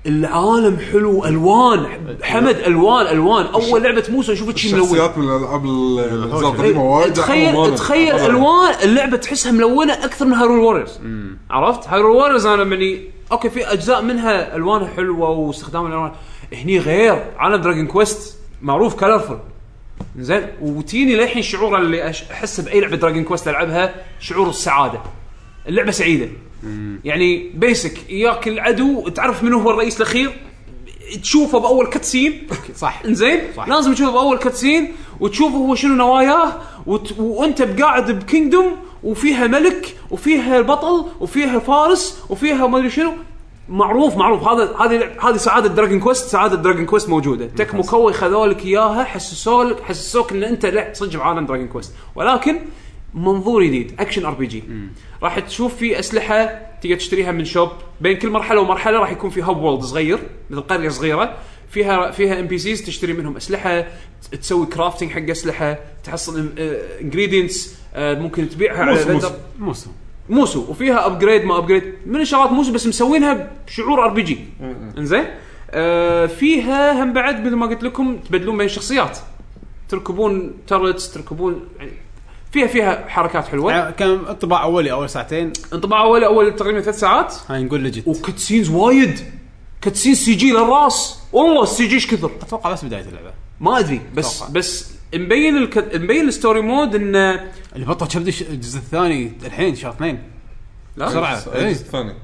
C: العالم حلو الوان حمد الوان الوان اول لعبه موسى اشوفها شي ملون
B: الشخصيات من الالعاب ال- الاجزاء القديمه
C: إيه،
B: وايد أحلى
C: تخيل
B: من
C: تخيل
B: هذا.
C: الوان اللعبه تحسها ملونه اكثر من هارول ووريرز عرفت هارول ووريرز انا مني اوكي في اجزاء منها الوانها حلوه واستخدام الالوان هني غير عالم دراجون كويست معروف كلرفل زين وتيني للحين شعور اللي أش- احس باي لعبه دراجون كويست العبها شعور السعاده اللعبه سعيده يعني بيسك اياك العدو تعرف منو هو الرئيس الاخير تشوفه باول كاتسين
A: صح
C: انزين
A: صح.
C: لازم تشوفه باول كاتسين وتشوف هو شنو نواياه وت... وانت بقاعد بكينجدوم وفيها ملك وفيها البطل وفيها فارس وفيها ما ادري شنو معروف معروف هذا هذه هذه سعاده دراجون كويست سعاده دراجون كويست موجوده تكمو كوي خذوا لك اياها حسسوك حسسوك ان انت لا صدق بعالم دراجون كويست ولكن منظور جديد اكشن ار بي جي راح تشوف في اسلحه تقدر تشتريها من شوب بين كل مرحله ومرحله راح يكون في هاب وولد صغير مثل قريه صغيره فيها فيها ام بي سيز تشتري منهم اسلحه ت- تسوي كرافتنج حق اسلحه تحصل انجريدينتس آه، ممكن تبيعها على
B: موسو- موسو.
C: vendor.
A: موسو
C: موسو وفيها ابجريد ما ابجريد من الشغلات موسو بس مسوينها بشعور ار بي جي انزين آه فيها هم بعد مثل ما قلت لكم تبدلون بين الشخصيات تركبون ترتس تركبون يعني فيها فيها حركات حلوه
A: يعني كان انطباع اولي اول ساعتين
C: انطباع اول اول تقريبا ثلاث ساعات
A: هاي نقول لجت
C: وكتسينز وايد كتسين سي جي للراس والله السي جي ايش كثر
A: اتوقع بس بدايه اللعبه
C: ما ادري بس
A: أتوقع.
C: بس مبين الك... مبين الستوري مود انه
A: اللي بطل كبدي ش- الجزء الثاني الحين شهر اثنين
C: لا
A: بسرعة.
B: بس-
A: إيه.
B: الثاني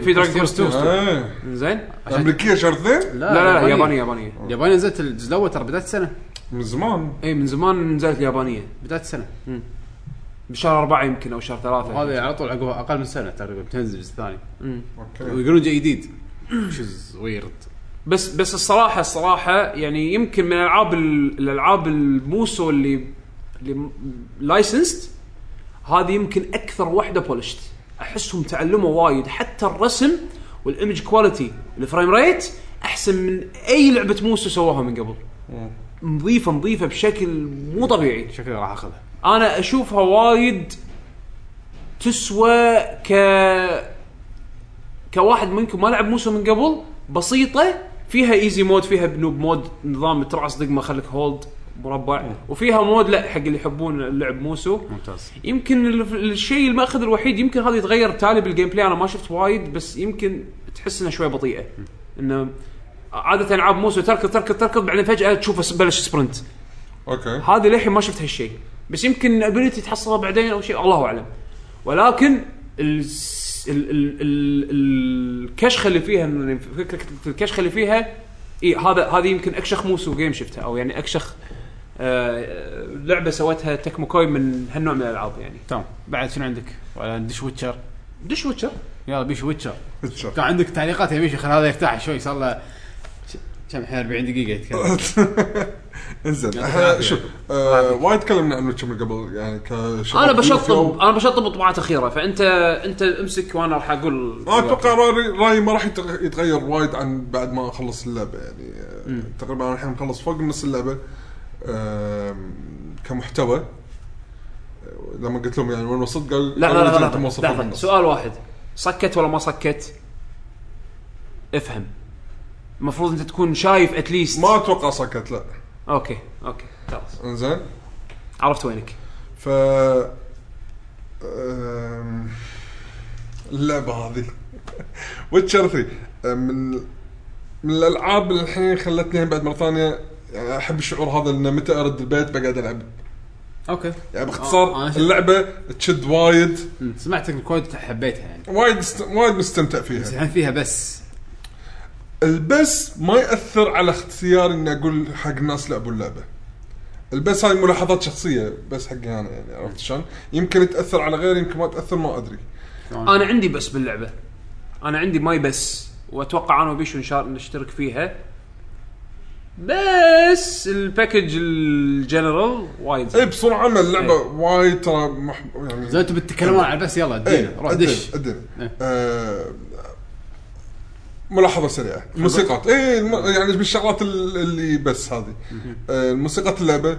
C: في دراجون كويست 2
B: إيه.
C: زين
B: امريكيه شهر اثنين
C: لا لا, لا يابانيه يابانيه
A: اليابانيه نزلت الجزء الاول ترى بدايه السنه
B: من زمان
C: اي إيه، من زمان نزلت اليابانيه
A: بدايه السنه
C: بشهر أربعة يمكن او شهر ثلاثة
A: وهذا على طول عقب اقل من سنه تقريبا بتنزل الجزء الثاني
B: اوكي
A: ويقولون جاي جديد شز ويرد
C: بس بس الصراحة الصراحة يعني يمكن من العاب ال- الالعاب الموسو اللي اللي لايسنسد هذه يمكن اكثر واحدة بولشت احسهم تعلموا وايد حتى الرسم والايمج كواليتي الفريم ريت احسن من اي لعبة موسو سووها من قبل نظيفة نظيفة بشكل مو طبيعي
A: شكلي راح اخذها
C: انا اشوفها وايد تسوى ك كواحد منكم ما لعب موسو من قبل بسيطه فيها ايزي مود فيها بنوب مود نظام ترعص دقمه خليك هولد مربع وفيها مود لا حق اللي يحبون اللعب موسو
A: ممتاز
C: يمكن ال- الشيء الماخذ الوحيد يمكن هذا يتغير تالي بالجيم بلاي انا ما شفت وايد بس يمكن تحس انها شوي بطيئه انه عاده العاب موسو تركض تركض تركض بعدين فجاه تشوفه بلش سبرنت
B: اوكي
C: هذه للحين ما شفت هالشيء بس يمكن ابيلتي تحصلها بعدين او شيء الله اعلم ولكن ال ال ال ال الكشخه اللي فيها من- فكره الكشخه اللي فيها اي هذا هذه يمكن اكشخ موسو جيم شفتها او يعني اكشخ آه، آه، لعبه سوتها تكمو كوي من هالنوع من الالعاب يعني
A: تمام بعد شنو عندك؟ ولا ندش ويتشر
C: دش ويتشر
A: يلا بيش ويتشر
B: اتشر.
C: (laughs)
A: كان عندك تعليقات يا بيش خل هذا يرتاح شوي صار له ش- كم الحين 40 دقيقه يتكلم
B: (coughs) انزين
A: يعطيك
B: إحنا
A: العافية.
B: شوف آه، وايد تكلمنا عنه كم قبل يعني كشباب
C: انا
B: يوفيو.
C: بشطب انا بشطب طبعات اخيره فانت انت امسك وانا راح اقول
B: انا اتوقع رايي رايي ما راح يتغ- يتغير وايد عن بعد ما اخلص اللعبه يعني آه، تقريبا أنا الحين مخلص فوق نص اللعبه آم، كمحتوى آه، لما قلت لهم يعني وين وصلت قالوا
C: لا
B: قالوا
C: لا
B: لي
C: لا,
B: أنت ما
C: لا,
B: وصلت فوق
C: لا, لا
B: النص.
C: سؤال واحد صكت ولا ما صكت؟ افهم المفروض انت تكون شايف اتليست
B: ما اتوقع سكت لا
C: اوكي اوكي خلاص
B: انزين
C: عرفت وينك
B: ف آم، اللعبه هذه ويتشر 3 آم، من من الالعاب اللي الحين خلتني بعد مره ثانيه يعني احب الشعور هذا انه متى ارد البيت بقعد العب
A: اوكي
B: يعني
A: آه،
B: باختصار
A: أنا شفت.
B: اللعبه تشد وايد
A: أمم، سمعتك الكود حبيتها يعني
B: وايد است... وايد مستمتع
A: بس
B: فيها
A: الحين فيها بس
B: البس ما ياثر على اختياري اني اقول حق الناس لعبوا اللعبه بس هاي ملاحظات شخصيه بس حقي انا يعني عرفت شلون؟ يمكن تاثر على غيري يمكن ما تاثر ما ادري
C: انا عندي بس باللعبه انا عندي ماي بس واتوقع انا وبيشو نشار- نشترك فيها بس الباكج الجنرال وايد
B: اي
C: زين.
B: بصوره عامه اللعبه وايد ترى مح... يعني
A: اذا انتم بتتكلمون عن بس يلا
B: إيه،
A: ادينا روح دش
B: ادينا
A: إيه.
B: آه، ملاحظه سريعه موسيقات اي الم- يعني بالشغلات ال- اللي بس هذه آه، موسيقات اللعبه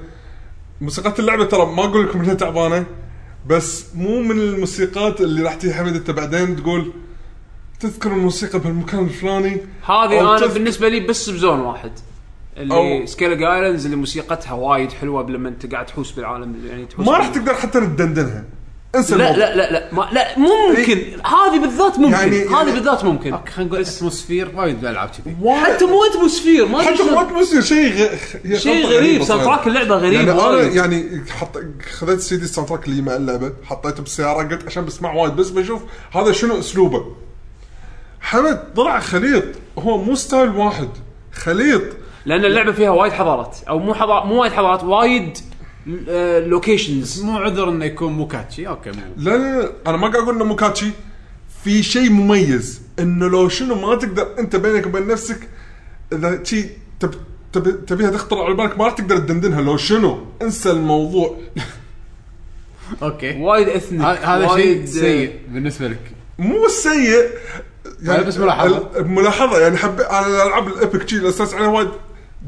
B: موسيقات اللعبه ترى ما اقول لكم انها تعبانه بس مو من الموسيقات اللي راح تجي حمد انت بعدين تقول تذكر الموسيقى بهالمكان الفلاني إيه، أو
C: هذه انا
B: تذكر-
C: بالنسبه لي بس بزون واحد اللي
B: أو-
C: سكيلج ايلاندز اللي موسيقتها وايد حلوه لما انت قاعد تحوس بالعالم يعني تحوس
B: ما
C: بال-
B: راح تقدر حتى تدندنها انسى
C: لا
B: الموضوع. إيه.
C: لا لا لا ما لا مو ممكن هذه بالذات ممكن
B: يعني-
C: هذه
B: يعني-
C: بالذات ممكن
A: اوكي خلينا نقول اتموسفير وايد بالعاب كذي
B: وايد-
C: حتى مو اتموسفير ما أدري
B: حتى
C: شلون.
B: ما بصير شيء غ...
C: شيء
B: غلطة
C: غريب
B: غريبة
C: ساوند
B: صايرة.
C: تراك اللعبه غريب
B: يعني انا
C: وايد.
B: يعني حط خذيت سي دي الساوند تراك اللي مع اللعبه حطيته بالسياره قلت عشان بسمع وايد بس بشوف هذا شنو اسلوبه حمد طلع خليط هو مو ستايل واحد خليط
C: لان اللعبه فيها وايد حضارات او مو حضارات مو وايد حضارات وايد آه، لوكيشنز
A: مو عذر انه يكون مو كاتشي اوكي مو
B: لا لا لا انا ما قاعد اقول انه مو كاتشي في شيء مميز انه لو شنو ما تقدر انت بينك وبين نفسك اذا شي تب تب تبيها تخطر على بالك ما راح تقدر تدندنها لو شنو انسى الموضوع
A: اوكي
C: وايد آه، اثنيك
A: ه- هذا شيء سيء بالنسبه لك
B: مو سيء يعني
A: هاي بس ملاحظة.
B: ال- ملاحظه يعني حب انا الالعاب الايبك شي الاساس عليها وايد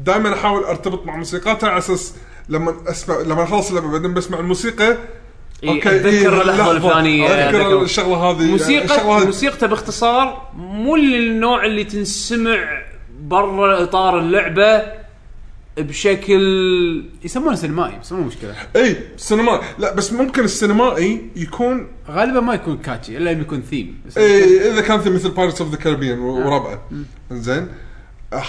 B: دائما احاول ارتبط مع موسيقاتها على اساس لما اسمع لما اخلص اللعبه بعدين بسمع الموسيقى
C: اوكي اتذكر
B: إيه،
C: اللحظه الفلانيه
B: اذكر
C: أتذكر.
B: الشغله هذه الشغله
C: موسيقى
B: هذه.
C: موسيقته باختصار مو النوع اللي تنسمع برا اطار اللعبه بشكل
A: يسمونه سينمائي بس مو مشكله
B: اي سينما لا بس ممكن السينمائي يكون
A: غالبا ما يكون كاتشي الا لما يكون ثيم بس
B: اي اذا إيه، كان مثل بايرتس اوف ذا كاربيان
C: نعم.
B: وربعه زين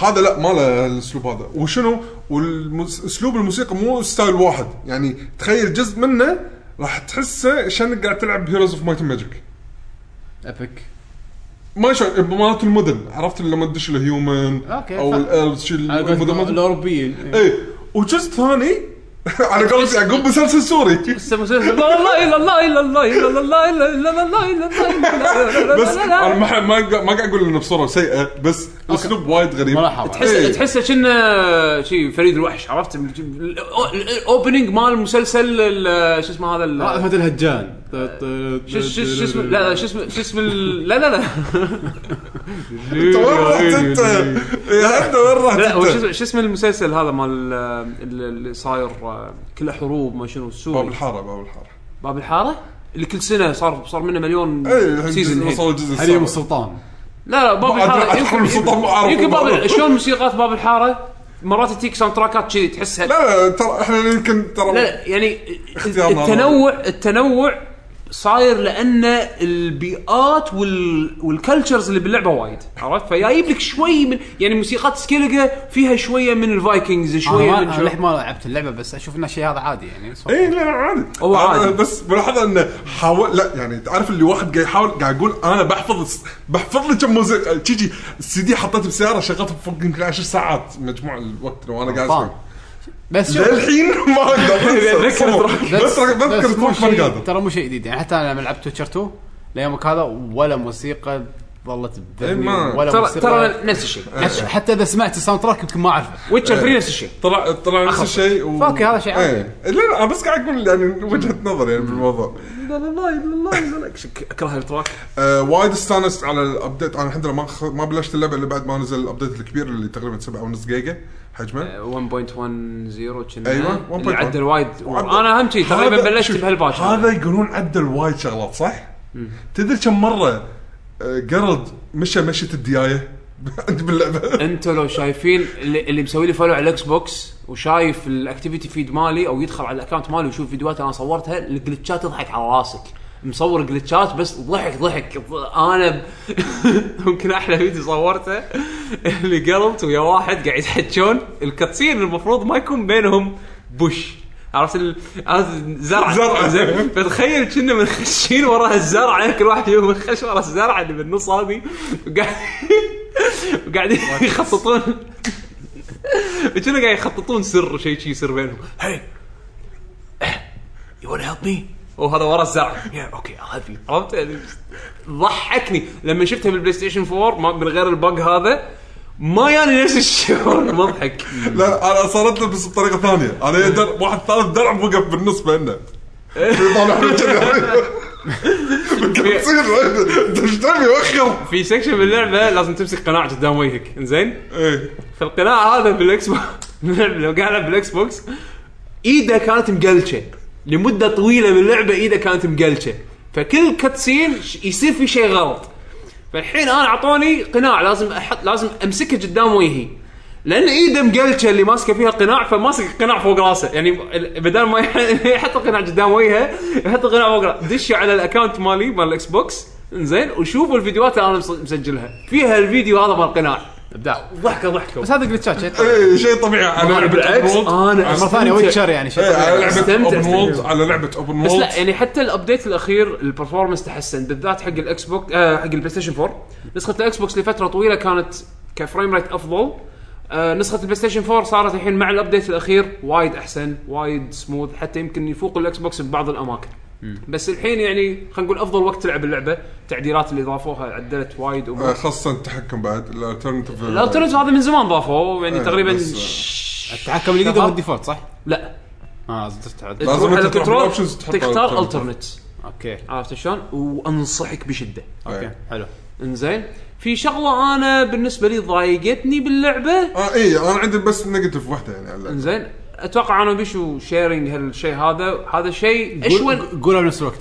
B: هذا لا ما له الاسلوب هذا وشنو واسلوب الموسيقى مو ستايل واحد يعني تخيل جزء منه راح تحسه شانك قاعد تلعب هيروز اوف مايت ماجيك
A: ابيك
B: ما شلون مالت المدن عرفت لما تدش الهيومن
A: أوكي،
B: او
A: فاهم.
B: الالفز شي
A: انا قلت
B: المدن-
A: الاوروبيين
B: اي وجزء ثاني (laughs) على قولت يعقوب مسلسل سوري
C: لا لا لا لا لا لا لا لا لا لا
B: بس انا ما ما ما قاعد اقول انه بصوره سيئه بس الاسلوب وايد غريب
A: ملاحظة.
C: تحس
B: إيه.
C: تحسه كنا شي فريد الوحش عرفت الاوبننج مال المسلسل ال- شو اسمه هذا ال-
A: رأفت الهجان
C: شو شو شو اسمه لا لا، شو اسمه شو اسمه ال- لا لا لا
B: انت وين
C: إيه،
B: رحت انت؟ يا انت وين رحت
C: لا هو شو
B: انت؟
C: اسمه- شو اسمه المسلسل هذا مال ال- اللي صاير آه، كله حروب ما شنو
B: باب
C: السوري
B: الحاره باب الحاره
C: باب الحاره اللي كل سنه صار صار منه مليون
B: اي الحين
C: سيزون
B: وصل إيه، الجزء
A: هل يوم
B: السابع
A: السلطان
C: لا لا باب
B: بعد راح
C: الحاره
B: أدخل بالصدفة ما
C: يمكن,
B: أعرف
C: يمكن باب
B: الموضوع.
C: شلون موسيقات باب الحاره مرات تجيك ساوند تراكات كذي تحسها لا
B: لا لا ترى احنا يمكن ترى
C: لا يعني
B: اختيارنا هذا.
C: التنوع التنوع صاير لان البيئات وال والكلتشرز اللي باللعبه وايد عرفت فجايب لك شوي من يعني موسيقات سكيلجا فيها شويه من الفايكنجز شويه
A: انا
C: من
A: ما-
C: شو-
A: أنا للحين ما لعبت اللعبه بس اشوف ان الشيء هذا عادي يعني بس
B: اي إيه، لا لا عادي
C: هو
B: أنا-
C: عادي.
B: بس ملاحظه انه حاول لا يعني تعرف اللي واحد قاعد يحاول قاعد يقول انا بحفظ بحفظ لي كم موسيقى تجي السي دي حطيته بسياره شغلته فوق يمكن 10 ساعات مجموع الوقت وانا قاعد
A: طبعاً.
B: اسمع
A: بس شوف
B: للحين ما
C: (laughs)
B: اقدر
C: ذكر
B: صراحة.
C: تراك.
B: بس بذكر
A: بس مو
B: تروح ما
A: شيء-
B: قادر
A: ترى مو شيء جديد يعني حتى انا لما لعبت ويتشر 2 ليومك هذا ولا موسيقى ظلت
B: إيه،
A: بذهني
B: ما-
A: ولا
C: ترى
A: موسيقى
C: ترى نفس الشيء
A: حتى- حتى اذا سمعت الساوند تراك يمكن ما اعرفه
C: ويتشر 3 نفس الشيء
B: طلع طلع نفس
C: أخف.
B: الشيء و...
A: فأوكي، هذا شيء عادي.
B: إيه. لا لا انا بس قاعد اقول يعني وجهه نظر يعني بالموضوع
C: لا لا لا لا لا اكره التراك
B: آه وايد استانست على الابديت انا الحمد لله ما خ... ما بلشت اللعبه الا بعد ما نزل الابديت الكبير اللي تقريبا 7.5 جيجا
A: أه،
B: حجمه
C: 1.10 كنا
B: أيوة،
C: اللي
B: 1.1.
C: عدل وايد
B: وعدل-
C: انا اهم شيء تقريبا
B: هذا-
C: بلشت
B: شوف،
C: بهالباتش
B: هذا يقولون عدل وايد شغلات صح؟ تدري كم مره آه، جرد مشى مشيت (laughs) الديايه عند
A: (laughs)
B: باللعبه
C: انتوا لو شايفين اللي, اللي مسوي لي فولو على الاكس بوكس وشايف الاكتيفيتي فيد مالي او يدخل على الاكونت مالي ويشوف فيديوهات انا صورتها الجلتشات تضحك على راسك مصور جلتشات بس ضحك ضحك انا ب... (laughs) ممكن احلى فيديو صورته اللي قلبت ويا واحد قاعد يتحجون الكاتسين المفروض ما يكون بينهم بوش عرفت ال... عرفت زرع
B: زرعة.
C: زين فتخيل كنا منخشين ورا الزرعه يعني كل واحد يوم منخش ورا الزرعه اللي بالنص هذه وقاعد وقاعدين يخططون كنا قاعد يخططون سر شيء شيء يصير بينهم هاي يو ونت هيلب مي وهذا ورا "Oh, الزرع يا اوكي هيلب يو عرفت يعني ضحكني لما شفتها بالبلاي ستيشن 4 ما من غير البق هذا ما يعني نفس الشعور مضحك
B: لا انا صارت لي بس بطريقه ثانيه انا در... واحد ثالث درع وقف بالنص بيننا
A: إيه.
B: (laughs) في
A: (laughs)
B: طالع من كذا تشتمي وخر
C: في سكشن باللعبه لازم تمسك قناع قدام وجهك زين
B: ايه
C: فالقناع هذا بالاكس بوكس (laughs) لو قاعد العب بالاكس بوكس ايده كانت مقلشه لمده طويله من اللعبه ايده كانت مقلشه فكل كاتسين ش- يصير في شيء غلط فالحين انا اعطوني قناع لازم احط لازم امسكه قدام وجهي لان ايده مقلشه اللي ماسكه فيها القناع فماسك القناع فوق راسه يعني ال- بدل ما (laughs) يح- يحط القناع قدام وجهه يحط القناع فوق راسه دشوا على الاكونت مالي مال الاكس بوكس زين وشوفوا الفيديوهات اللي انا مس- مسجلها فيها الفيديو هذا مال القناع
A: ابداع
C: ضحكه ضحكه
A: بس هذا جلتشات شيء طبيعي.
B: ايه شيء طبيعي على
C: أنا بالعكس،
B: Open World.
C: أنا
B: على-
A: مره ثانيه
C: أستمتع.
A: ويتشر يعني شيء
B: إيه، على
A: طبيعي.
B: لعبه
C: استمتع،
B: اوبن
C: استمتع.
B: وولد على لعبه اوبن
C: بس لا
B: وولد
C: يعني حتى الابديت الاخير البرفورمانس تحسن بالذات حق الاكس بوكس آه حق البلاي ستيشن 4 نسخه الاكس بوكس لفتره طويله كانت كفريم ريت افضل آه نسخه البلاي ستيشن 4 صارت الحين مع الابديت الاخير وايد احسن وايد سموث حتى يمكن يفوق الاكس بوكس ببعض الاماكن بس الحين يعني خلينا نقول افضل وقت تلعب اللعبه التعديلات اللي ضافوها عدلت وايد امور
B: خاصه آه، التحكم بعد الالترنتيف
C: الالترنتيف هذا من زمان ضافوه يعني
B: إيه،
C: تقريبا
B: بس-
C: ش-
A: التحكم الجديد هو الديفولت صح؟
C: لا آه،
A: اه زدت
B: لازم
C: تروح
B: أنت
C: على
B: تروح
C: الكنترول،
B: بالoptions تحط
C: تختار
B: alternate.
C: الترنت
A: اوكي
C: عرفت شلون؟ وانصحك بشده
A: اوكي
B: إيه.
A: حلو
C: انزين في شغله انا بالنسبه لي ضايقتني باللعبه
B: اه اي انا عندي بس نيجاتيف واحده يعني على اللعبة.
C: انزين اتوقع انا وبيشو شيرنج هالشيء هذا هذا شيء اشون
A: قول- قولها بنفس الوقت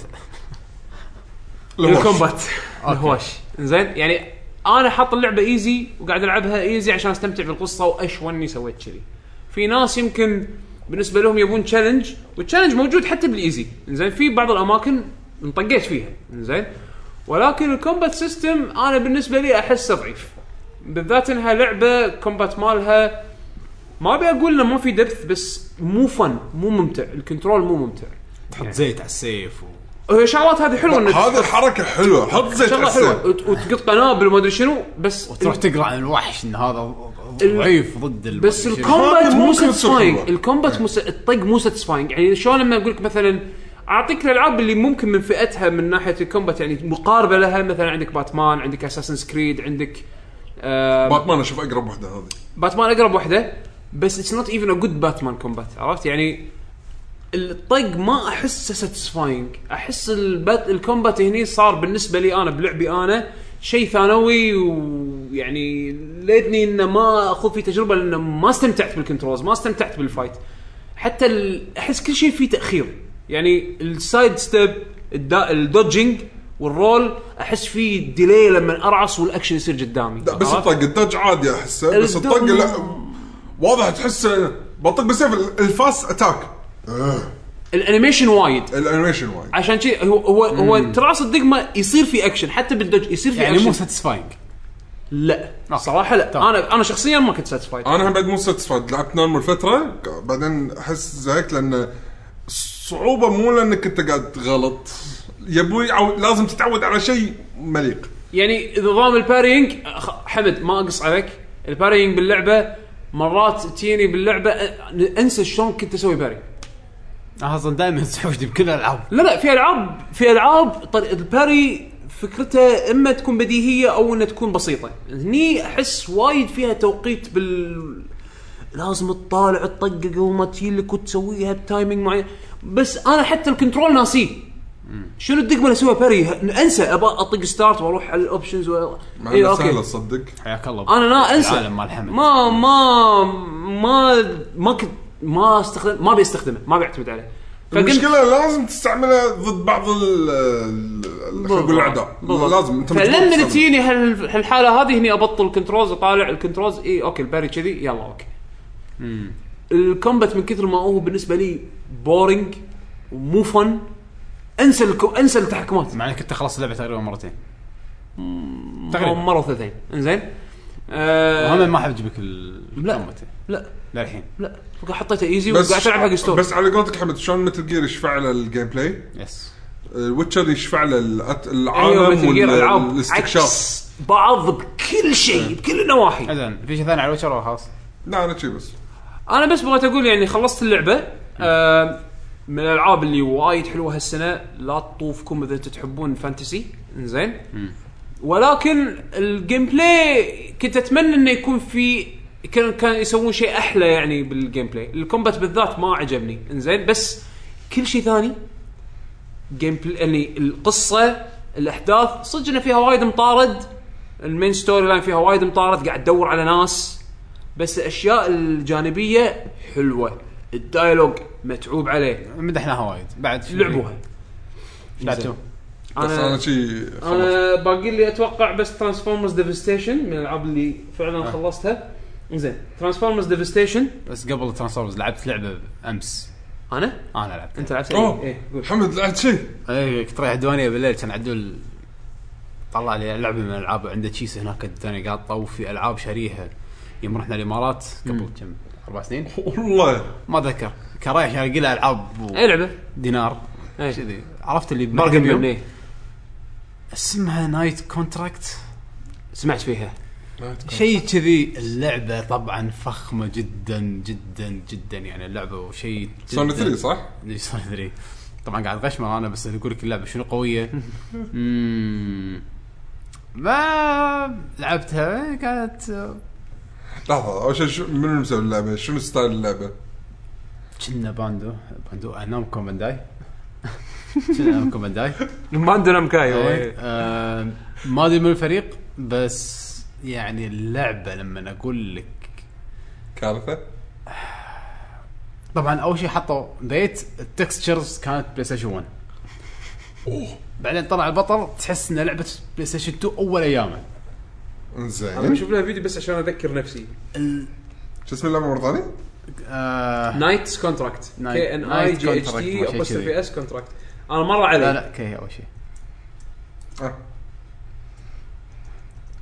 B: الهوش.
C: الكومبات الهواش انزين يعني انا حاط اللعبه ايزي وقاعد العبها ايزي عشان استمتع بالقصه واشون اني سويت كذي في ناس يمكن بالنسبه لهم يبون تشالنج والتشالنج موجود حتى بالايزي انزين في بعض الاماكن انطقيت فيها انزين ولكن الكومبات سيستم انا بالنسبه لي احسه ضعيف بالذات انها لعبه كومبات مالها ما ابي اقول انه ما في دبث بس مو فن مو ممتع الكنترول مو ممتع
A: تحط زيت على السيف و...
C: هي شغلات هذه حلوه انك
B: هذه الحركه حلوه حط زيت على
C: شغله حلوه
B: السيف.
C: وت- وتقط قنابل وما ادري شنو بس
A: وتروح تقرا عن الوحش ان هذا ضعيف ضد الم-
C: بس
A: الشرير.
C: الكومبات
B: هذه
C: مو
B: ممكن تصير
C: ساتسفاينج
B: حلوة.
C: الكومبات مس... الطق مو ساتسفاينج يعني شلون لما اقول لك مثلا اعطيك الالعاب اللي ممكن من فئتها من ناحيه الكومبات يعني مقاربه لها مثلا عندك باتمان عندك اساسن سكريد عندك آم،
B: باتمان اشوف اقرب واحده هذه
C: باتمان اقرب واحده بس اتس نوت ايفن ا جود باتمان كومبات عرفت يعني الطق ما احسه ساتسفاينج احس البات الكومبات هني صار بالنسبه لي انا بلعبي انا شيء ثانوي ويعني ليتني انه ما اخذ فيه تجربه لانه ما استمتعت بالكنترولز ما استمتعت بالفايت حتى ال- احس كل شيء فيه تاخير يعني السايد ستيب الدا- الدوجنج والرول احس فيه ديلي لما ارعص والاكشن يصير قدامي
B: لا بس
C: عرفت؟
B: الطق الدج عادي احسه بس
C: الدج-
B: الطق لا واضح تحس بطق بالسيف ال- الفاست اتاك آه،
C: الانيميشن وايد
B: الانيميشن وايد
C: عشان شي هو هو هو تراس الدقمه يصير في اكشن حتى بالدج يصير في
A: يعني
C: اكشن
A: مو ساتسفاينج
C: لا
A: آه.
C: صراحه لا
A: تمام.
C: انا انا شخصيا ما كنت ساتسفايد
B: انا هم بعد مو ساتسفايد لعبت نورمال فتره ك- بعدين احس زهقت لان صعوبه مو لانك انت قاعد غلط يبوي عو... لازم تتعود على شيء مليق
C: يعني نظام البارينج أخ- حمد ما اقص عليك البارينج باللعبه مرات تجيني باللعبه أ- انسى شلون كنت اسوي باري
A: اصلا دائما تحوشني بكل الالعاب
C: لا لا في العاب في العاب طر- الباري فكرته اما تكون بديهيه او انها تكون بسيطه هني احس وايد فيها توقيت بال لازم تطالع تطقق وما تجيلك وتسويها بتايمينج معين بس انا حتى الكنترول ناسيه شنو الدقمه اللي اسويها باري ه- انسى ابى اطق ستارت واروح على الاوبشنز و...
B: مع
C: إيه،
B: انه
C: أوكي.
B: سهله تصدق
A: حياك الله
C: انا لا انسى
A: العالم مال حمد
C: ما ما ما ما كنت ما استخدم ما بيستخدمه ما بيعتمد عليه فقلت
B: المشكله لازم تستعملها ضد بعض ال ال- ال- خلينا نقول الاعداء
C: بالضبط.
B: لازم انت مجبور
C: فلما
B: تستعملها.
C: تجيني هال- هالحاله هذه هني ابطل كنترولز اطالع الكنترولز اي اوكي إيه، الباري كذي يلا اوكي الكومبات من كثر ما هو بالنسبه لي بورينج ومو فن انسى الكو... انسى التحكمات
A: مع انك انت خلصت اللعبه تقريبا مرتين
C: أو
A: تقريبا
C: مره وثلاثين انزين آه...
A: وهم ما احب اجيبك ال-
C: لا.
A: الكومبات.
C: لا
A: للحين
C: لا حطيته ايزي
B: بس آه،
C: وقاعد العب حق ستوري
B: بس على قولتك حمد شلون متل جير يشفع له الجيم بلاي
A: يس
B: الويتشر يشفع له الأت-
C: ايوه
B: العالم
C: مثل جير
B: وال-
C: العاب
B: والاستكشاف
C: عكس بعض بكل شيء بكل النواحي
A: اذا في شيء ثاني على الويتشر ولا خلاص؟
B: لا انا شي بس
C: انا بس بغيت اقول يعني خلصت اللعبه آه من الالعاب اللي وايد حلوه هالسنه لا تطوفكم اذا انتم تحبون فانتسي زين ولكن الجيم بلاي كنت اتمنى انه يكون في كان كان يسوون شيء احلى يعني بالجيم بلاي الكومبات بالذات ما عجبني انزين بس كل شيء ثاني جيم بلاي يعني القصه الاحداث صدق انه فيها وايد مطارد المين ستوري لاين فيها وايد مطارد قاعد تدور على ناس بس الاشياء الجانبيه حلوه الدايلوج متعوب عليه
A: مدحناها وايد بعد شو-
C: لعبوها
A: شو لعبتوا؟
B: بس انا شي خلاص.
C: انا باقي لي اتوقع بس ترانسفورمرز ديفستيشن من الالعاب اللي
B: آه.
C: فعلا خلصتها زين ترانسفورمرز ديفستيشن
A: بس قبل ترانسفورمرز لعبت لعبه امس
C: انا
A: انا لعبت
C: انت لعبت
B: أوه.
C: ايه قول
B: حمد لعبت شيء
A: اي إيه، كنت رايح الديوانيه بالليل كان عدول طلع لي لعبه من الالعاب عنده تشيس هناك الدنيا قاعد طوف في العاب شاريها يوم رحنا الامارات قبل كم اربع سنين
B: والله
A: ما اتذكر كان رايح شاري له العاب و-
C: اي لعبه
A: دينار
C: اي
A: كذي عرفت اللي
C: بارجن
A: بمحل
C: بيوم
A: اسمها نايت كونتراكت
C: سمعت فيها
A: شيء كذي اللعبه طبعا فخمه جدا جدا جدا يعني اللعبه وشيء
B: سوني
A: جداً-
B: 3 صح؟
A: ليش سوني 3 طبعا قاعد غشمر انا بس اقول لك اللعبه شنو قويه مم. ما لعبتها كانت
B: لحظه اول شيء شو- منو مسوي اللعبه؟ شنو ستايل اللعبه؟
A: كنا باندو باندو نامكو (laughs) بانداي كنا نامكو بانداي
C: ما عندنا
B: إيه.
C: مكاي
A: آه، ما ادري من الفريق بس يعني اللعبه لما اقول لك
B: كارثه؟
A: طبعا اول شيء حطوا بيت التكستشرز كانت بلاي ستيشن 1 بعدين طلع البطل تحس انه لعبه بلاي ستيشن 2 اول ايامه إيه؟
C: انا
B: زين
C: بشوف لها فيديو بس عشان اذكر نفسي
B: شو اسم اللعبه مره ثانيه؟
A: آه
C: نايتس كونتراكت
A: Night-
C: كي ان اي
A: Night
C: جي اتش
A: Contract، ما
C: تي
A: شيء كذي.
C: ابوسترفي اس كونتراكت انا مر علي
A: لا لا كي اول شيء
B: آه.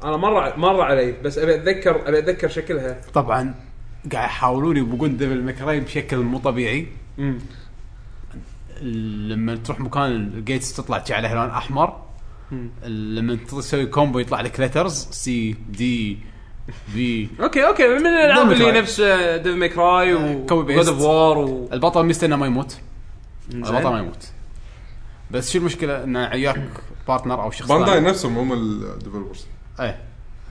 C: انا مر مر علي بس ابي اتذكر ابي اتذكر شكلها
A: طبعا قاعد يحاولون يبقون ديفل ماكراي بشكل مو طبيعي لما تروح مكان الجيتس تطلع شي عليها لون احمر لما تسوي كومبو يطلع لك ليترز سي دي بي
C: اوكي اوكي من الالعاب
A: Devil May
C: اللي
A: Cry.
C: نفس آه، ديف ماي كراي و
A: Copy paste.
C: جود اوف وار و
A: البطل مستنى ما يموت
C: زين.
A: البطل ما يموت بس شو المشكله انه عياك بارتنر او شخص
B: بانداي
A: ثاني.
B: نفسهم هم الديفلوبرز
A: ايه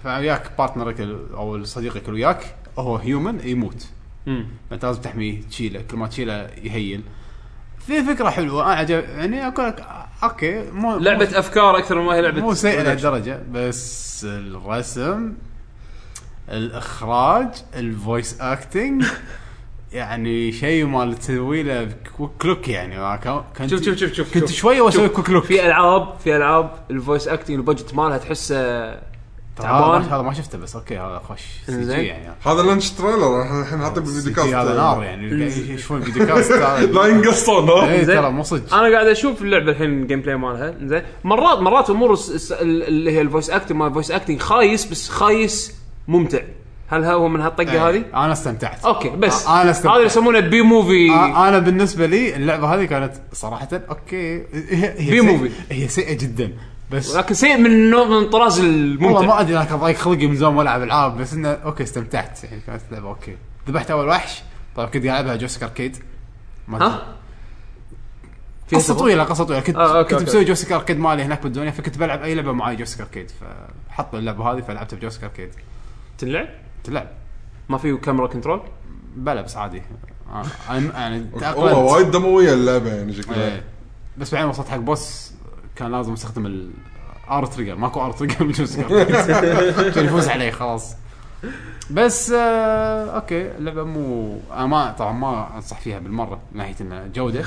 A: فعياك بارتنرك ال- او صديقك اللي وياك هو هيومن يموت
C: مم.
A: فانت يعني لازم تحميه تشيله كل ما تشيله يهيل في فكره حلوه انا عجب يعني اقول لك آه، اوكي مو
C: لعبه افكار اكثر ما هي لعبه
A: مو سيء (laughs)
C: production.
A: لهالدرجه بس الرسم الاخراج الفويس اكتنج يعني شيء مال تسوي له كلوك يعني ما كان- كنت
C: شوف شوف شوف شوف
A: كنت
C: شوف.
A: شويه واسوي
C: شوف.
A: كوكلوك
C: في العاب في العاب الفويس اكتنج البادجت مالها تحسه
A: ترى هذا ما-
C: تعبان
A: هذا ما شفته بس اوكي هذا خوش سي جي
C: إنزين.
A: يعني
B: هذا لانش تريلر احنا الحين حاطين
A: آه، سي
B: بالفيديو
A: جي
B: كاست
A: هذا نار يعني يشوفون فيديو كاست
B: (laughs) لا ينقصون ها؟
A: إيه،
C: إنزين.
A: ترى مو صدق
C: انا قاعد اشوف اللعبه الحين الجيم بلاي مالها زين مرات مرات امور الس- الس- ال- اللي هي الفويس اكتنج مال الفويس اكتنج خايس بس خايس ممتع هل هو من هالطقه آه، هذه؟
A: انا استمتعت
C: اوكي بس
A: إيه. آه، أنا
C: هذا
A: استمتعت.
C: اللي يسمونه بي موفي
A: آه، انا بالنسبه لي اللعبه هذه كانت صراحه اوكي هي هي
C: بي
A: سيء-
C: موفي.
A: هي سيئه جدا بس
C: لكن سيء من نوع من طراز
A: والله
C: الممتع
A: ما ادري انا كان ضايق خلقي من زمان ما العب العاب بس انه اوكي استمتعت يعني كانت لعبه اوكي ذبحت اول وحش طيب كنت قاعد العبها جوستيك اركيد ما أدري.
C: ها؟ في
A: قصه
C: سبب؟
A: طويله قصه طويله كنت
C: آه، أوكي،
A: كنت
C: أوكي.
A: مسوي جوستيك اركيد مالي هناك بالدنيا فكنت بلعب اي لعبه معاي جوستيك اركيد فحط اللعبه هذه فلعبتها بجوستيك اركيد
C: تنلعب؟
A: تلعب
C: ما فيه كاميرا كنترول؟
A: بلا بس عادي آه، انا يعني
B: والله
A: تاقلمت
B: وايد دمويه اللعبه يعني شكلها
A: إيه. بس بعدين وصلت حق بوس كان لازم استخدم ال ار تريجر ماكو ار تريجر بجوستيك اركيد عشان يفوز عليه خلاص بس آه اوكي اللعبه مو انا ما طبعا ما انصح فيها بالمره من ناحيه انها جوده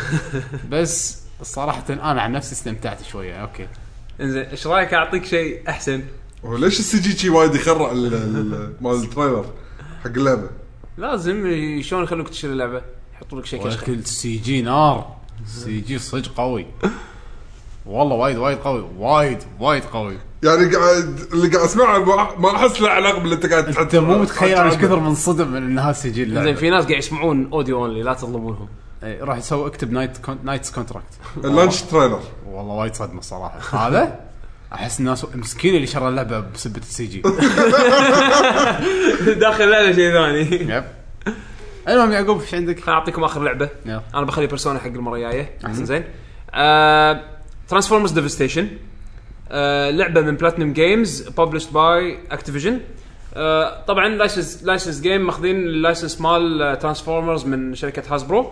A: بس صراحه انا عن نفسي استمتعت شويه اوكي
C: انزين ايش رايك اعطيك شيء احسن؟
B: هو ليش السي جي شي وايد يخرع ال- ال- مال التريلر حق اللعبه
C: لازم شلون يخلوك تشتري اللعبه؟ يحطوا لك شيء كشخه
A: ولكن سي جي نار سي جي صدق قوي والله وايد وايد قوي وايد وايد قوي
B: يعني قاعد اللي قاعد اسمعه ما- ما احس له علاقه باللي انت قاعد
A: انت مو متخيل انا ايش كثر منصدم من انها سي جي
C: زين
A: اللعبه
C: في ناس قاعد يسمعون اوديو اونلي لا تظلمونهم
A: إيه، راح يسوي اكتب نايت كون... نايتس كونتراكت (laughs)
B: اللانش تريلر
A: والله وايد صدمه الصراحه هذا احس الناس مسكين اللي شرى اللعبه بسبه السي جي
C: داخل لعبه شيء ثاني
A: (laughs) يب (laughs) المهم يعقوب ايش عندك؟
C: خليني اعطيكم اخر لعبه
A: يلا.
C: انا بخلي بيرسونا حق المره الجايه احسن زين آه، ترانسفورمرز ديفستيشن آه، لعبه من بلاتنم جيمز ببلشد باي اكتيفيجن طبعا لايسنس لايسنس جيم ماخذين اللايسنس مال ترانسفورمرز من شركه هاسبرو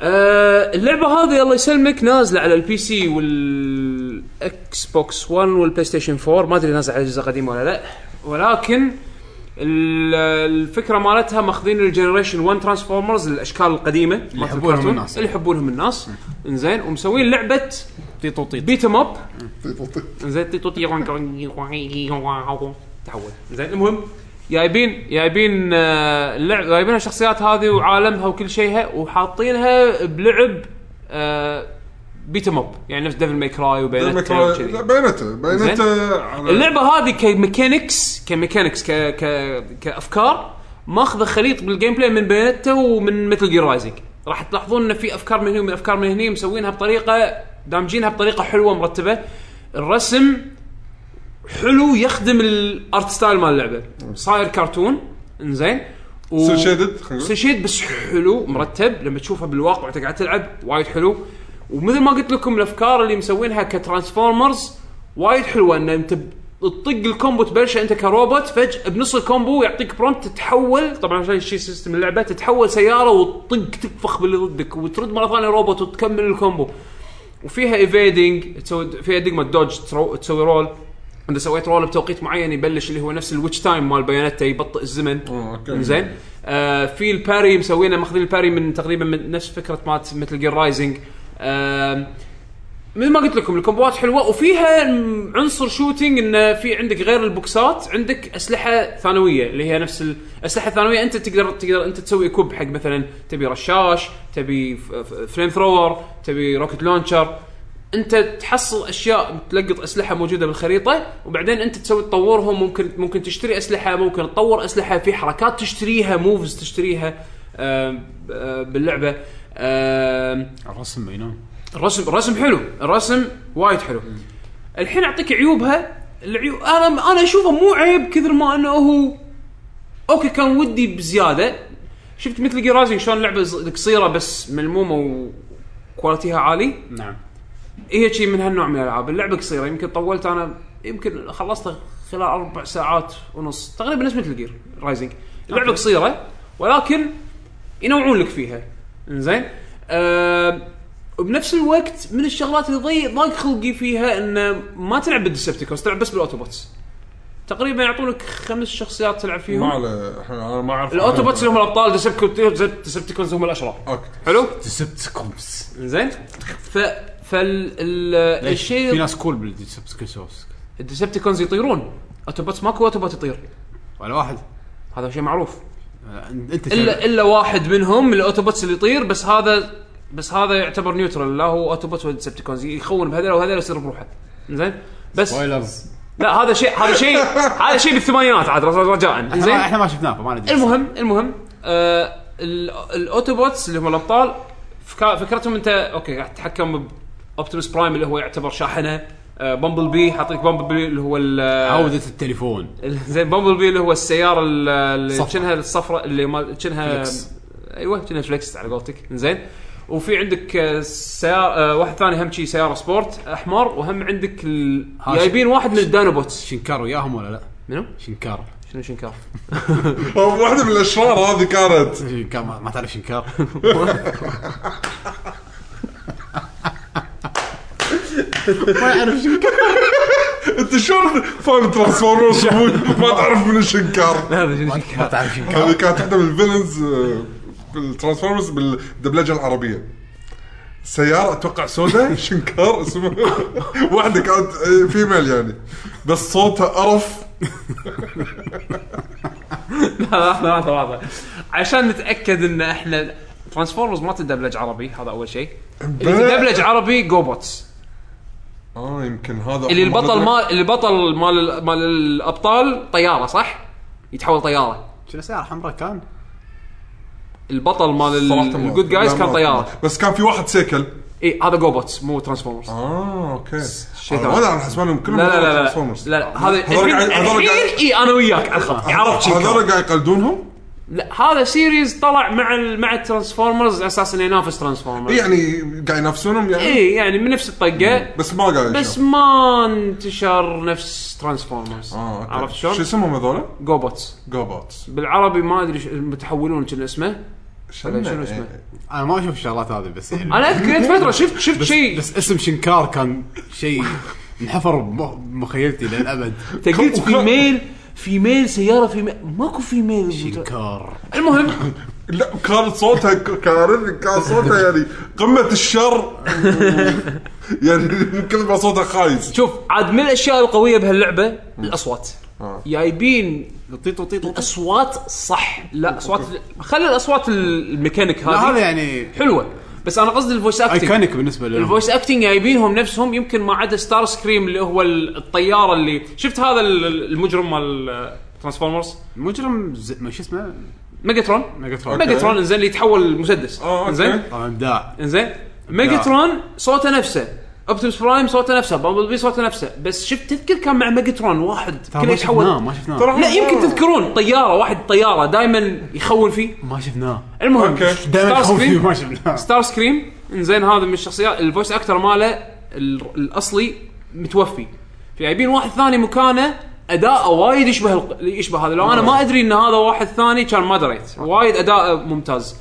C: آه، اللعبه هذه الله يسلمك نازله على البي سي والاكس بوكس 1 والبلاي ستيشن 4 ما ادري نازله على اجهزه قديمه ولا لا ولكن ال- الفكره مالتها ماخذين الجنريشن 1 ترانسفورمرز الاشكال القديمه مالت
A: يحبونهم
C: الكرتون،
A: الناس.
C: اللي يحبونهم الناس انزين ومسوين لعبه
A: طيط وطيط
C: بيت ام اب
B: طيب.
C: زين تطير تحول زين المهم جايبين جايبين آه، اللعب جايبين الشخصيات هذه وعالمها وكل شيها وحاطينها بلعب آه، بيت ام اب يعني نفس ديفل ماي كراي وبياناتا وكذي.
B: لا، بينته بينته على-
C: اللعبه هذه كميكانكس كميكانكس ك... ك... كافكار ماخذه خليط بالجيم بلاي من بينتا ومن مثل جير رايزنج راح تلاحظون ان في افكار من هنا ومن افكار من هنا مسوينها بطريقه دامجينها بطريقه حلوه مرتبه الرسم حلو يخدم الارت ستايل مال اللعبه صاير كرتون انزين و...
B: Cel shaded، خلينا نقول.
C: سل شيد بس حلو مرتب لما تشوفها بالواقع وانت قاعد تلعب وايد حلو ومثل ما قلت لكم الافكار اللي مسوينها كترانسفورمرز وايد حلوه ان انت ب- تطق الكومبو تبلشه انت كروبوت فجاه بنص الكومبو يعطيك برومت تتحول طبعا عشان شيء سيستم اللعبه تتحول سياره وتطق تنفخ باللي ضدك وترد مره ثانيه روبوت وتكمل الكومبو وفيها ايفيدنج تسوي فيها دقمه دوج ترو- تسوي رول اذا سويت رول بتوقيت معين يبلش اللي هو نفس الويتش تايم مال بايونيتا يبطئ الزمن
B: آه، أوكي.
C: زين آه في الباري مسوينا ماخذين الباري من تقريبا من نفس فكره مات مثل جير رايزنج آه مثل ما قلت لكم الكومبوات حلوه وفيها م- عنصر شوتينج انه في عندك غير البوكسات عندك اسلحه ثانويه اللي هي نفس الاسلحه الثانويه انت تقدر تقدر انت تسوي كوب حق مثلا تبي رشاش تبي ف- ف- فليم ثروور تبي روكت لونشر انت تحصل اشياء تلقط اسلحه موجوده بالخريطه وبعدين انت تسوي تطورهم ممكن ممكن تشتري اسلحه ممكن تطور اسلحه في حركات تشتريها موفز تشتريها آم، آه، باللعبه آم،
A: الرسم بينهم
C: الرسم الرسم حلو الرسم وايد حلو الحين اعطيك عيوبها العيوب انا انا اشوفه مو عيب كثر ما انه هو اوكي كان ودي بزياده شفت مثل جيرازي شلون لعبه ز- قصيره بس ملمومه وكواليتيها عالي
A: نعم
C: هي شيء من هالنوع من الالعاب اللعبه قصيره يمكن طولت انا يمكن خلصتها خلال اربع ساعات ونص تقريبا نفس مثل جير رايزنج اللعبه قصيره ولكن ينوعون لك فيها زين أه وبنفس الوقت من الشغلات اللي ضي- ضاق خلقي فيها انه ما تلعب بالديسبتيكونز تلعب بس بالاوتوبوتس تقريبا يعطونك خمس شخصيات تلعب
B: ما
C: فيهم
B: على إحنا- انا ما اعرف
C: الاوتوبوتس اللي هم الابطال ديسبتيكونز ديسبتيكونز هم الاشرار
B: اوكي
C: حلو
A: ديسبتيكونز
C: زين ف فال ال- الشيء
A: في ناس كول بالديسبتيكونز
C: الديسبتيكونز يطيرون اوتوبوتس ماكو اوتوبوت يطير
A: ولا واحد
C: هذا شيء معروف يعني
A: آه، انت
C: الا الا واحد منهم من الاوتوبوتس اللي يطير بس هذا بس هذا يعتبر نيوترال لا هو اوتوبوت ولا ديسبتيكونز يخون بهذول وهذول يصير بروحه زين بس
A: سبويلرز
C: لا هذا شيء هذا شيء هذا شيء بالثمانينات عاد رجاء
A: زين (laughs)
C: زين
A: احنا ما شفناه فما ندري
C: المهم المهم آه ال- الاوتوبوتس اللي هم الابطال فكا- فكرتهم انت اوكي قاعد تتحكم باوبتيموس برايم اللي هو يعتبر شاحنه آه بامبل بي حاطيك بامبل بي اللي هو ال-
A: عودة التليفون
C: زين بامبل بي اللي هو السياره ال- اللي
A: صفرا.
C: شنها الصفراء اللي ما شنها
A: فليكس.
C: ايوه شنها فليكس على قولتك زين وفي عندك آه، سيارة آه، واحد ثاني هم شي سياره سبورت احمر وهم عندك ال...
A: ها،
C: جايبين واحد من الدانوبوتس
A: شنكار وياهم ولا لا؟
C: منو؟
A: شنكار
C: شنو شنكار؟
B: هو واحده من الاشرار هذه كانت
A: شنكار ما ما تعرف شنكار ما يعرف شنكار
B: انت شلون
C: (laughs)
B: فاهم ترانسفورمرز ومو- ما تعرف من شنكار
C: (laughs) هذا شنو
A: ما تعرف شنكار
B: هذه كانت واحده من الفيلنز آه، بالترانسفورمرز بالدبلجه العربيه سيارة اتوقع (laughs) سوداء شنكار اسمه واحدة كانت آه، فيميل يعني بس صوتها قرف
C: (laughs) لحظه لحظه لحظه عشان نتاكد ان احنا ترانسفورمرز ما تدبلج عربي هذا اول شيء اللي
B: إيه.
C: تدبلج عربي جوبوتس
B: اه يمكن هذا
C: اللي البطل ما اللي البطل مال ال- مال الابطال طياره صح؟ يتحول طياره
A: شنو سيارة حمراء كان؟
C: البطل مال
B: صراحة ما-
C: الجود
B: لا،
C: جايز
B: ما
C: كان
B: أذكر.
C: طياره
B: بس كان في واحد سيكل
C: اي هذا جوبوتس مو ترانسفورمرز لا
B: اه اوكي
C: شيء
B: انا
C: ثاني.
B: ولا على حسبانهم كلهم
C: لا لا لا
B: Transformers.
C: لا, لا هذا إيه،
B: هذول
C: الحين
B: قاعد- هذول قاعد-
C: الحين اي انا وياك على الخط عرفت شنو
B: هذول قاعد يقلدونهم
C: لا هذا سيريز طلع مع ال- مع الترانسفورمرز على اساس انه ينافس
B: إي
C: ترانسفورمرز
B: يعني قاعد ينافسونهم يعني
C: اي يعني من نفس الطقه
B: بس ما قاعد
C: بس ما انتشر نفس ترانسفورمرز
B: آه، أوكي.
C: عرفت
B: شو
C: شلون؟
B: اسمهم هذول؟
C: جوبوتس
B: جوبوتس
C: بالعربي ما ادري شو- المتحولون كان اسمه ولا شنو اسمه؟
D: انا ما اشوف الشغلات هذه بس يعني
C: انا اذكر قبل فتره شفت شفت شيء
D: بس اسم شنكار كان شيء انحفر بمخ- بمخيلتي للابد
C: تقلت في ميل في ميل سياره في ميل ماكو في ميل
D: شنكار
C: المهم
B: لا كان صوتها ك- كارثي كان صوتها يعني قمه الشر
C: (laughs)
B: يعني من كثر ما صوتها خايس
C: شوف عاد من الاشياء القويه بهاللعبه الاصوات
B: آه.
C: جايبين
D: طيط وطيط وطيط.
C: اصوات صح لا اصوات خلي الاصوات الميكانيك
D: لا
C: هذه
D: هذا يعني
C: حلوه بس انا قصدي الفويس اكتنج
D: ايكونيك بالنسبه لهم
C: الفويس اكتنج جايبينهم نفسهم يمكن ما عدا ستار سكريم اللي هو ال- الطياره اللي شفت هذا ال- ال- المجرم مال ترانسفورمرز
D: المجرم ز- ما شو اسمه
C: ميجاترون
D: ميجاترون
C: ميجاترون انزين اللي يتحول المسدس
B: آه، أوكي.
C: انزين
D: طبعا ابداع
C: انزين ميجاترون صوته نفسه اوبتيمس برايم صوته نفسه بامبل بي صوته نفسه بس شفت تذكر كان مع ميجاترون واحد
D: ترى
C: كله
D: ما شفناه
C: يتحول
D: ما شفناه
B: ترى
C: لا يمكن
B: آه.
C: تذكرون طياره واحد طياره دائما يخون فيه
D: ما شفناه
C: المهم
B: أوكي.
D: دائما
C: ستار
D: خوفي
C: سكريم
D: ما شفناه
C: ستار سكريم انزين هذا من الشخصيات الفويس اكتر ماله ال- الاصلي متوفي فجايبين واحد ثاني مكانه اداءه وايد يشبه الق- يشبه هذا لو انا ما ادري ان هذا واحد ثاني كان ما دريت وايد اداءه ممتاز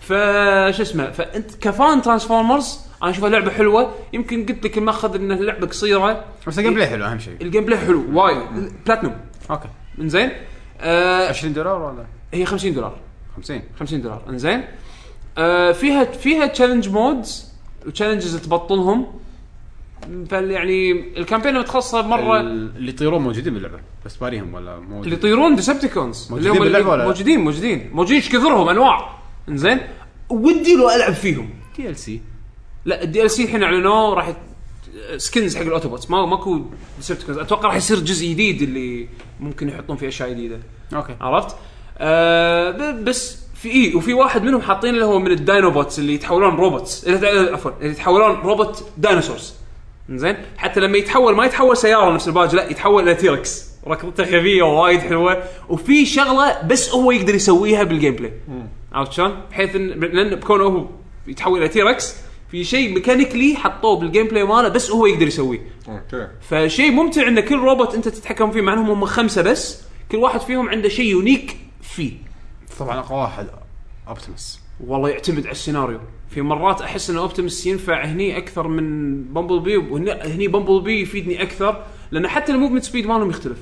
C: فش اسمه فانت كفان ترانسفورمرز انا اشوفها لعبه حلوه يمكن قلت لك الماخذ ان اللعبه قصيره
D: بس الجيم بلاي حلو اهم شيء
C: الجيم بلاي حلو وايد بلاتنوم
D: اوكي
C: انزين آه
D: 20 دولار ولا
C: هي 50 دولار
D: 50
C: 50 دولار انزين آه فيها فيها تشالنج مودز وتشالنجز تبطلهم فال يعني الكامبين متخصصه مره ال...
D: ال- اللي يطيرون موجودين باللعبه بس باريهم ولا مو
C: اللي يطيرون ديسبتيكونز
D: موجودين باللعبة ولا لا؟
C: موجودين موجودين موجودين ايش كثرهم انواع انزين ودي لو العب فيهم
D: دي ال سي
C: لا الدي ال سي الحين اعلنوه راح يت... سكنز حق الاوتوبوتس ما ماكو ديسبتيكونز اتوقع راح يصير جزء جديد اللي ممكن يحطون فيه اشياء جديده
D: اوكي
C: عرفت؟ آه ب- بس في اي وفي واحد منهم حاطين اللي هو من الداينوبوتس اللي يتحولون روبوتس اللي يتع- عفوا اللي يتحولون روبوت داينوسورز زين حتى لما يتحول ما يتحول سياره نفس الباج لا يتحول الى تيركس ركضته خفيه وايد حلوه وفي شغله بس هو يقدر يسويها بالجيم بلاي عرفت شلون؟ بحيث ان لان بكونه هو يتحول الى تيركس في شيء ميكانيكلي حطوه بالجيم بلاي ماله بس هو يقدر يسويه
B: اوكي
C: فشيء ممتع ان كل روبوت انت تتحكم فيه مع انهم هم خمسه بس كل واحد فيهم عنده شيء يونيك فيه
D: طبعا اقوى واحد اوبتيمس
C: والله يعتمد على السيناريو في مرات احس ان اوبتيمس ينفع هني اكثر من بامبل بي وهنا هني بامبل بي يفيدني اكثر لان حتى الموفمنت سبيد مالهم يختلف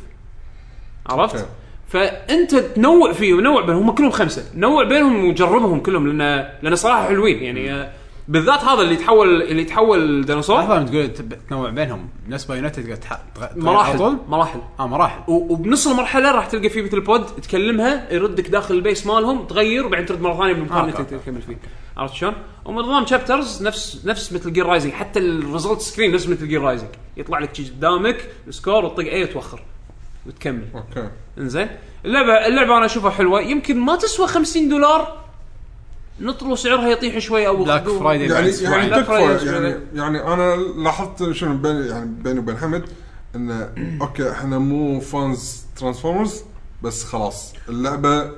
C: عرفت؟
B: أوكي.
C: فانت تنوع فيهم نوع بينهم هم كلهم خمسه نوع بينهم وجربهم كلهم لان لان صراحه حلوين يعني آه، بالذات هذا اللي يتحول اللي يتحول ديناصور
D: لحظه تقول تب- تنوع بينهم نفس بايونيتا تقدر تح- تغ- تغير على
C: مراحل
D: طول
C: مراحل
D: اه مراحل
C: و- وبنص المرحله راح تلقى فيه مثل بود تكلمها يردك داخل البيس مالهم تغير وبعدين ترد مره ثانيه بالمكان اللي
D: آه، أوكي،
C: تقدر تكمل فيه عرفت شلون؟ ونظام شابترز نفس نفس مثل جير رايزنج حتى الريزلت سكرين نفس مثل جير رايزنج يطلع لك شي قدامك سكور وتطق اي توخر وتكمل
B: اوكي
C: انزين اللعبه اللعبه انا اشوفها حلوه يمكن ما تسوى 50 دولار نطروا سعرها يطيح شوي او
D: بلاك
C: خذوه.
D: فرايداي
B: يعني يعني
C: لا
B: تكفى
C: فرايز
B: يعني,
C: ولا-
B: يعني انا لاحظت شنو بين يعني بيني وبين حمد انه
C: (clears throat)
B: اوكي احنا مو فانز ترانسفورمرز بس خلاص اللعبه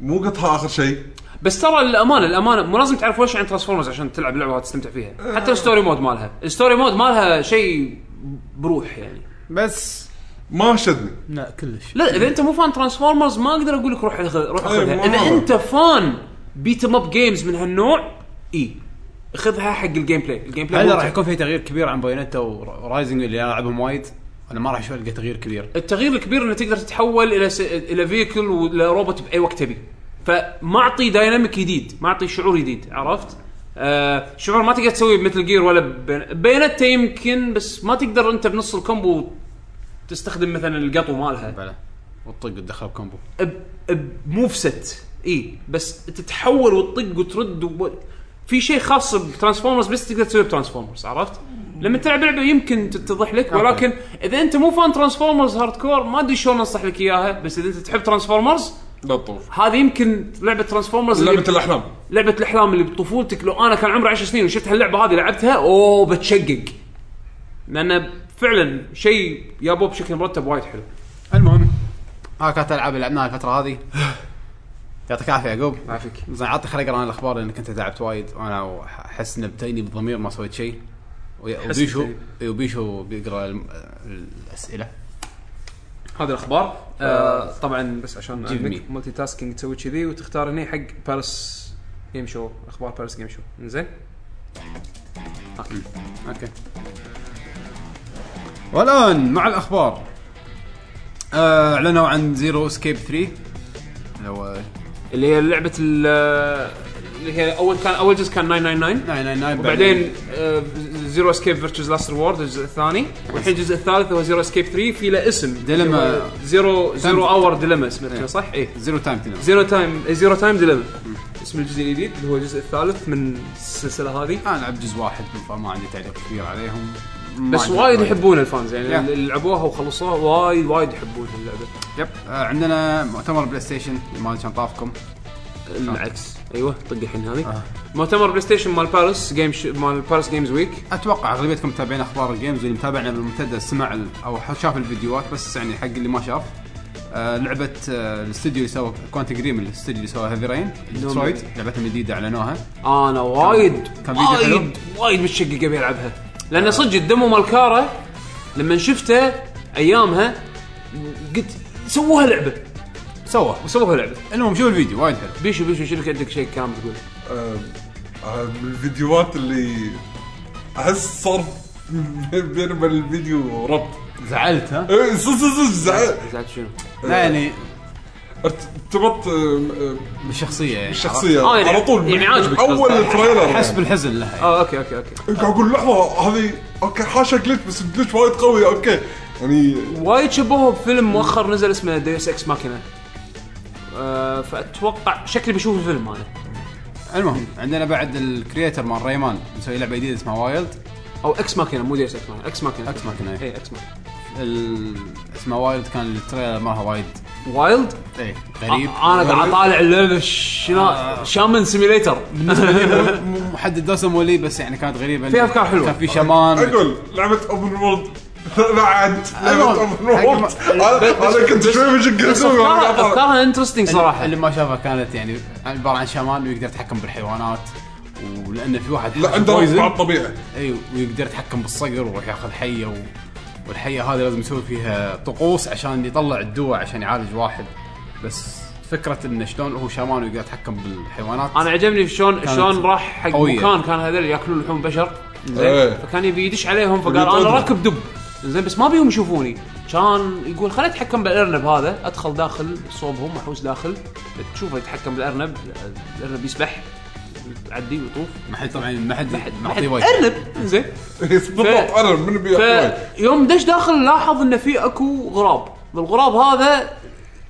B: مو قطها اخر شيء
C: بس ترى الامانه الامانه مو لازم تعرف وش عن ترانسفورمرز عشان تلعب لعبه تستمتع فيها حتى الستوري مود مالها الستوري مود مالها شيء بروح يعني
D: بس
B: ما شدني
D: لا كلش
C: لا اذا انت مو فان ترانسفورمرز ما اقدر اقول لك روح أخذ- روح
B: أي، مو
C: اخذها اذا
B: مرة.
C: انت فان بيت ام اب جيمز من هالنوع اي خذها حق الجيم بلاي الجيم بلاي
D: هل
C: ممتع.
D: راح يكون في تغيير كبير عن بايونيتا ورايزنج اللي انا العبهم وايد انا ما راح اشوف القى تغيير كبير
C: التغيير الكبير انه تقدر تتحول الى س... الى فيكل ولا روبوت باي وقت تبي فما اعطي دايناميك جديد ما اعطي شعور جديد عرفت آه شعور ما تقدر تسويه بمثل جير ولا بينت يمكن بس ما تقدر انت بنص الكومبو تستخدم مثلا القطو مالها
D: بلا والطق والدخل كومبو
C: ب- بموف ست اي بس تتحول وتطق وترد و... في شيء خاص بترانسفورمرز بس تقدر تسويه بترانسفورمرز عرفت؟ لما تلعب لعبه يمكن تتضح لك ولكن اذا انت مو فان ترانسفورمرز هاردكور ما ادري شلون انصح لك اياها بس اذا انت تحب ترانسفورمرز
B: لا تطوف
C: هذه يمكن لعبه ترانسفورمرز اللي-
B: لعبه الاحلام
C: لعبه الاحلام اللي بطفولتك لو انا كان عمري 10 سنين وشفت هاللعبه هذه لعبتها اوه بتشقق لان فعلا شيء جابوه بشكل مرتب وايد حلو
D: المهم ها كانت العاب اللي لعبناها الفتره هذه
A: يعطيك العافيه يعقوب
C: يعافيك
A: زين عطي خليني اقرا انا الاخبار لانك انت تعبت وايد وانا احس ان بتأني بالضمير ما سويت شيء وي-
C: حس
A: وبيشو
C: بتأنيب.
A: إي، وبيشو بيقرا الم- الاسئله
C: هذه الاخبار آه طبعا بس عشان
A: جيب
C: عندك
A: مي.
C: ملتي تاسكينج تسوي كذي وتختار هنا حق باريس جيم شو اخبار باريس جيم شو زين
A: اوكي والان مع الاخبار آه، اعلنوا عن زيرو اسكيب 3 اللي هو
C: اللي هي لعبه ال- اللي هي اول كان اول جزء كان 999
A: 999
C: وبعدين آه، زيرو اسكيب فيرتشز لاست ريورد الجزء الثاني والحين الجزء الثالث هو زيرو اسكيب 3 في له اسم
A: ديليما.
C: زيرو زيرو اور ديليما اسمه كذا،
A: إيه.
C: صح؟ اي
A: زيرو تايم تنزل
C: زيرو تايم زيرو تايم ديليما اسم الجزء الجديد اللي هو الجزء الثالث من السلسله هذه
A: انا لعبت آه، جزء واحد فما عندي تعليق كبير عليهم ما
C: بس
A: عندي
C: وايد
A: تعليق.
C: يحبون الفانز يعني
A: Yeah.
C: اللي لعبوها وخلصوها وايد وايد يحبون اللعبه
A: يب آه، عندنا مؤتمر بلاي ستيشن ما كان طافكم
C: العكس ايوه طق الحين
A: آه.
C: هذه مؤتمر بلاي ستيشن مال باريس جيم ش... مال باريس جيمز ويك
A: اتوقع اغلبيتكم متابعين اخبار الجيمز واللي متابعنا بالممتدة سمع ال- او ح- شاف الفيديوهات بس يعني حق اللي ما شاف آه لعبه آه الاستوديو اللي سوى كوانت دريم الاستوديو اللي سوى هيفي رين ديترويت لعبتهم الجديده اعلنوها
C: انا وايد
A: كان فيديو حلو؟
C: وايد وايد متشقق ابي العبها لان صدق الدمو مال كارا لما شفته ايامها قلت سووها لعبه
A: سوى
C: وسووها لعبه
A: المهم شوف الفيديو وايد حلو
C: بيشو بيشو شنو عندك شيء كلام تقول
B: آه، آه، من الفيديوهات اللي احس صار (laughs) بين وبين الفيديو ربط
A: زعلت ها؟
B: إيه، صدق صدق صدق زعل
C: زعلت شنو؟
A: لا يعني
B: ارتبط آه،
A: بالشخصيه يعني
B: بالشخصيه
C: آه، يعني-
B: على طول
C: يعني عاجبك
B: اول
C: قصدك.
B: تريلر
A: حس
B: يعني.
A: بالحزن لها يعني.
C: اه اوكي اوكي اوكي
B: قاعد اقول لحظه هذه اوكي حاشا جلتش بس جلتش وايد قوي اوكي يعني
C: وايد شبهه بفيلم مؤخر نزل اسمه ديوس اكس ماكينه آه فاتوقع شكلي بشوف الفيلم انا
A: المهم عندنا بعد الكريتر مال ريمان مسوي لعبه جديده اسمها وايلد
C: او اكس ماكينه مو ديوس اكس ماكينه اكس ماكينه
A: اكس ماكينه
C: اي اكس ماكينه
A: ال- اسمها وايلد كان التريلر مالها وايد
C: وايد
A: ايه غريب
C: آه، انا قاعد اطالع اللعبه شنا شامن سيميليتر
A: مو محدد دوسم ولي بس يعني كانت غريبه
C: فيها أفكار حلوة.
A: كان في شمان
B: اقول لعبه اوبن وورلد (laughs) لا عاد لعبه
A: أيوة.
B: اوبن وورلد
A: حق-
B: انا أنا كنت شوي مشق اسوي وأنا قاعد أطالع.
C: افكارها انترستنج صراحه
A: اللي ما شافها كانت يعني عباره عن شمان ويقدر يتحكم بالحيوانات ولانه في واحد
B: لا عنده ربط مع (laughs) الطبيعه
A: اي ويقدر يتحكم بالصقر ويروح ياخذ حيه و... والحيه هذه لازم يسوي فيها طقوس عشان يطلع الدواء عشان يعالج واحد بس فكره انه شلون هو شامان ويقدر يتحكم بالحيوانات
C: انا عجبني شلون
A: كانت
C: شلون راح حق
A: قوية.
C: مكان كان هذول ياكلون لحوم بشر زين
B: إيه.
C: فكان يبي يدش عليهم فقال انا
B: ويطردهم.
C: راكب دب زين بس ما بيهم يشوفوني كان يقول خليني اتحكم بالارنب هذا ادخل داخل صوبهم احوس داخل تشوفه يتحكم بالارنب الارنب يسبح يعدي ويطوف
A: ما حد طبعا ما حد ما حد يبغى
C: ارنب زين
B: بالضبط انا من بي وايد.
C: فيوم دش داخل لاحظ انه في اكو غراب الغراب هذا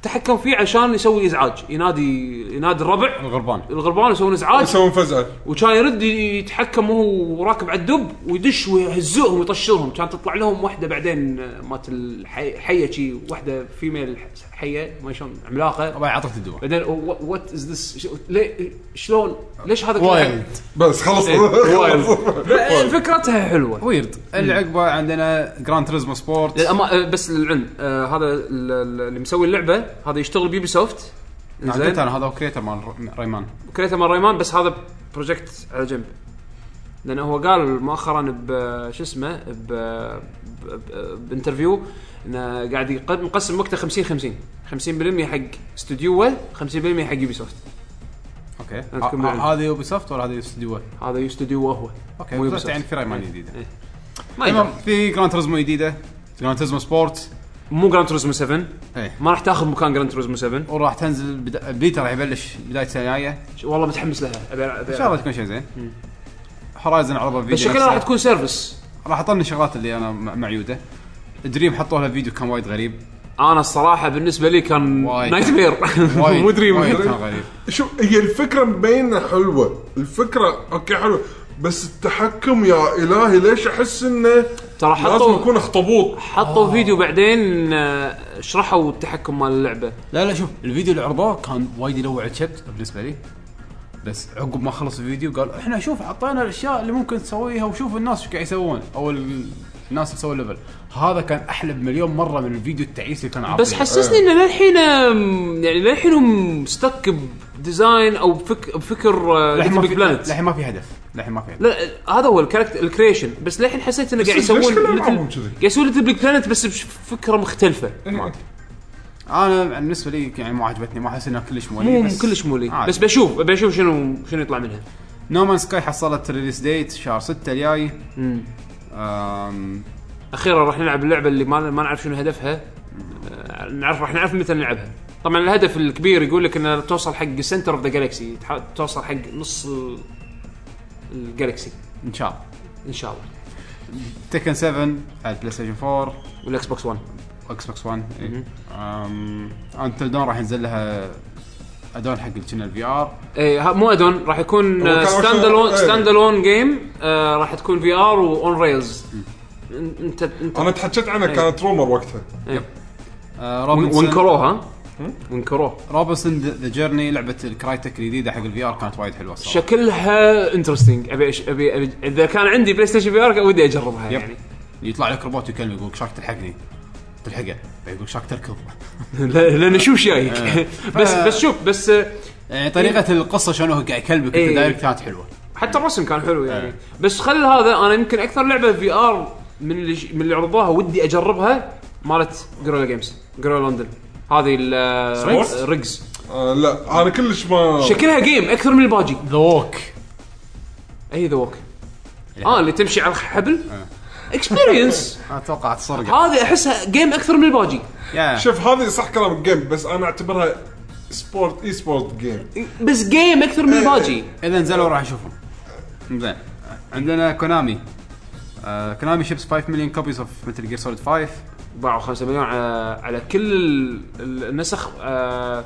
C: تحكم فيه عشان يسوي ازعاج ينادي ينادي الربع
A: الغربان
C: الغربان يسوون ازعاج
B: يسوون فزعه
C: وكان يرد يتحكم وهو راكب على الدب ويدش ويهزوهم ويطشرهم كان تطلع لهم واحده بعدين آه، مات الحي- حيه شي واحده فيميل حيه ما شلون عملاقه
A: طبعا عطت الدواء
C: بعدين "Oh, وات از ذس شلون ليش هذا كله
A: وايلد
B: بس خلص
C: (laughs) إيه،
B: (laughs)
C: حي- فكرتها حلوه
A: ويرد اللي عقبه عندنا جراند تريزمو سبورت
C: للأما... آه، بس للعلم آه هذا ال- ال- اللي مسوي اللعبه هذا يشتغل بيوبي سوفت
A: عدت
C: زين
A: انا هذا كريتر مال ريمان
C: كريته مال ريمان بس هذا بروجكت على جنب لانه هو قال مؤخرا ب شو اسمه ب ب- بانترفيو انه قاعد يقد- مقسم وقته 50 50 50% حق استوديوه 50% حق يوبي سوفت
A: اوكي
C: أنا تكمل.
A: ه- ه- آه، هذه يوبي سوفت ولا هذه استديو
C: هذا يستوديوه هو
A: اوكي
C: مو
A: يوبي
C: يوبي
A: سوفت يعني
C: سوفت.
A: في ريمان جديده
C: ما
A: تمام
C: يدري.
A: في جراند تريزمو جديده جراند تريزمو سبورت
C: مو جراند توريزمو 7
A: ايه
C: ما راح تاخذ مكان جراند توريزمو 7
A: وراح تنزل بدا... البيتا راح يبلش بدايه السنه الجايه ان
C: والله متحمس لها أبي ألعب-
A: شاء
C: أبي
A: الله
C: ألعب.
A: تكون شيء زين هورايزن عرضوا فيديو
C: بس شكلها
A: نفسه.
C: راح تكون سيرفس
A: راح اطلع الشغلات اللي انا م- معيوده دريم حطوا لها فيديو كان وايد غريب
C: انا الصراحه بالنسبه لي كان
A: وايد.
C: نايت مير
A: وايد
C: (laughs) مو دريم
A: وايد كان غريب
B: شوف هي الفكره مبينه حلوه الفكره اوكي حلوه بس التحكم يا الهي ليش احس انه
C: ترى
B: لازم
C: حطوا
B: يكون اخطبوط
A: آه.
C: حطوا فيديو بعدين آه، شرحوا التحكم مال اللعبه
A: لا لا شوف الفيديو اللي عرضوه كان وايد يلوع الشبت بالنسبه لي بس عقب ما خلص الفيديو قال احنا شوف عطينا الاشياء اللي ممكن تسويها وشوف الناس ايش قاعد يسوون او ال- الناس تسوي ليفل هذا كان احلى بمليون مره من الفيديو التعيس اللي كان عاطينه
C: بس حسسني ان للحين أم، يعني للحين هم ستك بديزاين او بفك بفكر آه،
A: للحين ما
C: Little Big
A: في
C: Planet.
A: للحين ما في هدف للحين ما في هدف
C: لا هذا هو الكاركتر الكريشن بس للحين حسيت انه قاعد
B: ليش
C: يسوون
B: كل
C: little-
B: ألعابهم كذي؟
C: قاعد يسوون ليتل بيج بلانت بس بفكره مختلفه
B: إيه.
A: انا بالنسبه لي يعني ما عجبتني ما احس انها كلش مولي
C: مو
A: بس
C: كلش مولي
A: عادي.
C: بس بشوف بشوف شنو شنو يطلع منها
A: نومان سكاي حصلت ريليس ديت شهر 6 الجاي أم،
C: اخيرا راح نلعب اللعبه اللي ما ما نعرف شنو هدفها آه، نعرف راح نعرف متى نلعبها طبعا الهدف الكبير يقول لك انها توصل حق سنتر اوف ذا جالكسي توصل حق نص ال- الجالكسي
A: ان شاء الله
C: ان شاء الله
A: تكن 7 على البلاي ستيشن 4
C: والاكس بوكس 1
A: واكس بوكس 1 انتل آه، دون راح ينزل لها ادون حق كنا الفي ار
C: اي إيه، ها- مو ادون راح يكون آه،
B: هو كان
C: ستاند
B: وشو-
C: الون
B: إيه.
C: ستاند الون جيم آه، راح تكون في ار واون ريلز انت انت
B: انا تحكيت عنها
C: إيه.
B: كانت رومر وقتها
A: آه، روبنسون
C: وانكروها وانكروه
A: روبنسون ذا جيرني لعبه الكرايتك الجديده حق الفي ار كانت وايد حلوه صراحه
C: شكلها انترستنج ابي أش- ابي أبي- اذا كان عندي بلاي ستيشن في ار كان ودي اجربها
A: يب.
C: يعني (laughs)
A: يطلع لك روبوت يكلمه يقول لك شاك تلحقني تلحقه يقول شاك
C: (laughs)
A: تركض
C: لا- لان شو شايك
B: إيه.
C: (laughs) بس
A: ف-
C: بس شوف بس آه،
A: يعني طريقه القصه شلون هو قاعد يكلمك
C: إيه.
A: في الدايركت كانت حلوه
C: حتى الرسم كان حلو يعني بس خل هذا انا يمكن اكثر لعبه في ار من اللي ش- من اللي عرضوها ودي اجربها مالت جوريلا جيمز جوريلا لندن هذه ال- آه،
B: Swords؟
C: ريجز- ريجز
B: آه لا انا كلش ما
C: شكلها جيم اكثر من الباجي
A: ذا ووك
C: اي ذا ووك اه اللي تمشي على الحبل اكسبيرينس
A: اتوقع تسرقه
C: هذه احسها جيم اكثر من الباجي
A: يا
B: شوف هذه صح كلامك جيم بس انا اعتبرها سبورت اي سبورت جيم
C: بس جيم اكثر من الباجي
A: اذا نزلوا راح اشوفهم زين عندنا كونامي آه، كونامي شيبس 5 مليون كوبيز اوف متل جير سوليد 5
C: باعوا 5 مليون على, على كل ال- النسخ آه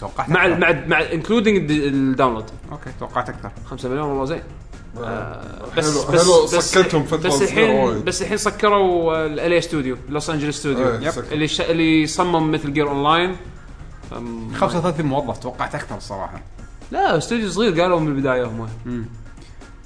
A: توقعت
C: مع
A: أكثر.
C: ال- مع ال- مع انكلودنج الداونلود
A: اوكي توقعت اكثر
C: 5 مليون والله زين آه،
B: آه،
C: بس
B: حلو-
C: بس
B: حلو،
C: بس
B: سكتهم فترة
C: بس
B: صغيرة
C: الحين
B: وايد.
C: بس الحين سكروا آه، الالي ستوديو لوس انجلس ستوديو
B: إيه،
A: يب.
B: سكر.
C: اللي ش... اللي صمم مثل جير اونلاين
A: 35 موظف توقعت اكثر الصراحه
C: لا استوديو صغير قالوا من البدايه هم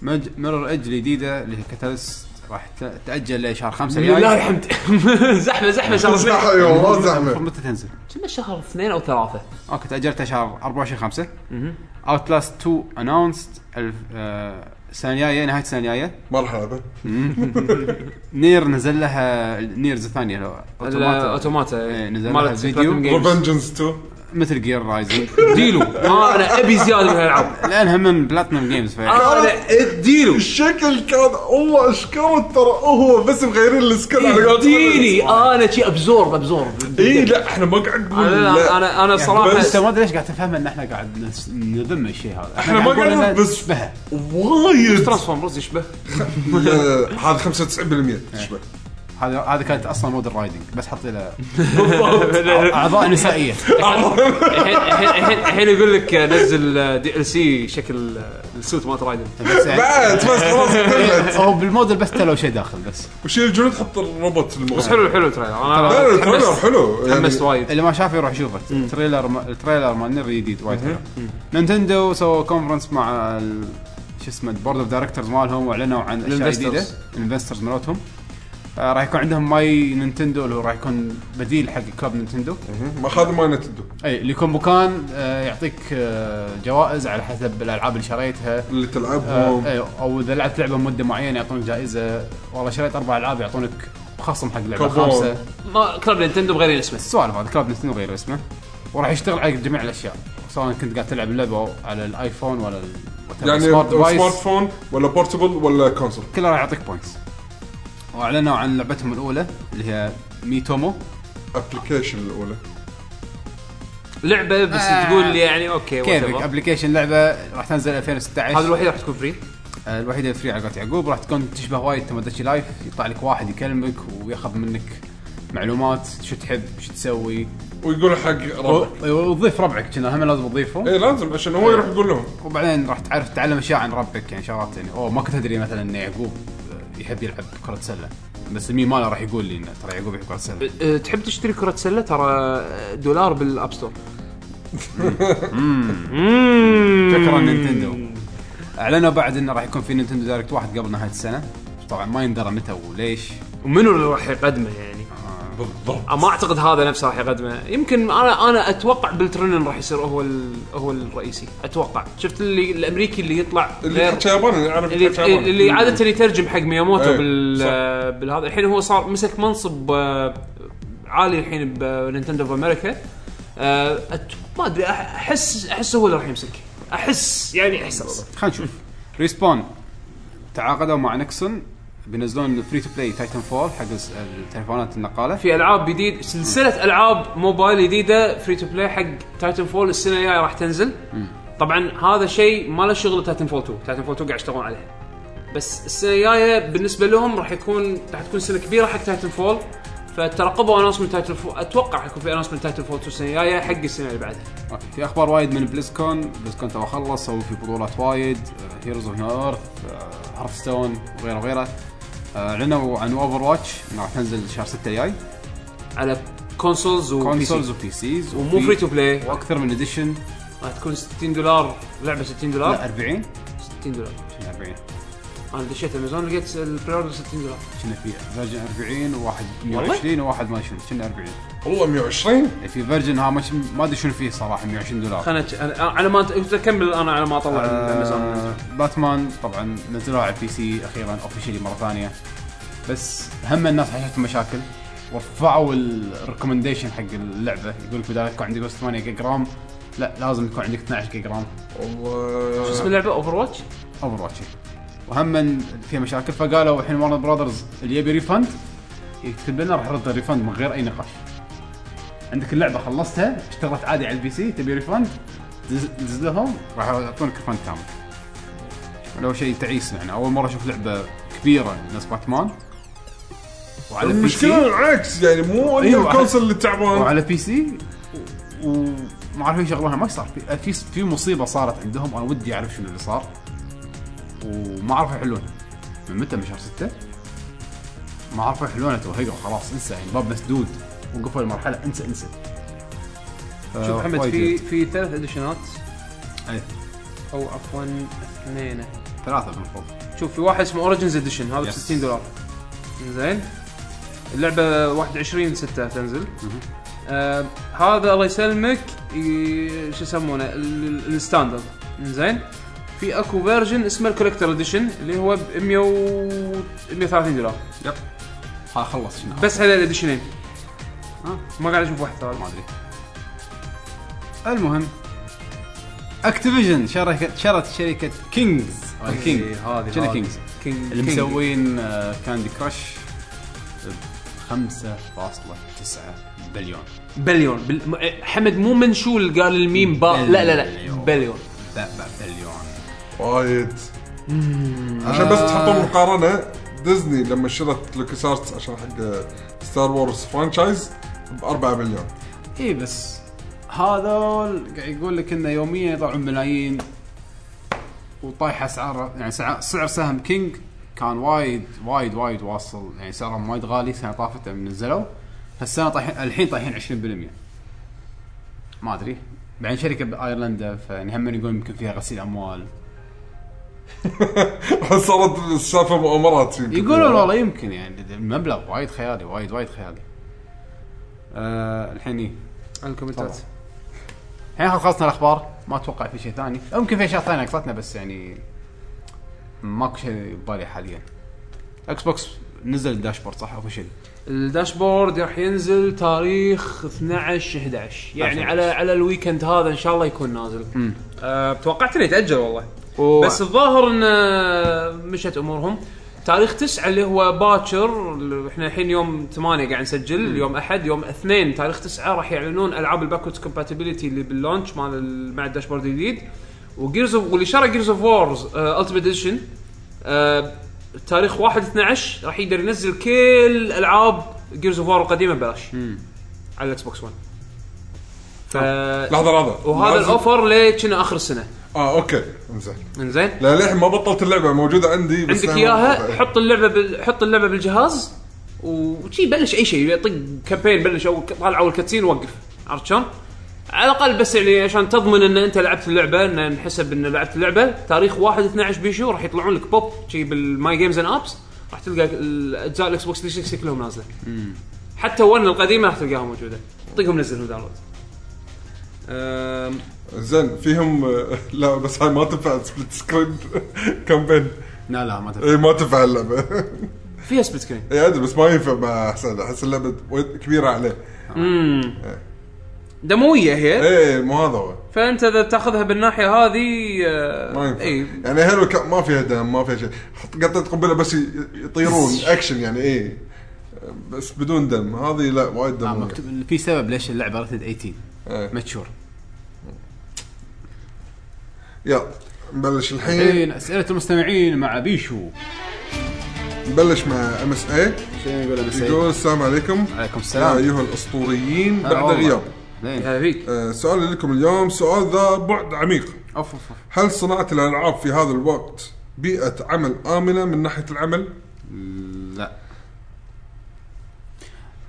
A: مج... ميرور ايدج الجديده اللي هي كاتاليست راح ت- تاجل لشهر 5
C: لله الحمد (laughs) زحمه زحمه يعني- شهر اثنين
B: ايوه ما
A: المفروض
B: زحمه
A: متى تنزل؟
C: كنا شهر اثنين او ثلاثه
A: اوكي تاجلتها شهر 24 5 اوت لاست 2 اناونست السنه الجايه نهايه السنه الجايه
B: ما راح العبها
A: نير نزل لها نيرز الثانيه لو
C: ال-
A: اوتوماتا
C: اوتوماتا
A: إيه، نزل
C: مالت
A: لها فيديو.
C: Platinum Games.
B: ريفنجنز 2
A: مثل جير رايزنج (laughs)
C: ديلو آه، انا ابي زياده من
B: (laughs)
C: هالالعاب
A: لانها من بلاتنم جيمز فيعني
C: آه، أنا- ديلو
B: الشكل كان والله اشكره ترى هو بس مغيرين السكيل على قولة
C: ديلي
B: الولد.
C: انا شي ابزورب ابزورب
B: اي إيه، لا يعني احنا ما قاعد نقول
C: انا
B: لا.
C: انا انا
A: انت
C: صراحه
A: ما ادري ليش قاعد تفهم ان احنا قاعد نس- نذم الشيء هذا
B: إحنا ما
A: نقول
B: قاعد
A: إنه
B: نذم، بس-
A: نشبهه
B: وايد
C: ترانسفورمرز يشبه
B: لا، هذا 95%
C: إيه.
B: تشبه
A: هذا هذا كانت اصلا مود الرايدنج بس حط له
B: (laughs)
A: اعضاء نسائيه
C: الحين الحين الحين- الحين يقول لك نزل دي ال سي شكل السوت مالت رايدن
A: بس يعني
B: بعد بس خلاص
C: (laughs)
B: قلت
A: هو بالموديل بس لو شيء داخل بس
B: وشيل الجنود حط الروبوت
C: بس
B: المغير
C: حلو حلو التريلر انا
B: لا لا التريلر
C: تحمست-
B: حلو يعني
C: تحمست وايد
A: اللي ما شافه يروح يشوفه التريلر ما- التريلر مال نير جديد وايد حلو نينتندو سووا كونفرنس مع ال- شو اسمه البورد اوف دايركتورز مالهم واعلنوا عن اشياء
C: الانفسترز.
A: جديده الانفسترز مالتهم آه، راح يكون عندهم ماي نينتندو اللي هو راح يكون بديل حق كلوب نينتندو
B: ما خذ ما نتندو
A: اي اللي يكون مكان آه، يعطيك آه، جوائز على حسب الالعاب اللي شريتها
B: اللي
A: آه،
B: تلعبهم
A: أي، او اذا لعبت لعبه مده معينه يعطونك جائزه والله شريت اربع العاب يعطونك خصم حق لعبه
B: كوبون.
A: خامسه
C: ما كلاب نينتندو بغير اسمه
A: السوالف هذا كلاب نتندو غير اسمه وراح يشتغل على جميع الاشياء سواء كنت قاعد تلعب اللعبه على الايفون ولا ال- whatever
B: يعني
A: smart device،
B: سمارت فون ولا بورتبل ولا كونسول
A: كله راح يعطيك بوينتس واعلنوا عن لعبتهم الاولى اللي هي ميتومو
B: ابلكيشن الاولى
C: لعبه بس
A: آه.
C: تقول يعني اوكي
A: كيفك
C: whatever.
A: ابلكيشن لعبه راح تنزل 2016
C: هذا الوحيد راح تكون فري
A: آه، الوحيده فري على قولة يعقوب راح تكون تشبه وايد تمدتشي لايف يطلع لك واحد يكلمك وياخذ منك معلومات شو تحب شو تسوي
B: ويقول حق
A: و-
B: ربعك
A: وتضيف ربعك كنا هم لازم تضيفه
B: اي لازم عشان هو يروح يقول لهم
A: وبعدين راح تعرف تتعلم اشياء عن ربك يعني شغلات يعني اوه ما كنت ادري مثلا ان يعقوب آه، يحب يلعب كره سله بس الميم ماله راح يقول لي انه ترى يعقوب يحب كره سله
C: أه، تحب تشتري كرة سلة ترى دولار بالاب ستور
A: شكرا نينتندو اعلنوا بعد انه راح يكون في نينتندو دايركت واحد قبل نهايه السنه طبعا ما يندرى متى وليش
C: ومنو اللي راح يقدمه يعني
B: بالضبط
C: ما اعتقد هذا نفسه راح يقدمه يمكن انا انا اتوقع بالترنن راح يصير هو ال- هو الرئيسي اتوقع شفت اللي الامريكي اللي يطلع
B: اللي
A: إيه.
B: يحكي ياباني اللي يعرف يحكي
C: اللي,
B: ياباني
C: اللي عاده يترجم حق مياموتو
B: إيه،
C: بال
B: صح.
C: آه، بالهذا الحين هو صار مسك منصب آه، عالي الحين بنينتندو بامريكا آه، أت- ما ادري أح- احس احس هو اللي راح يمسك احس يعني احساس
A: خلينا نشوف ريسبون تعاقدوا مع نكسون بينزلون فري تو بلاي تايتن فول حق الس- التليفونات النقاله
C: في العاب جديد سلسله العاب موبايل جديده فري تو بلاي حق تايتن فول السنه الجايه راح تنزل طبعا هذا شيء ما له شغل تايتن فول 2 تايتن فول 2 قاعد يشتغلون عليه بس السنه الجايه بالنسبه لهم راح يكون راح تكون سنه كبيره حق تايتن فول فترقبوا اناونسمنت تايتن فول اتوقع راح يكون في اناونسمنت تايتن فول 2 السنه الجايه حق السنه اللي بعدها
A: اوكي في اخبار وايد من بليزكون بليزكون تو خلص سووا في بطولات وايد آه، هيروز اوف ايرث هارفستون آه، وغيره وغيره آه، اعلنوا عن اوفر واتش انها راح تنزل شهر 6 الجاي
C: على كونسولز
A: كونسولز
C: وكونسولز
A: وبي سيز
C: ومو فري تو بلاي
A: واكثر من اديشن
C: راح تكون 60 دولار لعبه 60
A: لا
C: دولار
A: 40
C: 60 دولار
A: 40
C: انا دشيت امازون لقيت البري اوردر 60 دولار
A: كنا في فيرجن 40 وواحد
C: والله؟
A: 120 وواحد ما شنو كنا 40
B: والله 120
A: في فيرجن ها مش- ما ادري شنو فيه صراحه 120 دولار
C: خلنا أنا- أنا- على ما أنت- كمل انا على ما اطلع الامازون
A: آه باتمان طبعا نزلوها على البي سي اخيرا اوفشلي مره ثانيه بس هم الناس حاشتهم مشاكل ورفعوا الريكومنديشن حق اللعبه يقول لك بدال يكون عندك بس 8 جيجا جرام لا لازم يكون عندك 12 جيجا جرام
B: والله
C: اسم اللعبه اوفر واتش
A: اوفر واتش وهم فيها مشاكل فقالوا الحين ورن براذرز اللي يبي ريفند يكتب لنا راح نرد الريفند من غير اي نقاش عندك اللعبه خلصتها اشتغلت عادي على البي سي تبي ريفند دز- دز لهم راح يعطونك ريفند كامل لو شيء تعيس يعني اول مره اشوف لعبه كبيره ناس باتمان وعلى البي
B: المشكله
A: سي
B: العكس يعني مو انه
A: أيوة.
B: الكونسل اللي تعبان
A: وعلى بي سي و- وما عرفوا يشغلونها ما صار في في- في مصيبه صارت عندهم انا ودي اعرف شنو اللي صار وما عرفوا يحلونها من متى من شهر 6 ما عرفوا يحلونها توهقوا خلاص انسى يعني الباب مسدود وقفوا المرحله انسى انسى آه،
C: شوف محمد في في ثلاث اديشنات
A: أي.
C: او عفوا اثنين
A: ثلاثه بالمفروض
C: شوف في واحد اسمه اوريجنز اديشن هذا ب
A: يس.
C: 60 دولار زين اللعبه 21 6 تنزل آه هذا الله يسلمك ي- شو يسمونه ال- ال- الستاندرد زين في اكو فيرجن اسمه الكوليكتر اديشن اللي هو ب 100 و 130 دولار
A: يب ها خلص شنو
C: بس هذول الاديشنين
A: آه.
C: ما قاعد اشوف واحد ثالث
A: ما ادري المهم اكتيفيجن شركه شرت شركه كينجز كينج شنو كينجز
C: كينج
A: اللي
C: كينج.
A: مسوين كاندي كراش ب 5.9 بليون
C: بليون بل... م- إيه، حمد مو منشول قال الميم با لا لا لا
A: بليون.
C: بليون
A: ب- ب- بليون
B: وايد عشان
A: آه.
B: بس تحطوا مقارنه ديزني لما شرت لوكس ارتس عشان حق ستار وورز فرانشايز ب 4 مليون
A: اي بس هذول قاعد يقول لك انه يوميا يطلعون ملايين وطايح اسعار يعني سع- سعر سهم كينج كان وايد وايد وايد واصل يعني سعرهم وايد غالي السنه طافت لما نزلوا فالسنه طايحين الحين طايحين 20% ما ادري بعدين شركه بايرلندا فيعني هم يقول يمكن فيها غسيل اموال
B: (laughs) صارت السالفه مؤامرات يمكن.
A: يقولون والله يمكن يعني المبلغ وايد خيالي وايد وايد خيالي. آه الحين إيه؟
C: الكومنتات
A: الحين خلصنا الاخبار ما اتوقع في شيء ثاني، يمكن في اشياء ثانيه نقصتنا بس يعني ماكو شيء ببالي حاليا. اكس بوكس نزل الداشبورد صح اوفشلي
C: الداشبورد راح ينزل تاريخ 12 11 يعني على على الويكند هذا ان شاء الله يكون نازل أه توقعت انه يتاجل والله بس الظاهر ان آه، مشت امورهم تاريخ 9 اللي هو باكر ال- احنا الحين يوم 8 قاعد نسجل يوم احد يوم اثنين تاريخ 9 راح يعلنون العاب الباكوردز كومباتيبلتي اللي باللونش مال ال- مع الداشبورد الجديد وجيرز اوف واللي شرى جيرز اوف وورز التيمت اديشن آه، تاريخ 1 12 راح يقدر ينزل كل العاب جيرز اوف وور القديمه ببلاش على الاكس بوكس 1 ف
B: لحظه لحظه
C: وهذا
B: لازم-
C: الاوفر ليه كنا اخر السنه
B: اه اوكي انزين
C: انزين
B: لا للحين ما بطلت اللعبه موجوده عندي بس
C: عندك
B: للحين ما بطلتها.
C: اياها حط اللعبه بال... حط اللعبه بالجهاز وشي بلش اي شيء طق كامبين بلش او طالع اول كاتسين وقف عرفت شلون؟ على الاقل بس يعني عشان تضمن ان انت لعبت اللعبه ان نحسب ان لعبت اللعبه تاريخ 1 12 بيشو راح يطلعون لك بوب شي بالماي جيمز اند ابس راح تلقى الاجزاء الاكس بوكس 360 كلهم نازله حتى 1 القديمه راح تلقاها موجوده طقهم نزلهم داونلود أم،
B: زين فيهم آه، (laughs) لا بس هاي ما تنفع سبلت سكرين (laughs) كامبين
A: لا لا ما تبي
B: اي ما تنفع (laughs) اللعبه
C: فيها سبليت سكرين
B: اي ادري بس ما ينفع مع حسن احس اللعبه وايد كبيره عليه
C: امم دمويه هي
B: اي مو هذا هو
C: فانت اذا تاخذها بالناحيه هذه
A: آه،
B: ما ينفع
C: اي
B: يعني هيلو كا- ما فيها دم ما فيها شيء حط قطه قنبله بس ي- يطيرون اكشن يعني اي بس بدون دم هذه لا وايد
A: آه،
B: دم
A: مكتوب في سبب ليش اللعبه رتد 18
B: إيه.
A: ماتشور
B: يلا نبلش الحين
A: الحين اسئله المستمعين مع بيشو
B: نبلش مع ام اس اي
A: شو يقول أبو أيوه. سعيد؟
B: يقول السلام عليكم
A: عليكم
B: يا
A: السلام
B: ايها الاسطوريين
C: آه،
A: هلا
B: بعد
A: والله.
B: غياب
A: زين.
C: هذا فيك
B: آه، سؤالي لكم اليوم سؤال ذا بعد عميق
A: اوف اوف أوف.
B: هل صناعه الالعاب في هذا الوقت بيئه عمل امنه من ناحيه العمل؟
A: لا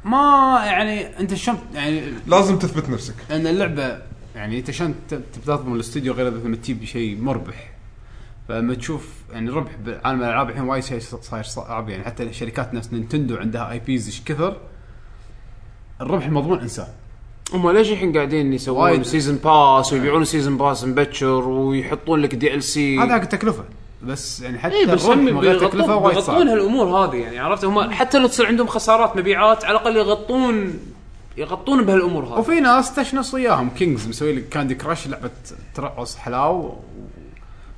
A: ما يعني انت شلون يعني
B: لازم تثبت نفسك
A: لان اللعبه يعني انت عشان ت- تبي تضمن الاستوديو غير لما تجيب شيء مربح فلما تشوف يعني ربح بعالم الالعاب الحين وايد شيء ص- صاير صعب يعني حتى شركات نفس نينتندو عندها اي بيز ايش كثر الربح المضمون انسان
C: هم ليش الحين قاعدين يسوون
A: وايد.
C: سيزون باس ويبيعون سيزون باس مبكر ويحطون لك دي ال سي
A: هذا حق التكلفه بس يعني حتى
C: اي إيه، بس
A: الربح
C: هم
A: من غير تكلفه
C: بيغطون
A: وايد
C: بيغطون
A: صعب
C: هالامور هذه يعني عرفت هم حتى لو تصير عندهم خسارات مبيعات على الاقل يغطون يغطون بهالامور هذه
A: وفي ناس تشنص وياهم كينجز مسوي لك كاندي كراش لعبه ترعص حلاو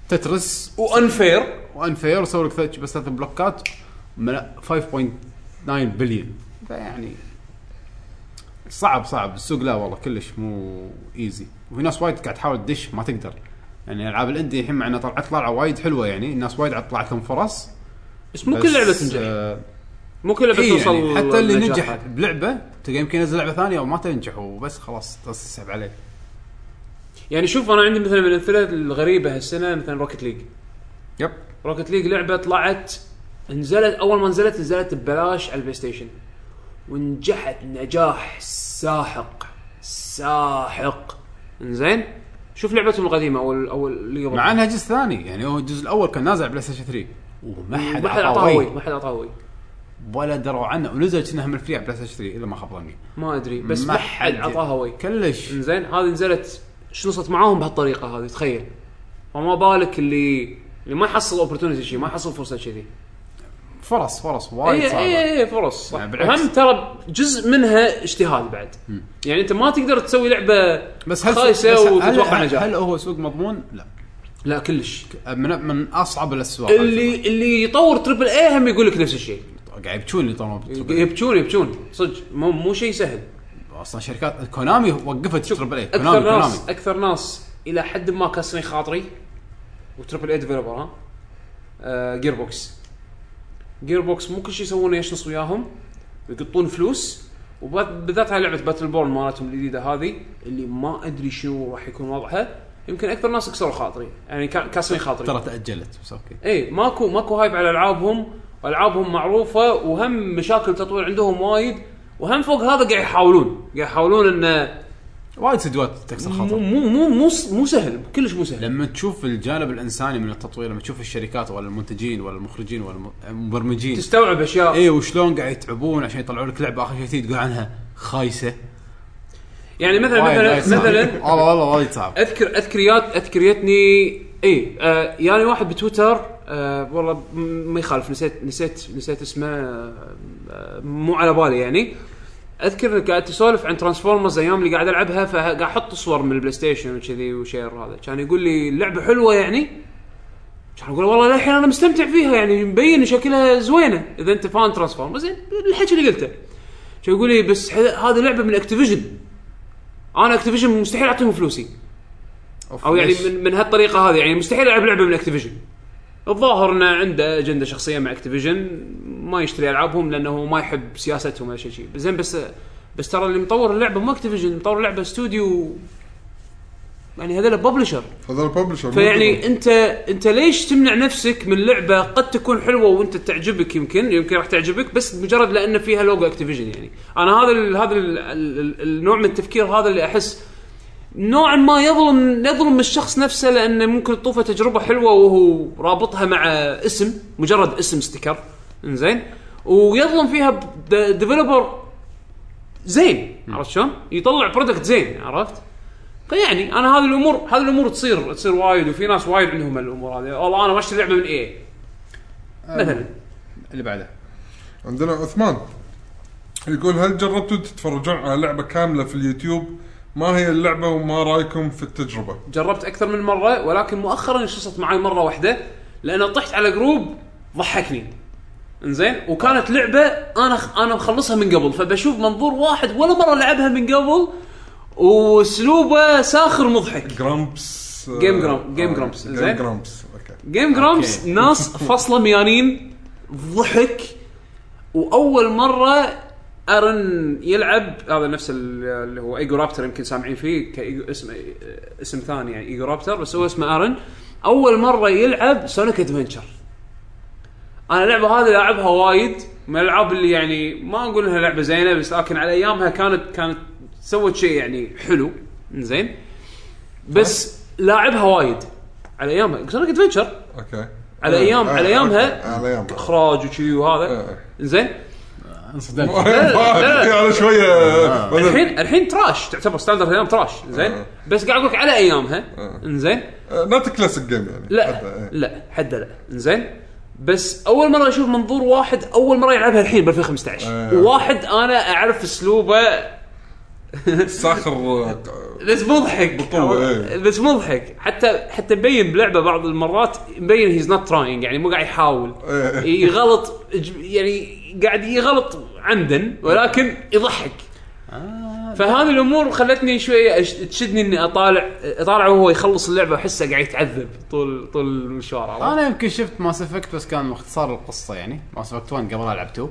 A: تترس
C: وانفير
A: وانفير وسووا لك ثلاث- بس ثلاث بلوكات ملا- 5.9 بليون فيعني صعب صعب السوق لا والله كلش مو ايزي وفي ناس وايد قاعد تحاول تدش ما تقدر يعني العاب الاندي الحين مع انها طلعت طلعه وايد حلوه يعني الناس وايد عاد طلعت لهم فرص
C: بس مو
A: بس،
C: كل لعبه تنجح
A: آه
C: مو كل لعبه
A: إيه
C: توصل
A: يعني حتى اللي
C: للنجاح
A: نجح
C: هذا.
A: بلعبه تلقى يمكن ينزل لعبه ثانيه او ما تنجح وبس خلاص تسحب عليه
C: يعني شوف انا عندي مثلا من الامثله الغريبه هالسنه مثلا روكت ليج
A: يب
C: روكت ليج لعبه طلعت نزلت اول ما نزلت نزلت ببلاش على البلاي ستيشن ونجحت نجاح ساحق ساحق زين شوف لعبتهم القديمه او ال- او اللي قبل
A: مع انها جزء ثاني يعني هو الجزء الاول كان نازل على بلاي ستيشن 3 وما حد
C: ما حد
A: عطاه
C: اعطاوي
A: وي.
C: ما حد اعطاوي
A: ولا دروا عنه ونزل كأنها من الفري على بلاي ستيشن 3 الا ما خاب ظني
C: ما ادري بس ما حد عطاها وي
A: كلش
C: زين هذه نزلت شنصت معاهم بهالطريقه هذه تخيل فما بالك اللي اللي ما يحصل اوبورتونيتي شيء ما يحصل فرصه كذي
A: فرص فرص وايد
C: اي
A: صعبه
C: اي اي إيه، فرص صح
A: يعني بالعكس.
C: هم ترى جزء منها اجتهاد بعد يعني انت ما تقدر تسوي لعبه
A: بس هل بس
C: خايسه
A: هل-
C: وتتوقع
A: هل-
C: نجاح
A: هل هو سوق مضمون؟ لا
C: لا كلش
A: من, من اصعب الاسواق
C: اللي اللي يطور تربل اي هم يقول لك نفس الشيء
A: قاعد يبكون اللي طلعوا بتربل إيه.
C: يبكون يبكون صدق مو مو شيء سهل
A: اصلا إيه. شركات كونامي وقفت تربل اي
C: اكثر
A: كونامي كونامي
C: ناس اكثر ناس الى حد ما كاسرين خاطري وتربل اي ديفلوبر ها آه جير بوكس جير بوكس مو كل شيء يسوونه يشنص وياهم ويقطون فلوس وبالذات هاي لعبه باتل بورن مالتهم الجديده هذه اللي ما ادري شنو راح يكون وضعها يمكن اكثر ناس كسروا خاطري يعني كا- كاسرين خاطري
A: ترى تاجلت بس اوكي
C: اي ماكو ماكو هايب على العابهم والعابهم معروفه وهم مشاكل تطوير عندهم وايد وهم فوق هذا قاعد يحاولون قاعد يحاولون انه
A: وايد استديوهات تكسر
C: مو
A: خاطر
C: مو مو مو, س- مو سهل كلش مو سهل
A: لما تشوف الجانب الانساني من التطوير لما تشوف الشركات ولا المنتجين ولا المخرجين ولا الم- المبرمجين
C: تستوعب اشياء
A: اي إيه، وشلون قاعد يتعبون عشان يطلعوا لك لعبه اخر شيء تقول عنها خايسه
C: يعني مثلا
A: وايد-
C: مثلا
A: وايد صعب.
C: مثلا
A: والله والله وايد صعب
C: اذكر اذكريات اذكريتني اي آه يعني واحد بتويتر آه والله م- ما يخالف نسيت نسيت نسيت اسمه آه آه، مو على بالي يعني اذكر إنك قاعد تسولف عن ترانسفورمرز ايام اللي قاعد العبها فقاعد احط صور من البلاي ستيشن وكذي وشير هذا كان يقول لي اللعبه حلوه يعني كان اقول والله للحين انا مستمتع فيها يعني مبين شكلها زوينه اذا انت فان ترانسفورمرز زين الحكي اللي قلته كان يقول لي بس ح- هذه لعبه من اكتيفيجن انا اكتيفيجن مستحيل اعطيهم فلوسي او يعني
A: ليش؟
C: من من هالطريقه هذه يعني مستحيل العب لعبه من اكتيفيجن الظاهر انه عنده اجنده شخصيه مع اكتيفيجن ما يشتري العابهم لانه ما يحب سياستهم ولا شيء شيء زين بس بس ترى اللي مطور اللعبه مو اكتيفيجن اللي مطور اللعبه استوديو يعني هذول ببلشر
B: هذا الببلشر
C: فيعني انت انت ليش تمنع نفسك من لعبه قد تكون حلوه وانت تعجبك يمكن يمكن راح تعجبك بس مجرد لان فيها لوجو اكتيفيجن يعني انا هذا ال هذا ال ال النوع من التفكير هذا اللي احس نوعا ما يظلم يظلم الشخص نفسه لانه ممكن تطوفه تجربه حلوه وهو رابطها مع اسم مجرد اسم استكر انزين ويظلم فيها ديفلوبر زين عرفت شلون؟ يطلع برودكت زين عرفت؟ فيعني انا يعني هذه الامور هذه الامور تصير تصير وايد وفي ناس وايد عندهم الامور هذه والله انا ما اشتري لعبه من إيه؟ اي مثلا
D: اللي بعده
B: عندنا عثمان يقول هل جربتوا تتفرجون على لعبه كامله في اليوتيوب ما هي اللعبه وما رايكم في التجربه
C: جربت اكثر من مره ولكن مؤخرا شصت معي مره واحده لان طحت على جروب ضحكني انزين وكانت لعبه انا انا مخلصها من قبل فبشوف منظور واحد ولا مره لعبها من قبل واسلوبه ساخر مضحك
B: جرامبس
C: Game Grump- Game Grumps،
B: زين
C: زين.
B: جرامبس اوكي
C: جيم جرامبس ناس فصله ميانين ضحك واول مره ارن يلعب هذا نفس ال- اللي هو ايجو رابتر يمكن سامعين فيه كايجو اسم اسم ثاني يعني ايجو رابتر بس هو اسمه ارن اول مره يلعب سونيك ادفنشر انا اللعبه هذه لاعبها وايد من الالعاب اللي يعني ما اقول انها لعبه زينه بس لكن على ايامها كانت كانت سوت شيء يعني حلو زين بس لاعبها وايد على ايامها سونيك ادفنشر
B: اوكي
C: على أيام- على أيامها.
B: أوكي، على ايامها
C: اخراج وشي وهذا
B: إيه.
C: زين
A: انصدمت (laughs)
B: (laughs)
C: لا، لا.
B: على شويه بدل-
C: الحين الحين تراش تعتبر ستاندرد ايام تراش زين
B: آه.
C: بس قاعد اقول لك على ايامها
B: آه.
C: انزين
B: نوت كلاسيك جيم يعني
C: لا
B: حتى، إيه.
C: لا حدا لا انزين بس اول مره اشوف منظور واحد اول مره يلعبها الحين ب 2015
B: آه.
C: وواحد انا اعرف اسلوبه
B: ساخر آه،
C: بس مضحك
B: بطولة، إيه.
C: بس مضحك حتى حتى مبين بلعبه بعض المرات مبين هيز نوت تراينج يعني مو قاعد يحاول
B: إيه.
C: يغلط إج- يعني قاعد يغلط عمدا ولكن يضحك فهذه الامور خلتني شويه أش- تشدني اني اطالع اطالع وهو يخلص اللعبه احسه قاعد يتعذب طول طول المشوار عرفت؟
A: انا يمكن شفت ماس افكت بس كان اختصار القصه يعني ماس افكت 1 قبل العب 2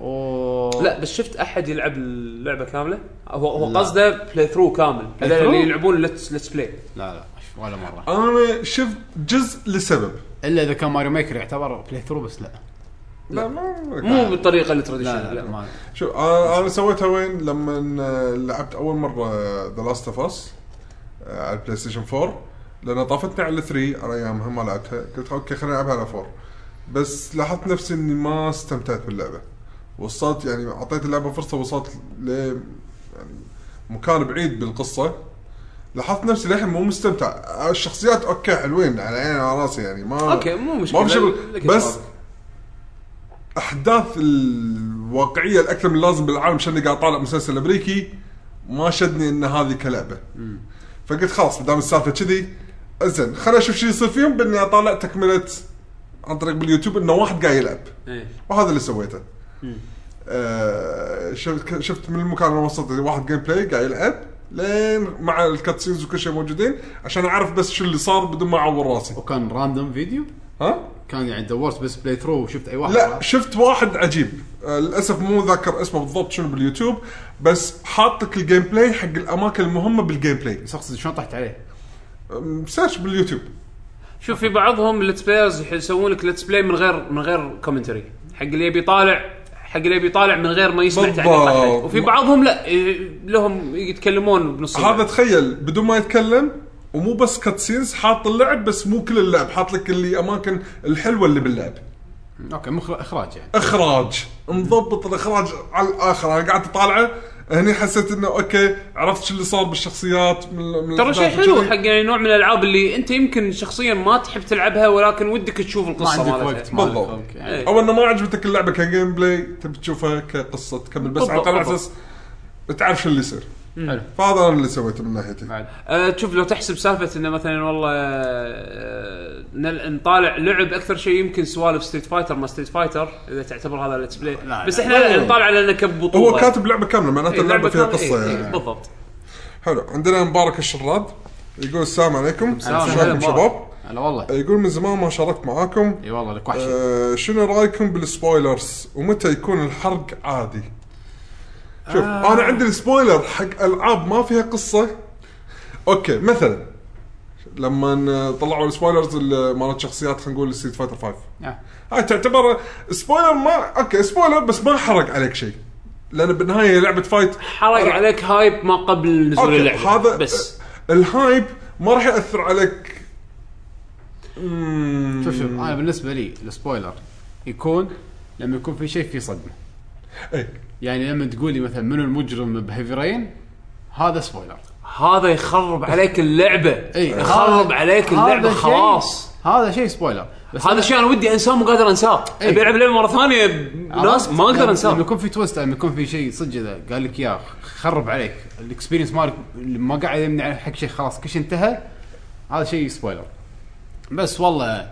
A: و
C: لا بس شفت احد يلعب اللعبه كامله هو هو قصده بلاي ثرو كامل هذول
A: ثرو؟
C: اللي يلعبون لتس لتس بلاي
A: لا لا ولا مره
B: انا شفت جزء لسبب
A: الا اذا كان ماريو ميكر يعتبر بلاي ثرو بس لا
B: لا ما
C: مو بالطريقه التراديشنال
A: لا لا ما
B: شوف انا آه، أنا سويتها وين لما آه، لعبت اول مره ذا لاست اوف اس آه، على البلاي ستيشن 4 لان طافتني على 3 على ايامها ما لعبتها قلت اوكي خليني العبها على 4 بس لاحظت نفسي اني ما استمتعت باللعبه وصلت يعني اعطيت اللعبه فرصه وصلت ل يعني مكان بعيد بالقصه لاحظت نفسي للحين مو مستمتع الشخصيات اوكي حلوين على عيني وعلى راسي يعني ما
C: اوكي مو مشكله
B: ما في شغل.
C: لك
B: بس
C: جواب.
B: احداث الواقعيه الاكثر من اللازم بالعالم عشان قاعد طالع مسلسل امريكي ما شدني ان هذه كلعبه فقلت خلاص ما دام السالفه كذي زين خليني اشوف شو يصير فيهم باني اطالع تكمله عن طريق باليوتيوب انه واحد قاعد يلعب
C: إيه.
B: وهذا اللي سويته آه شفت شفت من المكان اللي وصلت لي واحد جيم بلاي قاعد يلعب لين مع الكاتسينز وكل شيء موجودين عشان اعرف بس شو اللي صار بدون ما اعور راسي
A: وكان راندوم فيديو
B: ها
A: كان يعني دورت بس بلاي ثرو وشفت اي واحد
B: لا شفت واحد عجيب آه، للاسف مو ذاكر اسمه بالضبط شنو باليوتيوب بس حاطك الجيم بلاي حق الاماكن المهمه بالجيم بلاي
A: بس اقصد شلون طحت عليه
B: أم، سيرش آه، باليوتيوب
C: شوف في بعضهم ليتس بلايرز يسوون لك ليتس بلاي من غير من غير كومنتري حق اللي يبي يطالع حق اللي يبي يطالع من غير ما يسمع
B: بالضبط.
C: تعليق احد وفي بعضهم لا إيه، لهم يتكلمون بنص
B: هذا
C: اللعب.
B: تخيل بدون ما يتكلم ومو بس كاتسينز حاط اللعب بس مو كل اللعب حاط لك اللي اماكن الحلوه اللي باللعب
A: اوكي مخر... اخراج يعني
B: اخراج مضبط الاخراج على الاخر انا قعدت اطالعه هني حسيت انه اوكي عرفت شو اللي صار بالشخصيات من من
C: ترى شيء
B: الأحداث
C: حلو
B: وكذي.
C: حق يعني نوع من الالعاب اللي انت يمكن شخصيا ما تحب تلعبها ولكن ودك تشوف
A: ما
C: القصه
A: عندك
C: مالتها
A: وقت ما عندك
B: بالضبط.
A: وقت يعني.
C: إيه.
B: او انه ما عجبتك اللعبه كجيم بلاي تبي تشوفها كقصه تكمل بس على
C: بالضبط،
B: طلع
C: بالضبط.
B: اساس تعرف شو اللي يصير
A: حلو
B: فهذا انا اللي سويته من ناحيتي
A: بعد
C: أه تشوف لو تحسب سالفه انه مثلا والله أه نل- نطالع لعب اكثر شيء يمكن سوالف ستريت فايتر ما ستريت فايتر اذا تعتبر هذا ليتس بلاي
A: لا،
C: بس
A: لا.
C: احنا لا، نطالع لانه كبطوله
B: هو كاتب لعبه كامله معناته
C: إيه،
B: اللعبه فيها
C: كاملة،
B: قصه
C: إيه، إيه،
B: يعني
C: بالضبط
B: حلو عندنا مبارك الشراد يقول السلام عليكم
C: السلام.
B: شلونكم
C: هلا
B: شباب
A: هلا والله
B: يقول من زمان ما شاركت معاكم
A: اي والله لك وحشه
B: آه، شنو رايكم بالسبويلرز ومتى يكون الحرق عادي شوف آه. انا عندي السبويلر حق العاب ما فيها قصه اوكي مثلا لما طلعوا السبويلرز ال- مالت شخصيات خلينا نقول ستريت فايتر 5
A: آه.
B: هاي تعتبر سبويلر ما اوكي سبويلر بس ما حرق عليك شيء لان بالنهايه هي لعبه فايت
C: حرق عليك هايب ما قبل نزول
B: اوكي
C: اللعبه
B: هذا
C: بس
B: الهايب ما راح ياثر عليك مم،
A: شوف شوف انا بالنسبه لي السبويلر يكون لما يكون في شيء في صدمه
B: اي
A: يعني لما تقول لي مثلا منو المجرم بهيفي رين هذا سبويلر
C: هذا يخرب عليك اللعبه
A: إي،
C: يخرب
A: إيه، هذا-
C: إيه، عليك
A: هذا
C: اللعبه
A: شيء-
C: خلاص
A: هذا شيء سبويلر بس
C: هذا الشيء انا ودي انساه مو قادر انساه
A: إي.
C: ابي العب لعبه مره ثانيه ناس ما
A: لما-
C: اقدر
A: لما
C: انساه
A: يكون في تويست لما يكون في شيء صدق إذا قال لك يا خرب عليك الاكسبيرينس مالك ما قاعد يمنع حق شيء خلاص كل شيء انتهى هذا شيء سبويلر بس والله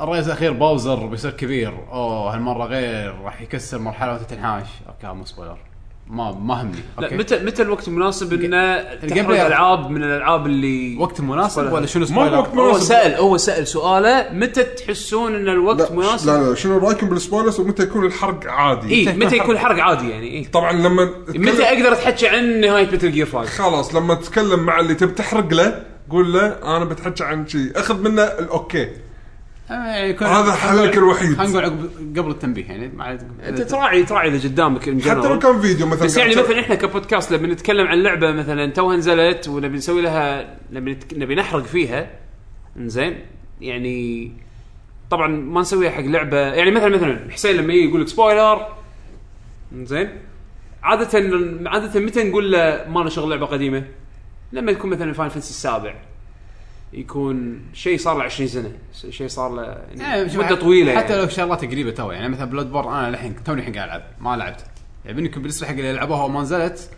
A: الرئيس الاخير باوزر بيصير كبير اوه هالمره غير راح يكسر مرحله وتتنحاش اوكي هذا مو سبويلر ما ما همني
C: لا
A: أوكي.
C: متى متى الوقت المناسب انه تحرق
A: بلاي-
C: العاب من الالعاب اللي
A: وقت مناسب
C: سبويلر.
A: ولا شنو
B: ما
A: سبويلر؟
B: وقت
C: هو
B: مناسب
C: سال هو سال سؤاله متى تحسون ان الوقت
B: لا,
C: مناسب؟ إيه،
B: لا لا شنو رايكم بالسبويلرز ومتى يكون الحرق عادي
C: اي متى يكون الحرق عادي يعني اي
B: طبعا لما
C: متى اقدر اتحكى عن نهايه متل جير
B: (laughs)
C: 5
B: خلاص لما تتكلم مع اللي تبي تحرق له قول له انا بتحكي عن شيء اخذ منه الاوكي
A: آه، يعني يكون-
B: هذا حلك الوحيد
A: خلينا نقول عقب- قبل التنبيه يعني مع-
C: انت تراعي تراعي اللي قدامك in
B: حتى لو
C: general.
B: كان فيديو مثلا
C: بس يعني مثلا احنا كبودكاست لما نتكلم عن لعبه مثلا توها نزلت ونبي نسوي لها نبي نتك... نبي نحرق فيها زين يعني طبعا ما نسويها حق لعبه يعني مثلا مثلا حسين لما يجي يقول لك سبويلر زين عاده عاده متى نقول له ما نشغل لعبه قديمه؟ لما يكون مثلا فاين فانسي السابع يكون شيء صار له 20 سنه شيء صار له يعني
A: إيه، شوف،
C: مده طويله
A: حتى
C: يعني.
A: لو شغلات قريبه تو يعني مثلا بلاد بور انا الحين توني الحين قاعد العب ما لعبت يعني بينكم بالنسبه حق اللي لعبوها وما نزلت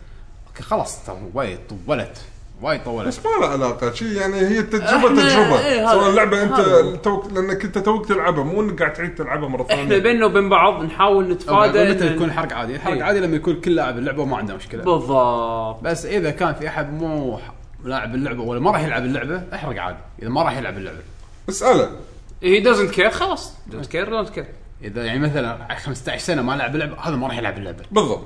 A: اوكي خلاص ترى وايد طولت وايد طولت
B: بس ما له علاقه شيء يعني هي تجربه
C: إحنا-
B: تجربه
C: إيه، هذا-
B: سواء لعبه
C: هذا.
B: انت توك لانك انت توك تلعبها مو انك قاعد تعيد تلعبها مره ثانيه
C: احنا بيننا وبين بعض نحاول نتفادى
A: أو متى
C: إن-
A: يكون حرق عادي الحرق
C: إيه.
A: عادي لما يكون كل لاعب اللعبه وما عنده مشكله
C: بالضبط
A: بس اذا كان في احد مو ح- لاعب اللعبه ولا ما راح يلعب اللعبه احرق عادي اذا ما راح يلعب اللعبه
B: اساله
C: هي دزنت كير خلاص دزنت كير دزنت كير
A: اذا يعني مثلا 15 سنه ما لعب اللعبه هذا ما راح يلعب اللعبه
B: بالضبط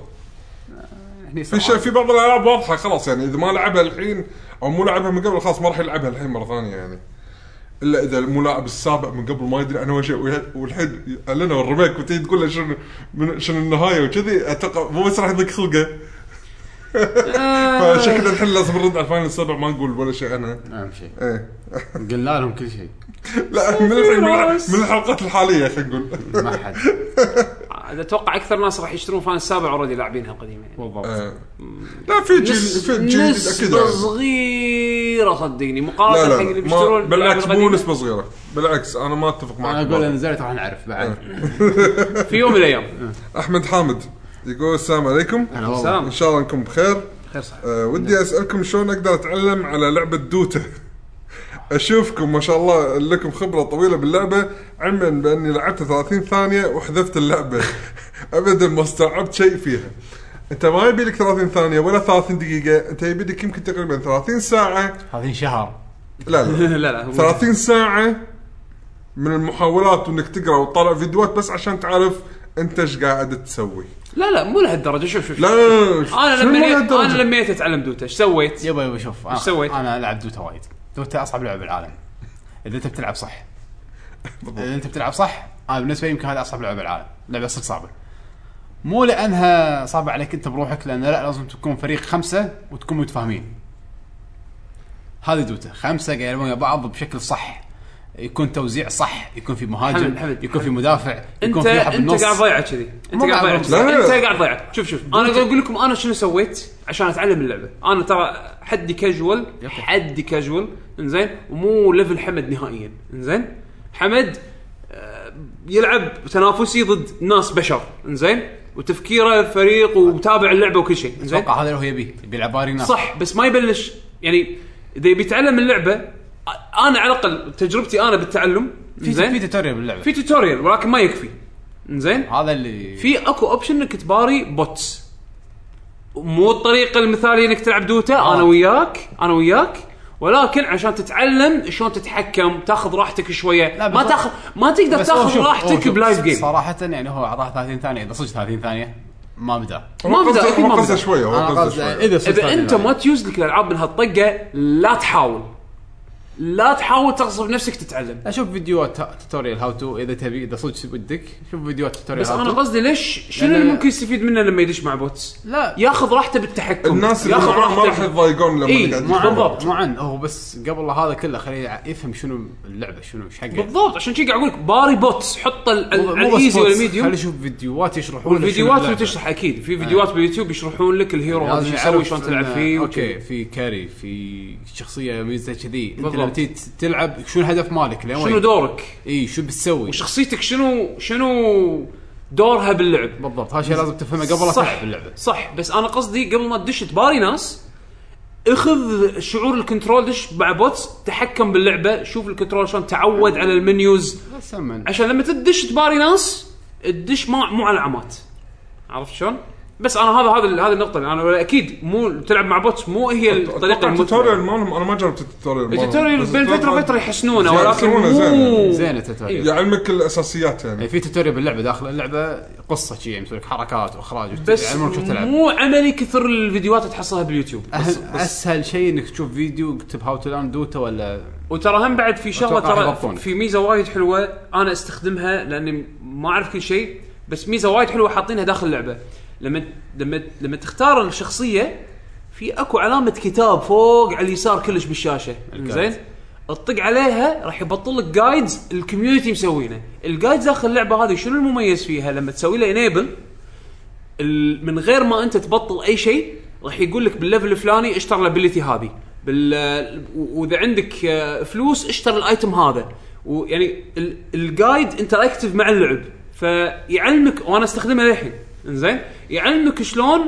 A: هني
B: في
A: صراحة.
B: شيء في بعض الالعاب واضحه خلاص يعني اذا ما لعبها الحين او مو لعبها من قبل خلاص ما راح يلعبها الحين مره ثانيه يعني الا اذا الملاعب السابق من قبل ما يدري انا وش ويا- والحين اعلنوا الريميك وتجي تقول له شنو من- شنو النهايه وكذي اتوقع مو بس راح يضيق خلقه فشكله الحين لازم نرد على الفاينل السابع ما نقول ولا شيء عنها
A: اهم شيء
B: ايه
A: قلنا لهم كل شيء
B: (laughs) لا من الحين من الحلقات الحاليه خلينا نقول
A: ما
B: (laughs)
A: حد
C: عاد اتوقع اكثر ناس راح يشترون فان السابع اوريدي لاعبينها القديمه يعني
A: بالضبط
B: آه. لا في جيل في جيل اكيد
C: نسبة
B: يعني.
C: صغيره صدقني
B: لا
C: مقارنه
B: لا
C: حق اللي
B: ما
C: بيشترون
B: بالعكس
C: الألعاب
B: مو
C: القديمة.
B: نسبه صغيره بالعكس انا ما اتفق معك
A: انا اقول
B: بالضبط.
A: اذا نزلت راح نعرف بعد
C: في يوم من
B: (laughs)
C: آه، الايام
B: احمد حامد يقول السلام عليكم
A: هلا والله.
B: ان شاء الله انكم بخير
C: خير صح
B: أه ودي اسالكم شلون اقدر اتعلم على لعبه دوتا (laughs) اشوفكم ما شاء الله لكم خبره طويله باللعبه علما باني لعبت 30 ثانيه وحذفت اللعبه (laughs) ابدا ما استوعبت شيء فيها انت ما يبي لك 30 ثانيه ولا 30 دقيقه انت يبي لك يمكن تقريبا 30 ساعه
A: هذه شهر
B: لا لا
C: لا لا هو-
B: 30 ساعة من المحاولات وانك تقرا وتطالع فيديوهات بس عشان تعرف انت ايش قاعد تسوي.
C: لا لا مو لهالدرجه شوف شوف
B: لا لا لا لا
C: انا
B: شنو مو
C: لما
B: لهالدرجة؟
C: انا لما اتعلم دوتا ايش سويت؟
A: يبا يبا شوف ايش
C: سويت؟
A: انا العب دوتا وايد دوتا اصعب لعبه بالعالم اذا انت بتلعب صح اذا انت بتلعب صح انا بالنسبه لي يمكن هذه اصعب لعبه بالعالم لعبه صدق صعبه مو لانها صعبه عليك انت بروحك لان لا لازم تكون فريق خمسه وتكون متفاهمين هذه دوتا خمسه قاعد يلعبون ويا بعض بشكل صح يكون توزيع صح يكون في مهاجم
C: حمد- حمد-
A: يكون في مدافع يكون
C: انت
A: في واحد
C: انت
A: بالنص
C: قاعد ضيعه كذي انت
A: مو
C: قاعد
A: قاعد
C: ضيعه
A: أضيع.
C: كذي.
B: لا، لا،
C: انت
B: لا.
C: قاعد ضيعه شوف شوف انا قاعد اقول لكم انا شنو سويت عشان اتعلم اللعبه انا ترى حدي كاجوال حدي كاجوال انزين ومو ليفل حمد نهائيا انزين حمد آه، يلعب تنافسي ضد ناس بشر انزين وتفكيره فريق ومتابع اللعبه وكل شيء انزين
A: اتوقع هذا اللي هو يبيه يبي يلعب ارينا
C: صح بس ما يبلش يعني اذا يبي يتعلم اللعبه أ- انا على الاقل تجربتي انا بالتعلم
A: في في
C: زين
A: توتوريال باللعبه
C: في توتوريال ولكن ما يكفي زين
A: هذا اللي
C: في اكو اوبشن انك تباري بوتس مو الطريقه المثاليه انك تلعب دوتا آه. انا وياك انا وياك ولكن عشان تتعلم شلون تتحكم تاخذ راحتك شويه
A: لا،
C: ما
A: بس-
C: تاخذ ما تقدر
A: بس هو
C: تاخذ
A: شوف- هو
C: راحتك
A: شوف،
C: بلايف جيم
A: صراحة يعني هو اعطاه 30 ثانية اذا صدق 30 ثانية ما بدا
B: هو
C: ما بدأ،
B: قصده-
C: أكيد ما
B: هو قصده
C: بدأ.
B: شوية هو
A: انا
B: قصده
A: قصدي
B: شوية
A: اذا صدق
C: اذا
A: 30
C: انت
A: ثانية.
C: ما تيوز لك الالعاب من هالطقه لا تحاول لا تحاول تغصب نفسك تتعلم
A: اشوف فيديوهات توتوريال هاو تو اذا تبي اذا صدق ودك شوف فيديوهات توتوريال
C: بس
A: how
C: انا
A: to.
C: قصدي ليش شنو
A: لأن-
C: اللي ممكن يستفيد منه لما يدش مع بوتس؟
A: لا
C: ياخذ راحته بالتحكم
B: الناس اللي
C: ياخذ
B: معاه ما راح
C: راحته
B: يتضايقون لما
C: إيه،
B: قاعد
C: مو عن
B: يتفرج.
C: ضبط.
A: بالضبط مو عن هو بس قبل هذا كله خليه يع- يفهم شنو اللعبه شنو ايش حقه
C: بالضبط عشان شي قاعد اقول لك باري بوتس حط ال-
A: مو-
C: ال-
A: مو بس
C: الايزي
A: بوتس،
C: والميديوم
A: خليه يشوف فيديوهات يشرحون
C: والفيديوهات اللي تشرح اكيد
A: آه.
C: في فيديوهات باليوتيوب يشرحون لك الهيرو
A: يعني
C: هذا شو يسوي شلون تلعب فيه
A: اوكي في كاري في شخصيه ميزه كذي انت
C: بالضبط.
A: لما تيجي تلعب شنو الهدف مالك لين
C: شنو
A: وين؟
C: دورك
A: اي شو بتسوي؟
C: وشخصيتك شنو شنو دورها باللعب
A: بالضبط هذا الشيء لازم تفهمه قبل لا
C: صح
A: تلعب اللعبه
C: صح بس انا قصدي قبل ما تدش تباري ناس اخذ شعور الكنترول دش مع بوتس تحكم باللعبه شوف الكنترول شلون تعود على المنيوز
A: بس أمن.
C: عشان لما تدش تباري ناس تدش ما مو على العمات عرفت شلون؟ بس انا هذا هذا هذه النقطه اللي انا اكيد مو تلعب مع بوتس مو هي الطريقه
B: اتوقع
C: المثلى
B: التوتوريال مالهم انا ما جربت التوتوريال مالهم.
C: التوتوريال
B: بس
C: بين فتره
B: أتوقع-
C: وفتره يحسنونه
B: زين،
C: ولكن
B: يحسنونه
C: مو
B: زين.
A: زين التوتوريال
B: يعلمك الاساسيات يعني
A: يعني في توتوريال باللعبه داخل اللعبه قصه شي يمسوي لك حركات واخراج وت-
C: بس
A: يعلمونك شلون يعني تلعب
C: مو عملي كثر الفيديوهات اللي تحصلها باليوتيوب
A: أهم- اسهل شيء انك تشوف فيديو اكتب هاو تو لان دوتا ولا
C: وترى هم بعد في شغله
A: أتوقع
C: ترى
A: يضبطونك.
C: في ميزه وايد حلوه انا استخدمها لاني ما اعرف كل شيء بس ميزه وايد حلوه حاطينها داخل اللعبه لما لما لما تختار الشخصيه في اكو علامه كتاب فوق على اليسار كلش بالشاشه زين اطق عليها راح يبطل لك جايدز الكوميونتي مسوينه الجايدز داخل اللعبه هذه شنو المميز فيها لما تسوي له انيبل ال- من غير ما انت تبطل اي شيء راح يقول لك بالليفل الفلاني اشتر الابيلتي هذه بال و- واذا عندك آه، فلوس اشتر الايتم هذا ويعني ال- الجايد انتراكتيف مع اللعب فيعلمك وانا استخدمها للحين انزين يعلمك شلون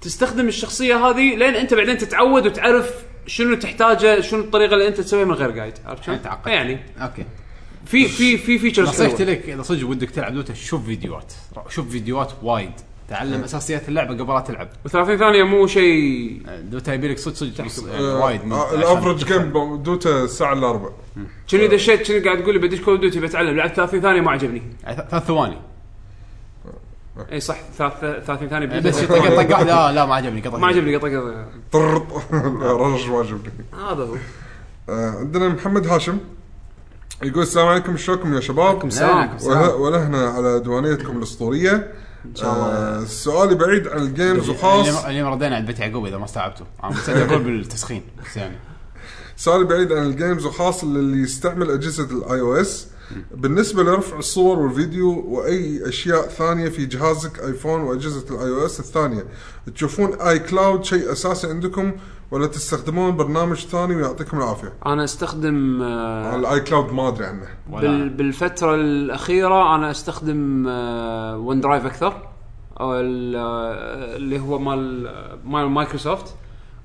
C: تستخدم الشخصيه هذه لين انت بعدين تتعود وتعرف شنو تحتاجه شنو الطريقه اللي انت تسويها من غير جايد عرفت شلون؟
A: يعني تعقد.
C: يعني
A: اوكي
C: في في في فيتشرز
A: نصيحتي
C: حلوه
A: لك اذا صدق ودك تلعب دوتا شوف فيديوهات شوف فيديوهات وايد تعلم اساسيات اللعبه قبل لا تلعب
C: و30 ثانيه مو شيء
A: دوتا يبي لك صدق صدق بص- يعني
B: آه،
A: وايد
B: آه، الافرج جيم دوتا الساعه الا ربع
C: كني دشيت كني قاعد تقول لي بدش كول ديوتي بتعلم لعبت 30 ثانيه ما عجبني
A: ثلاث ثواني
C: اي صح ثلاث- 30 ثانيه
A: يعني بس
C: بس
A: طق طق واحد لا لا ما عجبني قطع
C: ما عجبني قطع قطع
B: (laughs) طرط رجل ما عجبني
C: هذا هو
B: آه، عندنا محمد هاشم يقول السلام عليكم شلونكم يا شباب
C: سلام
B: وله- ولهنا على ديوانيتكم الاسطوريه ان شاء الله سؤالي بعيد عن الجيمز وخاص
A: اليوم- اليوم ردينا على بيت يعقوب اذا ما استوعبتوا انا مستعد اقول بالتسخين بس يعني
B: سؤال بعيد عن الجيمز وخاص للي يستعمل اجهزه الاي او اس بالنسبه لرفع الصور والفيديو واي اشياء ثانيه في جهازك ايفون واجهزه الاي او اس الثانيه تشوفون اي كلاود شيء اساسي عندكم ولا تستخدمون برنامج ثاني ويعطيكم العافيه
C: انا استخدم آه،
B: الاي كلاود ما ادري عنه
C: بال بالفتره الاخيره انا استخدم ون درايف اكثر آه، أو ال- آه، اللي هو مال آه، مال مايكروسوفت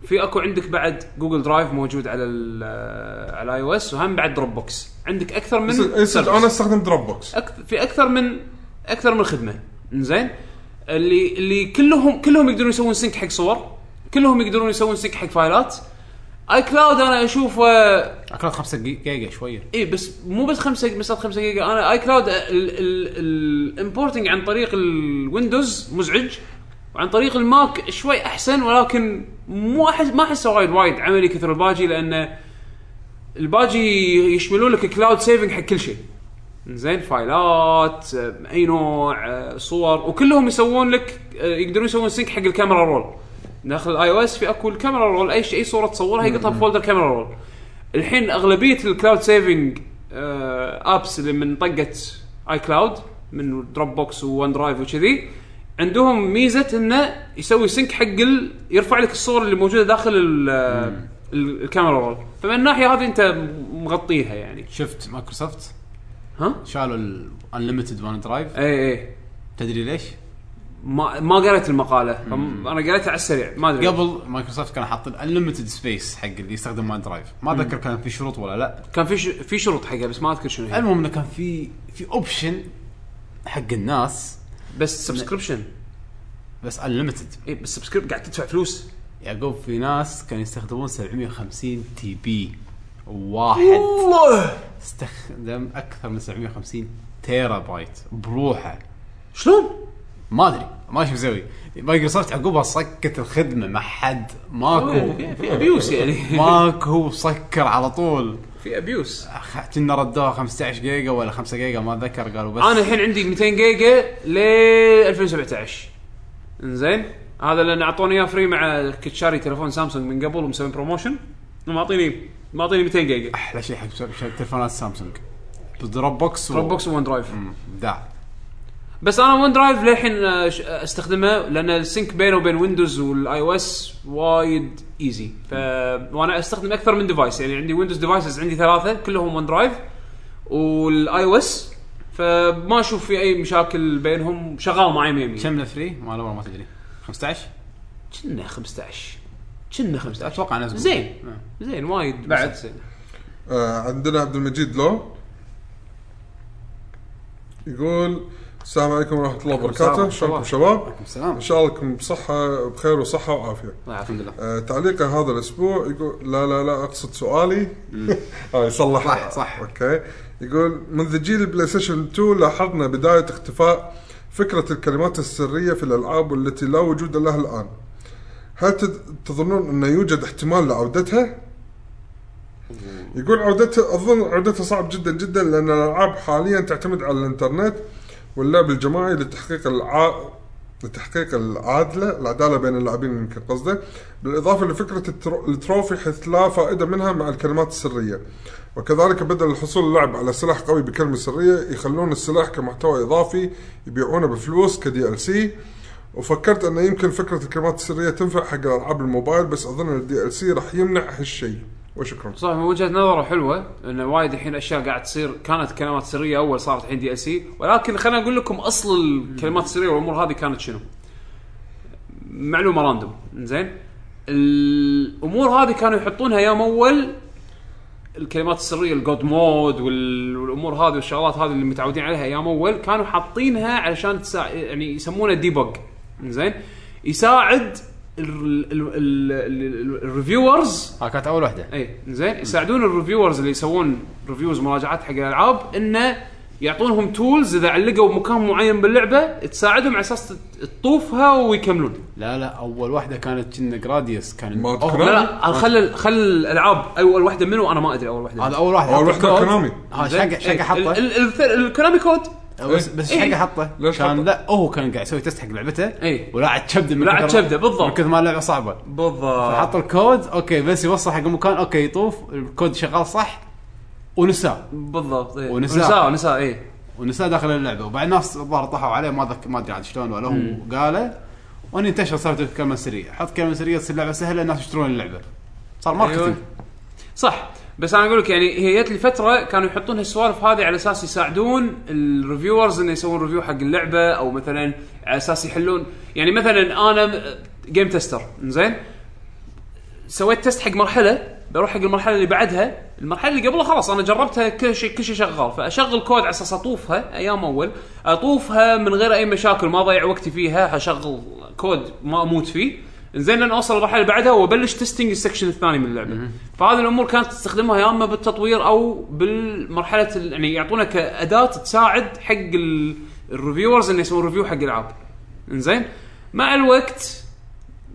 C: في اكو عندك بعد جوجل درايف موجود على ال- آه، على اي او اس وهم بعد دروب بوكس عندك اكثر من
B: بس- بس
C: service.
B: انا استخدم دروب بوكس
C: أكثر في اكثر من اكثر من خدمه زين اللي اللي كلهم كلهم يقدرون يسوون سينك حق صور كلهم يقدرون يسوون سينك حق فايلات اي كلاود انا اشوفه
A: اكلت 5 جيجا شويه
C: اي إيه، بس مو بس 5 مسات 5 جيجا انا اي كلاود الامبورتنج عن طريق الويندوز مزعج وعن طريق الماك شوي احسن ولكن مو احس ما احسه وايد وايد عملي كثر الباجي لانه الباجي يشملون لك كلاود سيفنج حق كل شيء زين فايلات آه، اي نوع آه، صور وكلهم يسوون لك آه، يقدرون يسوون سينك حق الكاميرا رول داخل الاي او اس في اكو الكاميرا رول اي شيء اي صوره تصورها يقطها بفولدر كاميرا رول الحين اغلبيه الكلاود سيفنج ابس آه، اللي من طقه اي كلاود من دروب بوكس وون درايف وكذي عندهم ميزه انه يسوي سينك حق ال... يرفع لك الصور اللي موجوده داخل ال... آه، ال- الكاميرا رول فمن الناحيه هذه انت مغطيها يعني
A: شفت مايكروسوفت
C: ها
A: شالوا الانليمتد وان درايف
C: اي اي
A: تدري ليش؟
C: إيه، ما ما قريت المقاله فم- انا قريتها على السريع ما ادري
A: قبل مايكروسوفت كانوا حاطين انليمتد سبيس حق اللي يستخدم وان درايف ما اتذكر كان في شروط ولا لا
C: كان في ش... في شروط حقها بس ما اذكر شنو هي
A: المهم انه كان في في اوبشن حق الناس
C: بس سبسكريبشن
A: بس انليمتد
C: اي بس سبسكريب قاعد تدفع فلوس
A: يعقوب في ناس كانوا يستخدمون 750 تي بي واحد
C: الله
A: استخدم اكثر من 750 تيرا بايت بروحه
C: شلون؟
A: ما ادري ما ادري شو مسوي مايكروسوفت عقبها سكت الخدمه ما حد ماكو
D: (laughs)
C: في ابيوس يعني
A: ماكو سكر على طول
C: في ابيوس
D: أخ، كنا ردوها 15 جيجا ولا 5 جيجا ما اتذكر قالوا بس
C: انا الحين عندي 200 جيجا ل 2017 انزين هذا لان اعطوني اياه فري مع كنت شاري تليفون سامسونج من قبل ومسوي بروموشن معطيني معطيني 200 جيجا
D: احلى شيء حق شب- شب- تليفونات سامسونج دروب بوكس و-
C: دروب بوكس وون درايف
D: مم، ابداع
C: بس انا ون درايف للحين آه، ش- استخدمه لان السync بينه وبين ويندوز والاي او اس وايد ايزي ف وانا استخدم اكثر من ديفايس يعني عندي ويندوز ديفايسز عندي ثلاثه كلهم ون درايف والاي او اس فما اشوف في اي مشاكل بينهم شغال معي ميمي
D: كم الفري؟ ما له ما تدري 15
C: كنا 15 كنا 15
D: اتوقع نزل
C: زين زين وايد
D: بعد.
C: بس زين.
B: آه عندنا عبد المجيد لو يقول السلام عليكم ورحمه الله
C: عليكم السلام
B: وبركاته
C: ورحمة الله.
B: شلونكم شباب
D: آه، سلام
B: ان شاء الله لكم بصحه بخير وصحه وعافيه
C: الله يعافيك
D: الحمد لله
B: آه، تعليقه هذا الاسبوع يقول لا لا لا اقصد سؤالي (laughs) اه يصلح
D: صح، صح.
B: اوكي يقول منذ جيل البلاي ستيشن 2 لاحظنا بدايه اختفاء فكره الكلمات السريه في الالعاب والتي لا وجود لها الان هل تد- تظنون انه يوجد احتمال لعودتها؟ يقول عودتها اظن عودتها صعب جدا جدا لان الالعاب حاليا تعتمد على الانترنت واللعب الجماعي لتحقيق الع... لتحقيق العادله العداله بين اللاعبين يمكن قصده بالاضافه لفكره الترو... التروفي حيث لا فائده منها مع الكلمات السريه وكذلك بدل الحصول اللاعب على سلاح قوي بكلمه سريه يخلون السلاح كمحتوى اضافي يبيعونه بفلوس كدي ال سي وفكرت انه يمكن فكره الكلمات السريه تنفع حق العاب الموبايل بس اظن الدي ال سي راح يمنع هالشيء وشكرا
C: صح من وجهه نظره حلوه انه وايد الحين اشياء قاعد تصير كانت كلمات سريه اول صارت الحين دي ال سي ولكن خليني اقول لكم اصل الكلمات السريه والامور هذه كانت شنو؟ معلومه راندوم زين الامور هذه كانوا يحطونها يوم اول الكلمات السريه الجود مود وال- والامور هذه والشغلات هذه اللي متعودين عليها ايام اول كانوا حاطينها علشان تسا... يعني يسمونه ديبوج زين يساعد الريفيورز
A: ها كانت اول واحده
C: اي إيه، زين يساعدون الريفيورز اللي يسوون ريفيوز مراجعات حق الالعاب انه يعطونهم تولز اذا علقوا مكان معين باللعبه تساعدهم على اساس تت- تطوفها ويكملون
A: لا لا اول واحده كانت كنا جراديوس كان
B: ما
A: أوه،
B: تكره؟
C: لا لا انا خل خل الالعاب اول واحده منو انا ما ادري اول واحده
A: هذا اول واحده حط
B: اول واحده
A: الكود.
B: كونامي
A: ها شقه
C: إيه،
A: شقه حطه
C: الكونامي كود
A: بس بس
C: إيه.
A: ايش حقه حطه؟
B: ليش
A: كان
B: حطه؟
A: لا هو كان قاعد يسوي تست حق لعبته
C: إيه.
A: ولاعب كبده من
C: ولاعب
A: كثر-
C: كبده، بالضبط.
A: من كثر ما اللعبه صعبه
C: بالضبط
A: فحط الكود اوكي بس يوصل حق المكان اوكي يطوف الكود شغال صح ونساه
C: بالضبط إيه.
A: ونساء.
C: ونساء إيه. نساء اي
A: ونساه داخل اللعبه وبعد ناس الظاهر طاحوا عليه ما ذك... ما ادري عاد شلون ولا هو قاله وان انتشر صارت الكلمه سريه حط كلمه سريه تصير اللعبه سهله الناس يشترون اللعبه صار ماركتينج
C: إيوه. أيوه. صح بس انا اقول لك يعني هي جت لي فتره كانوا يحطون هالسوالف هذه على اساس يساعدون الريفيورز انه يسوون ريفيو حق اللعبه او مثلا على اساس يحلون يعني مثلا انا جيم تيستر زين سويت تيست حق مرحله بروح حق المرحله اللي بعدها المرحله اللي قبلها خلاص انا جربتها كل شيء كل شيء شغال فاشغل كود على اساس اطوفها ايام اول اطوفها من غير اي مشاكل ما اضيع وقتي فيها اشغل كود ما اموت فيه زين لان اوصل المرحله اللي بعدها وابلش تستنج السكشن الثاني من اللعبه فهذه الامور كانت تستخدمها يا اما بالتطوير او بالمرحله ال- يعني يعطونها كاداه تساعد حق ال- الريفيورز انه يسوون ريفيو حق العاب زين مع الوقت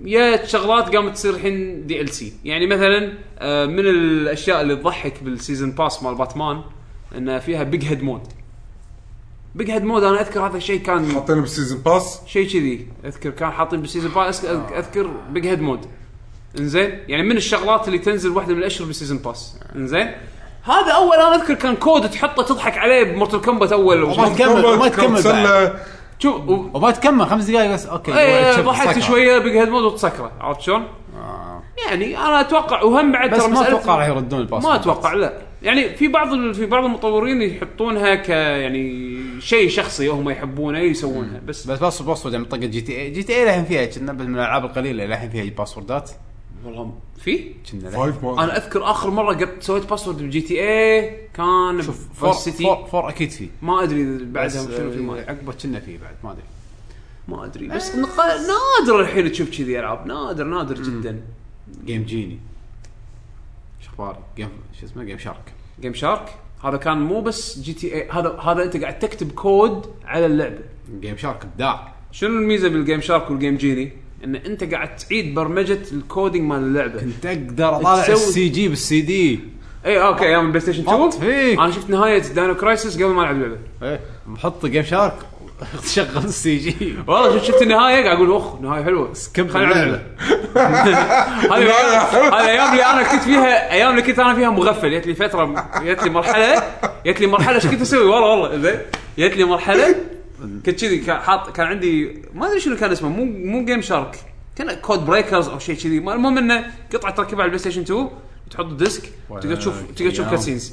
C: يا شغلات قامت تصير الحين دي ال سي يعني مثلا آه، من الاشياء اللي تضحك بالسيزون باس مال باتمان ان فيها بيج هيد مود بيج هيد مود انا اذكر هذا الشيء كان
B: حاطينه بالسيزون باس
C: شيء كذي اذكر كان حاطين بالسيزون باس أذ- اذكر بيج هيد مود انزين يعني من الشغلات اللي تنزل واحده من الاشهر بالسيزون باس انزين هذا اول انا اذكر كان كود تحطه تضحك عليه بمورتل كومبات اول
A: وما تكمل ما
B: كومبات، كرة
A: تكمل بعد.
B: سلة.
C: شوف و-
A: وما تكمل خمس دقائق بس اوكي
C: إيه،
A: شوف
C: ضحكت
A: الصقعة.
C: شويه بيج هيد مود وتسكره عرفت شلون؟
A: آه.
C: يعني انا اتوقع وهم بعد
A: بس
C: ترى
A: ما
C: مسألة-
A: اتوقع راح يردون الباس
C: ما اتوقع لا يعني في بعض ال- في بعض المطورين يحطونها ك يعني شيء شخصي هم يحبونه يسوونها بس
A: بس باسورد باسورد يعني طقت جي تي اي جي تي اي للحين فيها كنا بس من الالعاب القليله للحين فيها باسوردات
C: والله في
A: كنا للحين.
B: فايف ما-
C: انا اذكر اخر مره قد سويت باسورد بجي تي اي كان
A: شوف
C: شوف
A: فور,
C: سيتي
A: فور, إيه. فور اكيد فيه
C: ما ادري إذا
A: بعدها
C: بعدها شنو في ما
A: آه، عقبه كنا فيه بعد ما ادري
C: ما ادري بس نق- نادر الحين تشوف كذي العاب نادر نادر جدا
A: جيم جيني شو اخباري؟ جيم شو اسمه جيم شارك
C: جيم شارك هذا كان مو بس جي تي اي هذا هذا انت قاعد تكتب كود على اللعبه
A: جيم شارك ابداع
C: شنو الميزه بالجيم شارك والجيم جيني؟ ان انت قاعد تعيد برمجه الكودينج مال اللعبه
A: كنت اقدر اطالع
C: تسوي-
A: السي جي بالسي دي
C: اي اوكي ايام البلاي ستيشن 2
A: حط فيك.
C: انا شفت نهايه داينو كرايسس قبل ما العب اللعبه
A: ايه حط جيم شارك (laughs) شغل السي جي
C: والله شفت النهايه قاعد اقول اخ نهايه حلوه
A: سكيب
C: خلينا نلعب
A: اللعبة.
C: هذه الأيام- هذه الايام اللي انا كنت فيها ايام اللي كنت انا فيها مغفل جت لي فتره جت لي مرحله جت لي مرحله ايش كنت اسوي والله والله زين جت لي مرحله كنت كذي كان حاط كان عندي ما ادري شنو كان اسمه مو مو جيم شارك كان كود بريكرز او شيء كذي المهم انه قطعه تركبها على البلاي ستيشن 2 تحط الديسك تقدر تشوف تقدر تشوف
A: أيام.
C: كاتسينز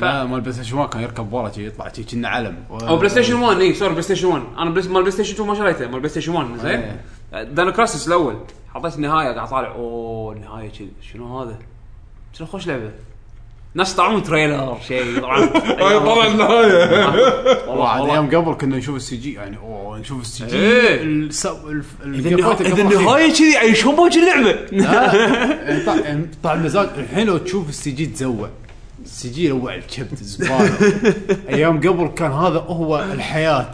C: ف-
A: لا مال بلاي ستيشن 1 كان يركب ورا شي يطلع شي كنا علم
C: او بلاي ستيشن 1 اي سوري بلاي ستيشن 1 انا بلاي مال بلاي ستيشن 2 ما شريته مال بلاي ستيشن 1 زين آه، دانو كراسس الاول حطيت النهايه قاعد طالع اوه النهايه كذي شنو هذا؟ شنو خوش لعبه؟ ناس طلعون تريلر شيء طبعا
B: هاي
C: (laughs)
B: طلع (laughs) النهايه
A: والله
C: والله
A: ايام يعني قبل كنا نشوف السي جي يعني اوه نشوف السي جي
C: إيه.
A: السو- الف- الجرافات
C: اذا
A: القبل
C: النهايه كذي عيشوا موج اللعبه
A: (laughs) لا، يعني طع- يعني طعم مزاج الحين لو تشوف السي جي تزوع السي جي يروع الكبد الزباله ايام قبل كان هذا هو الحياه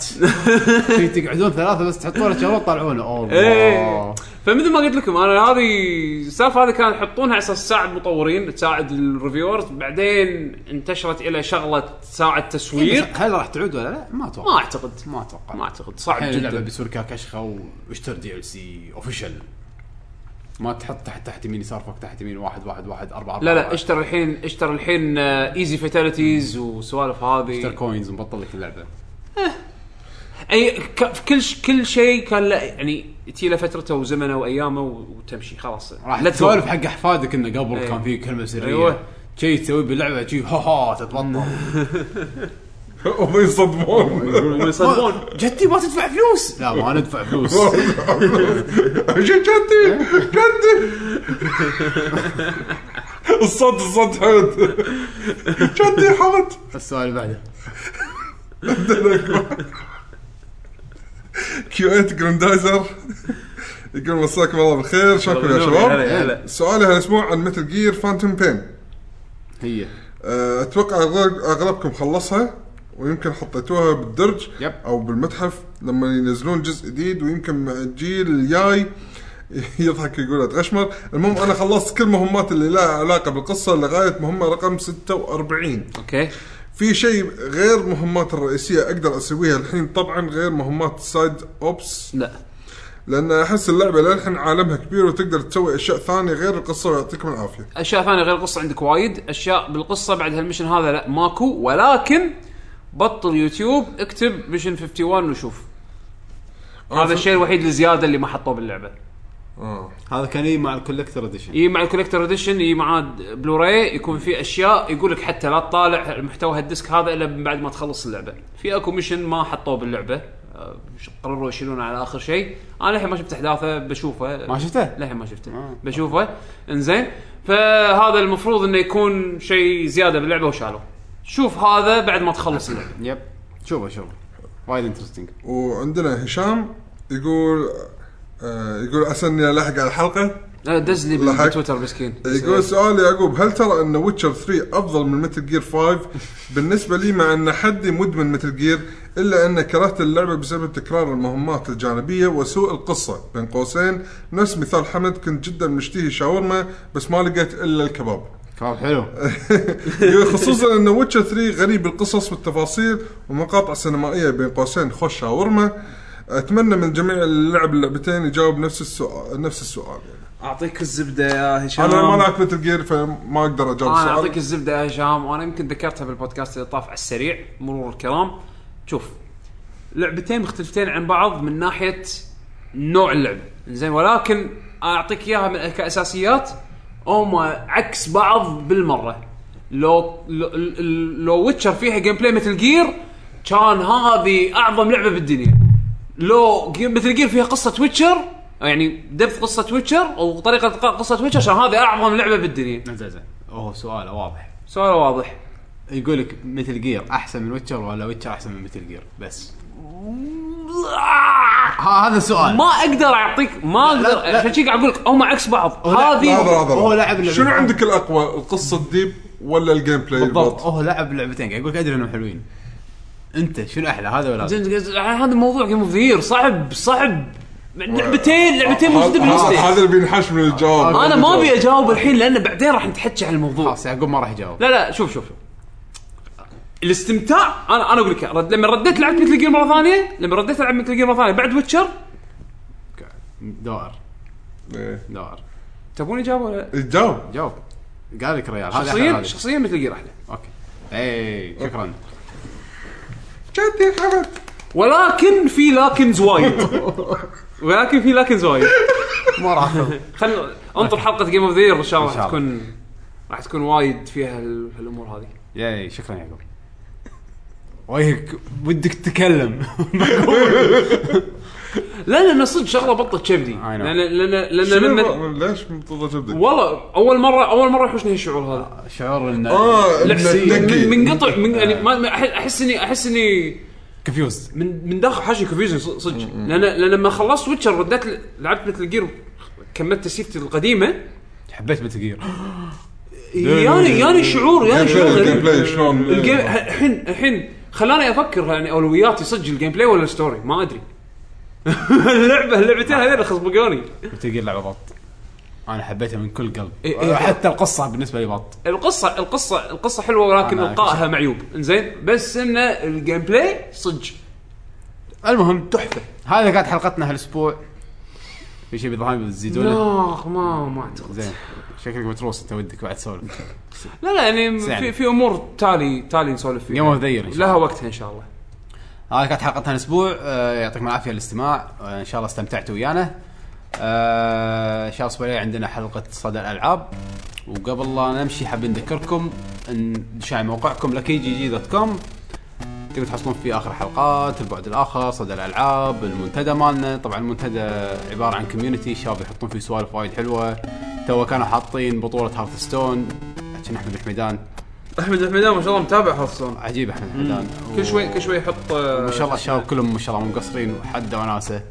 A: في تقعدون ثلاثه بس تحطون شغله طالعونه اوه
C: إيه.
A: الله.
C: فمثل ما قلت لكم انا هذه السالفه هذه كانت يحطونها على اساس تساعد المطورين تساعد الريفيورز بعدين انتشرت الى شغله تساعد
A: إيه،
C: تسويق
D: هل راح تعود ولا لا؟ ما اتوقع
C: ما اعتقد
D: ما اتوقع
C: ما اعتقد صعب
A: الحين اللعبه
C: جدا
A: بيصير كاكشخه واشتر دي ال سي اوفيشال ما تحط تحت تحت يمين يسار فوق تحت يمين واحد واحد واحد اربعه
C: لا
A: أربعة.
C: لا اشتر الحين اشتر الحين ايزي فيتاليتيز وسوالف
A: اشتر
C: هذه
A: كوينز ومبطل لك اللعبه
C: اي ك- في كل ش- كل شيء كان له يعني تجي له فترته وزمنه وايامه و- وتمشي خلاص
A: راح
C: Let's go.
A: تسولف حق احفادك انه قبل
C: إيه.
A: كان في كلمه سريه
C: أيوة.
A: ايوه شي تسوي باللعبه شي ها ها تتبطل
B: هم
A: (laughs)
B: يصدمون
C: هم يصدمون
A: جدي ما تدفع فلوس لا (laughs) ما ندفع فلوس
B: شو جدي
A: (laughs)
B: جدي الصد الصد حمد جدي حمد
A: السؤال اللي بعده
B: كيو 8 جراندايزر يقول مساكم الله بالخير شكرا يا
C: هلا،
B: شباب
C: هلا.
B: سؤالي هالاسبوع عن متل جير فانتوم بين
A: هي
B: اتوقع آه، أغلب- اغلبكم خلصها ويمكن حطيتوها بالدرج
A: يب.
B: او بالمتحف لما ينزلون جزء جديد ويمكن مع الجيل الجاي (laughs) يضحك يقول اتغشمر المهم انا خلصت كل مهمات اللي لها علاقه بالقصه لغايه مهمه رقم 46
C: اوكي
B: في شيء غير مهمات الرئيسيه اقدر اسويها الحين طبعا غير مهمات السايد اوبس
C: لا
B: لان احس اللعبه للحين عالمها كبير وتقدر تسوي اشياء ثانيه غير القصه ويعطيكم العافيه
C: اشياء ثانيه غير القصه عندك وايد اشياء بالقصه بعد هالمشن هذا لا ماكو ولكن بطل يوتيوب اكتب ميشن 51 وشوف هذا الشيء الوحيد الزياده اللي ما حطوه باللعبه
B: آه.
A: هذا كان يجي مع الكولكتر اديشن
C: يجي مع الكوليكتر اديشن يجي معاه بلوراي يكون في اشياء يقول لك حتى لا تطالع محتوى هالديسك هذا الا من بعد ما تخلص اللعبه في اكو ميشن ما حطوه باللعبه آه، ش- قرروا يشيلونه على اخر شيء انا للحين ما شفت احداثه بشوفه
A: ما شفته؟
C: للحين ما شفته
A: آه.
C: بشوفه انزين فهذا المفروض انه يكون شيء زياده باللعبه وشالوه شوف هذا بعد ما تخلص اللعبه
A: يب شوفه شوفه وايد انترستنج
B: وعندنا هشام يقول آه يقول عسى اني الحق على الحلقه
C: آه، دز لي
B: لحق.
C: بتويتر مسكين
B: يقول سؤال يعقوب هل ترى ان ويتشر 3 افضل من متل جير 5 بالنسبه لي مع ان حدي مدمن متل جير الا ان كرهت اللعبه بسبب تكرار المهمات الجانبيه وسوء القصه بين قوسين نفس مثال حمد كنت جدا مشتهي شاورما بس ما لقيت الا الكباب
A: كان (laughs) حلو
B: (laughs) يقول خصوصا ان ويتشر 3 غني بالقصص والتفاصيل ومقاطع سينمائيه بين قوسين خوش شاورما اتمنى من جميع اللي لعب اللعبتين يجاوب نفس السؤال نفس السؤال يعني.
C: اعطيك الزبده يا
A: آه.
C: هشام
B: انا ما لعبت متل جير فما اقدر اجاوب
C: انا
B: السؤال
C: اعطيك الزبده يا هشام وانا يمكن ذكرتها بالبودكاست اللي طاف على السريع مرور الكرام شوف لعبتين مختلفتين عن بعض من ناحيه نوع اللعبه زين ولكن اعطيك اياها من كاساسيات هم عكس بعض بالمره لو لو, لو ويتشر فيها جيم بلاي مثل جير كان هذه اعظم لعبه بالدنيا لو جيم مثل جير فيها قصه ويتشر يعني دبث قصه ويتشر وطريقه القاء قصه ويتشر عشان هذه اعظم لعبه بالدنيا
A: زين زين اوه سؤال واضح
C: سؤال واضح
A: يقول لك مثل جير احسن من ويتشر ولا ويتشر احسن من مثل جير بس ها هذا السؤال
C: ما اقدر اعطيك ما اقدر
A: لا.
C: عشان شي قاعد اقول لك هم عكس بعض
A: لا،
C: هذه
B: لحظة، لحظة.
A: هو لعب لعبة.
B: شنو عندك الاقوى القصه الديب ولا الجيم بلاي
A: بالضبط
B: بالضبط
A: اوه لعب لعبتين قاعد يقول لك ادري انهم حلوين انت شنو احلى هذا ولا هذا؟
C: زين، زين، هذا موضوع جيم اوف ذا صعب صعب لعبتين لعبتين موجوده
B: هذا-
C: بالليست
B: هذا اللي بينحش من الجواب
A: آه،
C: انا ما ابي اجاوب الحين لان بعدين راح نتحكي عن الموضوع
D: خلاص يعقوب ما راح يجاوب
C: لا لا شوف شوف شوف الاستمتاع انا انا اقول لك رد لما رديت لعبت مثل جير مره ثانيه لما رديت العب مثل جير مره ثانيه بعد ويتشر
D: دوار
B: إيه.
D: دوار
C: تبون اجابه ولا
B: الجواب
D: جاوب قال لك ريال هذا
C: شخصيا
D: أحلى
C: شخصيا مثل جير احلى
D: هذه. اوكي
A: إيه،
D: اي شكرا
B: جدي حمد
C: ولكن في
A: (laughs)
C: لاكنز وايد ولكن في لاكنز وايد
D: ما راح
C: خل انطر حلقه جيم اوف ذا ان شاء الله
D: إن
C: راح
D: شاء الله.
C: تكون راح تكون وايد فيها هال- هالامور هذه
D: ياي شكرا يعقوب
A: وجهك ودك تتكلم
C: لا لان صدق شغله بطت كبدي
D: know.
C: لان لان لان لما
B: شنو- ليش مطلع جبدك؟
C: والله اول مره اول مره يحوشني هالشعور هذا
D: شعور انه
B: اه
D: آه،
C: لا،
B: نفسي.
C: من من قطع من يعني ما ما- أح- احس اني احس اني
A: كونفيوز
C: من من داخل حاجه كونفيوجن صدق لان لان لما خلصت ويتشر رديت ل- لعبت مثل جير كملت تسيفتي القديمه
A: حبيت بتغيير
C: ياني ياني شعور ياني
B: الجيم
C: شعور
B: بلاي- الجيم
C: غريب.
B: بلاي شلون
A: (laughs)
C: الجيم ه- الحين الحين خلاني افكر يعني اولوياتي صدق الجيم بلاي ولا الستوري ما (laughs) ادري اللعبه اللعبتين هذول خصبقوني
A: بتغيير لعبه بط انا حبيتها من كل قلب
C: إيه، إيه.
A: حتى القصه بالنسبه لي بط
C: القصه القصه القصه حلوه ولكن
A: أنا
C: القائها معيوب انزين بس انه الجيم بلاي صدق
A: المهم
C: تحفه
A: هذا كانت حلقتنا هالاسبوع في شيء بيظهر لي بتزيدونه
C: لا ما ما اعتقد
A: زين شكلك متروس انت ودك بعد تسولف
C: لا لا يعني في
A: يعني.
C: في امور تالي تالي نسولف فيها
A: يوم اوف ذا يير
C: لها وقتها ان شاء الله
A: هذه كانت حلقتنا الاسبوع آه، يعطيكم العافيه الاستماع آه، ان شاء الله استمتعتوا ويانا آه، ان شاء الله الاسبوع الجاي عندنا حلقه صدى الالعاب وقبل لا نمشي حابين نذكركم ان دشوا على موقعكم لكي جي جي دوت كوم تقدروا تحصلون فيه اخر حلقات البعد الاخر صدى الالعاب المنتدى مالنا طبعا المنتدى عباره عن كوميونتي الشباب يحطون فيه سوالف وايد حلوه تو كانوا حاطين بطوله هارث ستون كنا احمد الحميدان
C: احمد الحميدان ما شاء الله متابع خاصه
A: عجيب احمد الحميدان
C: كل شوي كل شوي يحط آه،
A: ما شاء الله الشباب كلهم ما شاء الله مو مقصرين وحده وناسه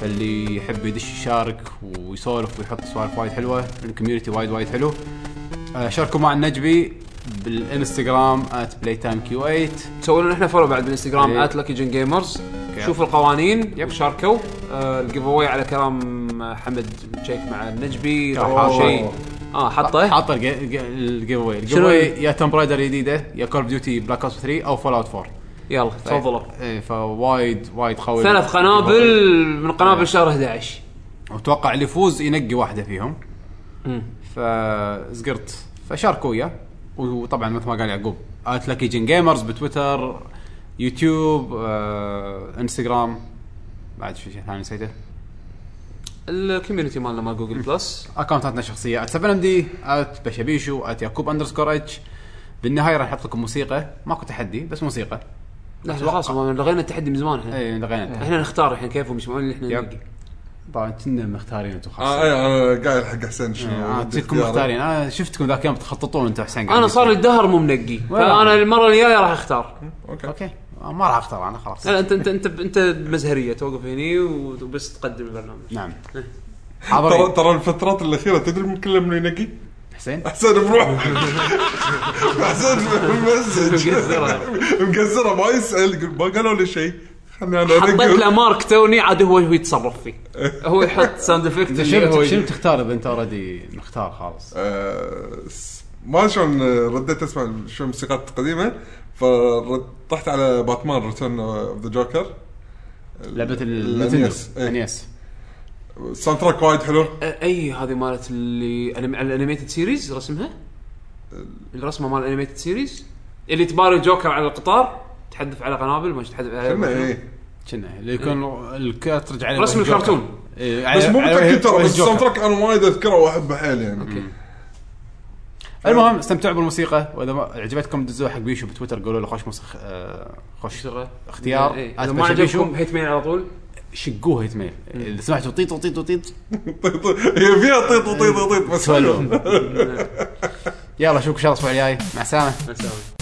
A: فاللي يحب يدش يشارك ويسولف ويحط سوالف وايد حلوه الكوميونتي وايد وايد حلو آه، شاركوا مع النجبي بالانستغرام بلاي تايم كيو 8
C: سووا لنا احنا فولو بعد بالانستغرام
A: إيه.
C: @lucky جن جيمرز شوفوا القوانين يب شاركوا آه الجيف اواي على كلام آه، حمد شيك مع النجبي
A: كان
C: طلعوا
A: حاطه.
C: شيء اه حطه
A: حاطه الجيف اواي الجيف
C: شنو
A: اواي يا توم برايدر جديده يا كول اوف ديوتي بلاك اوبس 3 او فول اوت 4
C: يلا تفضلوا
A: إيه، فوايد وايد قوي
C: ثلاث قنابل من
A: إيه.
C: قنابل شهر 11
A: واتوقع اللي يفوز ينقي واحده فيهم فزقرت فشاركوا وياه وطبعا مثل ما قال يعقوب ات لكي جن جيمرز بتويتر يوتيوب آه، انستغرام بعد في شيء ثاني نسيته
C: الكوميونتي مالنا مال جوجل
A: (laughs)
C: بلس
A: اكونتاتنا الشخصيه ات 7 دي ات بشبيشو ات يعقوب اندرسكور اتش بالنهايه راح احط لكم موسيقى ماكو تحدي بس موسيقى
C: لحظه خلاص ما لغينا التحدي من زمان احنا
A: اي لغينا التحدي.
C: احنا نختار الحين كيف ومسمعون اللي احنا
A: إيه. يب.
C: نلقي.
A: طبعا كنا مختارين انتم
B: آه،
A: خاصه
B: إيه، انا قايل حق حسين
A: آه،
B: شنو
A: تكون مختارين انا شفتكم ذاك اليوم تخططون انتم حسين
C: انا صار لي الدهر مو منقي
A: ولا.
C: فانا المره الجايه راح اختار
B: اوكي
A: اوكي آه، ما راح اختار انا خلاص
C: لا لا، انت انت انت انت مزهريه توقف هني وبس تقدم البرنامج
A: (laughs) نعم
B: ترى
A: حاضرين
B: ترى الفترات الاخيره تدري من كل من ينقي؟ (laughs)
A: حسين
B: حسين بروح حسين مسج
C: مقزرة.
B: مقزره ما يسال يقول ما قالوا لي شيء خلني انا
C: حطيت له
B: انقي
C: مارك توني عاد هو هو يتصرف فيه هو يحط ساوند افكت اللي هو
A: شنو شنو
C: يجي.
A: تختار اذا انت اوريدي مختار خالص
B: آه، س- ما أدري شلون رديت اسمع شو موسيقات قديمه فطحت على باتمان ريتيرن اوف ذا جوكر
A: لعبه
B: الأنيس. إيه.
A: الانيس
B: الساوند تراك وايد حلو
C: أ- اي هذه مالت اللي أنم- الانيميتد سيريز رسمها الرسمه مال الانيميتد سيريز اللي تباري جوكر على القطار تحذف على قنابل ما تحذف
B: كنا
C: على
B: ايه
A: كنا اللي يكون الكات ترجع عليه
C: رسم
A: وجه جوكر.
C: الكرتون.
A: إيه، على-
B: إيه. بس مو
A: على
B: متاكد
A: وجه
B: ترى بس
A: جوكر.
B: الساوند تراك انا وايد اذكره واحبه حيل يعني (laughs)
A: المهم استمتعوا بالموسيقى واذا ما عجبتكم دزوها حق بيشو بتويتر قولوا له خوش مسخ آه، خوش اختيار
C: إيه.
A: آت
C: اذا ما
A: بيشو
C: عجبكم
A: بيشو.
C: هيت مين على طول
A: شقوه هيت ميل اذا سمعتوا طيط طيط طيط
B: طيط- طيب، هي فيها طيط طيط طيط بس حلو
A: (laughs) يلا اشوفكم ان شاء الله الاسبوع الجاي مع السلامه
C: ما تساوي